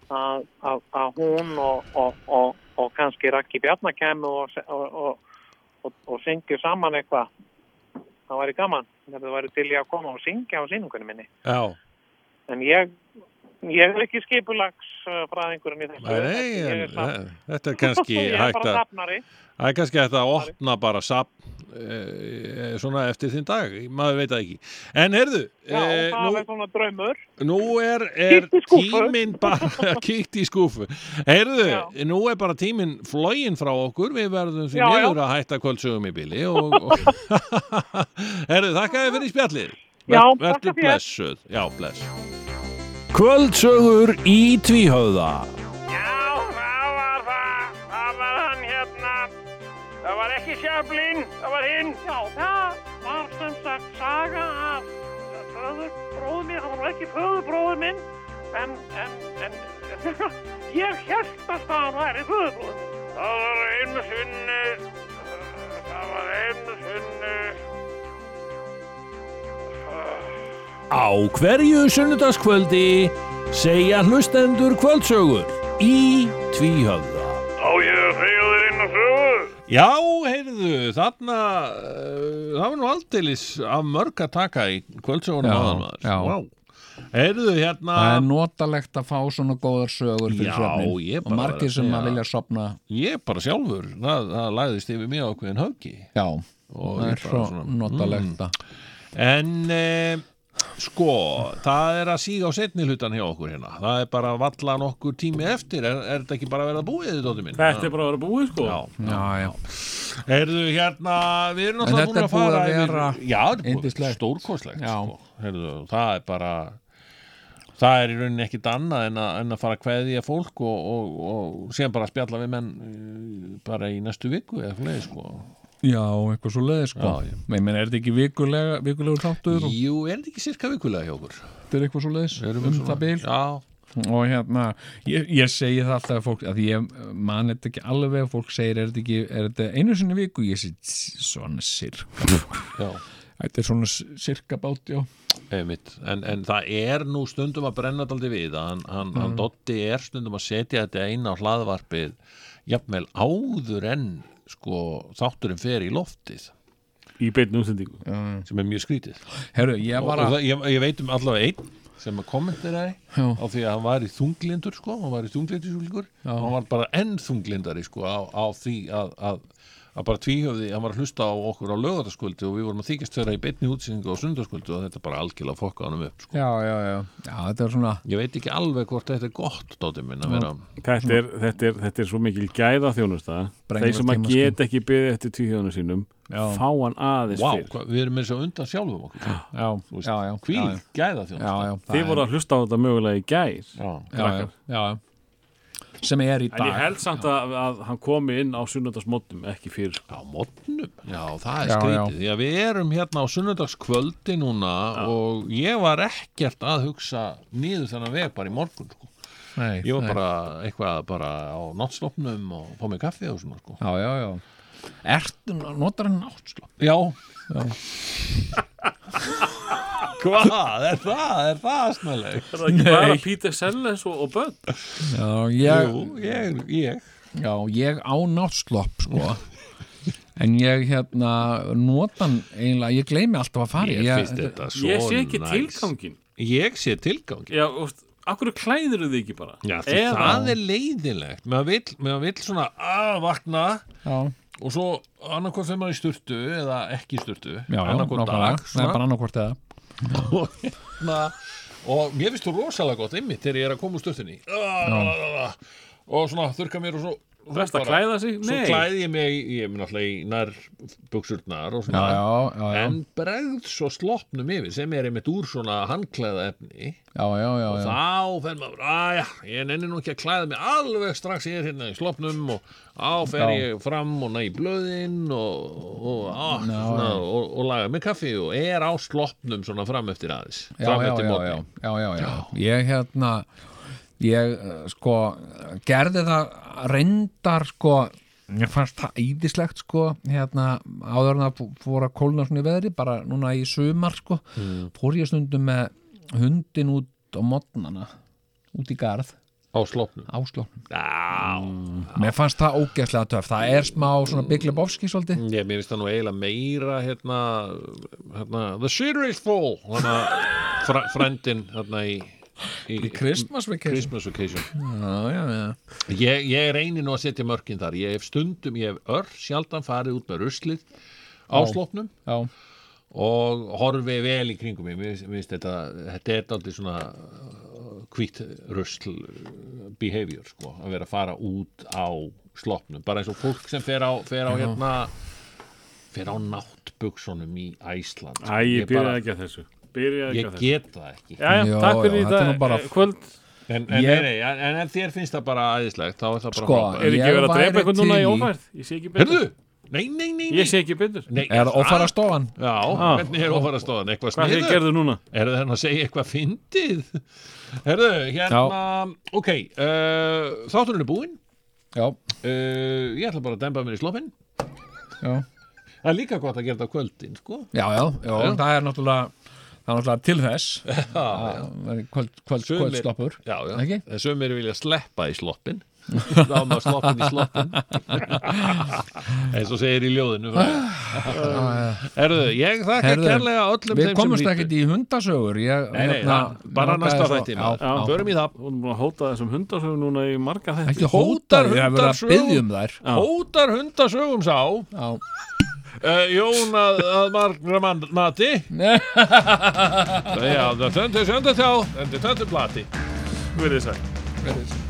Speaker 9: að, að, að hún og, og, og, og kannski Raki Bjarnar kemur og, og, og, og, og syngju saman eitthvað það væri gaman þegar það væri til ég að koma og syngja á sýningunni minni
Speaker 2: já,
Speaker 9: en ég ég er ekki skipulags uh, fræðingurinn í þessu
Speaker 2: nei, nei
Speaker 9: Ég
Speaker 2: en,
Speaker 9: er safn-
Speaker 2: eh, þetta er kannski
Speaker 9: ég er
Speaker 2: hægt
Speaker 9: bara
Speaker 2: að
Speaker 9: safnari
Speaker 2: Það er kannski hægt að opna bara sapn e, svona eftir þinn dag maður veit það ekki En heyrðu,
Speaker 9: já,
Speaker 2: e,
Speaker 9: og það
Speaker 2: nú,
Speaker 9: er svona draumur
Speaker 2: nú er, er
Speaker 9: Kíkt í skúffu.
Speaker 2: tíminn bara kíkt í skúfu Heyrðu,
Speaker 9: Já.
Speaker 2: nú er bara tíminn flógin frá okkur við verðum því
Speaker 9: Já, já.
Speaker 2: niður að hætta kvöldsögum í bíli og, og Heyrðu, þakka þér fyrir spjallið
Speaker 9: Já,
Speaker 2: Ver-
Speaker 9: þakka
Speaker 2: vertu
Speaker 9: þér.
Speaker 2: blessuð Já, bless
Speaker 11: Kvöldsögur í tvíhöða
Speaker 8: Það var hann hérna. Það var ekki sjöflin, það var hinn.
Speaker 6: Já, það var sem sagt saga af föður bróður minn, hann var ekki föður bróður minn, en, en, en, ég held að það væri föður bróður minn.
Speaker 8: Það var einu sinni. Það var einu sinni.
Speaker 11: Á hverju sunnudagskvöldi segja hlustendur kvöldsögur í tvíhöða
Speaker 8: Á ég að segja þér einu sögu?
Speaker 2: Já, heyrðu, þarna uh, það var nú aldeilis af mörg að taka í kvöldsögunum
Speaker 3: Já,
Speaker 2: áðan maður
Speaker 3: já.
Speaker 2: Vá. Heyrðu, hérna
Speaker 3: það er notalegt að fá svona góðar sögur fyrir
Speaker 2: Já, ég
Speaker 3: svefnin og
Speaker 2: bara er
Speaker 3: margir
Speaker 2: að
Speaker 3: sem
Speaker 2: segja-
Speaker 3: að vilja sopna
Speaker 2: Ég bara sjálfur, það, það læðist yfir mig ákveðin höggi
Speaker 3: já,
Speaker 2: og
Speaker 3: það
Speaker 2: ég
Speaker 3: er
Speaker 2: bara
Speaker 3: svo
Speaker 2: svona,
Speaker 3: notalegt að
Speaker 2: En eh, sko, það er að síga á setni hlutan hjá okkur hérna Það er bara að valla nokkur tími eftir Er, er þetta ekki bara að vera búið, þetta dóttir minn?
Speaker 4: Þetta er bara að vera búið sko
Speaker 2: mm.
Speaker 3: já, já,
Speaker 2: Heyrðu, hérna, við erum
Speaker 3: En
Speaker 2: náttúrulega
Speaker 3: þetta
Speaker 2: búin
Speaker 3: er
Speaker 2: að
Speaker 3: búið
Speaker 2: fara
Speaker 3: að
Speaker 2: yfir-
Speaker 3: vera
Speaker 2: Já, þetta er búið
Speaker 3: yndislegt.
Speaker 2: stórkostlegt
Speaker 3: Já.
Speaker 2: sko. Heyrðu, það er bara það er í rauninni ekkit annað en að, en að fara að kveðja fólk og, og, og síðan bara að spjalla við menn eh, bara í næstu viku eða fyrir leið sko.
Speaker 3: já, eitthvað svo leiði sko
Speaker 2: Já, já.
Speaker 3: ég menn, er þetta ekki vikulega, vikulegur þáttur og
Speaker 2: Jú, er þetta ekki sirka vikulega hjá okkur?
Speaker 3: þetta er eitthvað svo leiðis
Speaker 2: Erum
Speaker 3: um
Speaker 2: við svona-
Speaker 3: það bil
Speaker 2: Já,
Speaker 3: og hérna, ég, ég segi það alltaf að fólk, að ég man þetta ekki alveg og fólk segir, er þetta ekki, er þetta einu sinni í viku, ég segi, "Tss, svona sirka
Speaker 2: já,
Speaker 3: þetta er svona s- sirka bát, já
Speaker 2: einmitt en, en það er nú stundum að brenna daldi við að hann, hann,
Speaker 3: Mm.
Speaker 2: hann Dotti er stundum að setja þetta einn á hlaðvarpið jafnvel áður en sko þátturinn fer í loftið
Speaker 4: Í beinni útsendingu
Speaker 2: sem er mjög skrítið
Speaker 3: herru, ég
Speaker 2: og,
Speaker 3: var
Speaker 2: og
Speaker 3: að
Speaker 2: það, ég, ég veit um allavega einn sem að kommenteraði
Speaker 3: Já.
Speaker 2: á því að hann var í þunglindur sko, hann var í þunglindisúlingur og hann var bara enn þunglindari sko á, á því að, að, að bara tvíhjöfði, hann var að hlusta á okkur á lögataskvöldi og við vorum að þykjast þeirra í beinni útsendingu á sundarskvöldi og þetta bara algjörlega fokkaði hann upp sko.
Speaker 3: já, já, já, já, þetta er svona
Speaker 2: Ég veit ekki alveg hvort þetta er gott, Dóti minn, að vera
Speaker 4: þetta er, þetta, er, þetta er svo mikil gæða þjónusta
Speaker 3: Brenglar
Speaker 4: Þeir sem að
Speaker 3: tíma, sko.
Speaker 4: geta ekki byggði eftir tvíhjóðunum sínum
Speaker 3: Já.
Speaker 4: Fá hann aðeins
Speaker 2: Vá,
Speaker 4: fyrr
Speaker 2: hvað, við erum eins og undan sjálfum okkur sko.
Speaker 3: já, já, já,
Speaker 2: Hví,
Speaker 3: já, já,
Speaker 2: gæða
Speaker 3: já, já, það er-
Speaker 4: Þið voru að hlusta á þetta mögulega í gær
Speaker 2: Já,
Speaker 3: já, já, já, já. sem er í
Speaker 4: En ég
Speaker 3: dag
Speaker 4: held samt að, að hann komi inn á sunnundarsmóttum ekki fyrir sko.
Speaker 2: á modnum Já, það er
Speaker 3: Já,
Speaker 2: skrítið,
Speaker 3: já.
Speaker 2: því að við erum hérna á sunnudagskvöldi núna og ég var ekkert að hugsa niður þennan veg bara í morgun sko.
Speaker 3: Nei,
Speaker 2: Ég var
Speaker 3: nei.
Speaker 2: bara eitthvað bara á náttsloppnum og fá mig kaffi og svona sko.
Speaker 3: já, já, já Ertu, notar hann náttúrulega
Speaker 2: Já, Hvað, er það, er það snarleg?
Speaker 4: Er það ekki bara Peter Sellers og, og Bödd?
Speaker 3: Já, ég,
Speaker 2: Jú, ég, ég
Speaker 3: já, ég á náttslopp sko En ég hérna notan eiginlega, ég gleymi alltaf að fara í.
Speaker 2: Ég finnst þetta svo
Speaker 4: Ég sé ekki
Speaker 2: næs.
Speaker 4: tilgangin
Speaker 2: Ég sé tilgang
Speaker 4: Já, úst, akkur klæður þið ekki bara
Speaker 2: Já, því það er leiðilegt Maður vill, maður vill svona að vakna
Speaker 3: Já,
Speaker 2: og svo annarkvort þegar maður í sturtu eða ekki í sturtu
Speaker 3: já, já,
Speaker 2: annarkvort
Speaker 3: nákvæmlega.
Speaker 2: dag
Speaker 3: Nei, bara
Speaker 2: svona,
Speaker 3: annarkvort eða
Speaker 2: og, hérna, og mér finnst þú rosalega gott einmitt þegar ég er að koma úr sturtunni Ah, og svona þurka mér og svo og svo
Speaker 4: Best að
Speaker 2: bara-
Speaker 4: klæða sig?
Speaker 2: Svo
Speaker 4: Nei,
Speaker 2: klæði ég mig, í- ég mun alltaf í nær buksurnar og
Speaker 3: Já,
Speaker 2: svona
Speaker 3: já, já, já,
Speaker 2: En bregð svo sloppnum yfir sem er einmitt úr svona handklæða efni
Speaker 3: já, já, já, já.
Speaker 2: þá fer maður, aðja, ég nenni nú ekki að klæða mig alveg strax ég er hérna í slopnum og á fer
Speaker 3: Já.
Speaker 2: ég fram og næ í blöðin og, og, á,
Speaker 3: Já,
Speaker 2: svona,
Speaker 3: já.
Speaker 2: og, og laga mig kaffi og er á slopnum svona fram eftir aðeins
Speaker 3: já,
Speaker 2: fram
Speaker 3: já,
Speaker 2: eftir
Speaker 3: já,
Speaker 2: morgni.
Speaker 3: já, já, já, já. Ég hérna ég eh, sko gerði það reyndar sko ég fannst það æðislegt sko hérna áður en að fó- fór að kólna svona í veðri bara núna í sumar sko fór ég stundum með hundin út á modnana út í garð
Speaker 2: á slopnum
Speaker 3: áslóknum mér fannst það ógeðslega töf það er smá svona Big Lebowski svolítið
Speaker 2: Ég, mér finnst það nú eiginlega meira hérna, hérna The Shittery Fall hérna, fr frendin hérna í, í,
Speaker 3: Christmas Vacation.
Speaker 2: Christmas Vacation
Speaker 3: já, já, já,
Speaker 2: Ég, ég reynir nú að setja mörkin þar Ég hef stundum, ég hef ör sjaldan farið út með ruslið á slopnum
Speaker 3: já,
Speaker 2: og horfi vel í kringum mig Mér mér finnst þetta, þetta er aldrei svona kvitt rusl uh, behavior sko, að vera að fara út á slopnum, bara eins og fólk sem fer á, fer á hérna fer á náttbuksunum í Æsland
Speaker 4: Æ, ég
Speaker 2: ég, bara,
Speaker 4: byrjaði ekki að þessu Byrjaði ekki
Speaker 2: ég
Speaker 4: að þessu
Speaker 2: get það ekki
Speaker 4: Jæja,
Speaker 3: Já,
Speaker 4: takk fyrir
Speaker 3: já,
Speaker 4: í
Speaker 3: þetta er
Speaker 4: dag
Speaker 3: nú bara-
Speaker 4: eh, kvöld
Speaker 2: en, en,
Speaker 3: Ég-
Speaker 2: nei, nei, en, en ef þér finnst það bara æðislegt þá er það bara
Speaker 3: Sko,
Speaker 2: frábært.
Speaker 4: Er ekki
Speaker 3: Ég
Speaker 4: verið að
Speaker 3: væri
Speaker 4: drepa eitthvað núna í
Speaker 3: til í-
Speaker 4: ófærð? Ég sé ekki betur
Speaker 2: Heyrðu, nei, nei, nei, nei.
Speaker 4: Ég sé ekki betur
Speaker 2: nei
Speaker 3: er það ofara stofan
Speaker 2: Já, hvernig er ofara stóðan? Eitthvað
Speaker 4: Ah. Hvað þið
Speaker 2: sniður?
Speaker 4: gerðu núna?
Speaker 2: Er það hann að segja eitthvað fyndið? Herðu, hérna, ok, uh, þátturinn er búinn.
Speaker 3: já,
Speaker 2: Uh, ég ætla bara að demba mér í sloppinn.
Speaker 3: já
Speaker 2: Það er líka gott að gera þetta á kvöldin, sko.
Speaker 3: já, já, já, það er náttúrulega það er náttúrulega til þess
Speaker 2: Já,
Speaker 3: að vera kvöld, kvöld,
Speaker 2: Sumir-
Speaker 3: kvöldstoppur
Speaker 2: já, já.
Speaker 3: Ekki?
Speaker 2: Þessum eru vilja sleppa í sloppinn. Ráma sloppin í sloppin eins og segir í ljóðinu Uh, Herðu, ég þakka
Speaker 3: Ah. Herðu,
Speaker 2: kærlega öllum
Speaker 3: Við
Speaker 2: þeim sem
Speaker 3: komumst ekkert í hundasögur ég, hérna,
Speaker 2: Nei, nei, það- bara
Speaker 3: langaði
Speaker 2: næsta
Speaker 3: svo-
Speaker 2: þætti,
Speaker 3: já,
Speaker 2: maður.
Speaker 3: já.
Speaker 2: Förum í það
Speaker 4: Hún er búin að hóta þessum hundasögum núna í marga þetta
Speaker 3: Ekki
Speaker 2: Hótar
Speaker 3: hótar ég hef verið að
Speaker 2: hundarsögum.
Speaker 3: biðja um þær
Speaker 4: Já.
Speaker 2: hótar hundasögum sá
Speaker 3: Já.
Speaker 2: Uh, Jón að, að margra mann nati Já, það söndu söndu þjá Söndu söndu plati
Speaker 4: Verið sæl
Speaker 3: Verið sæl.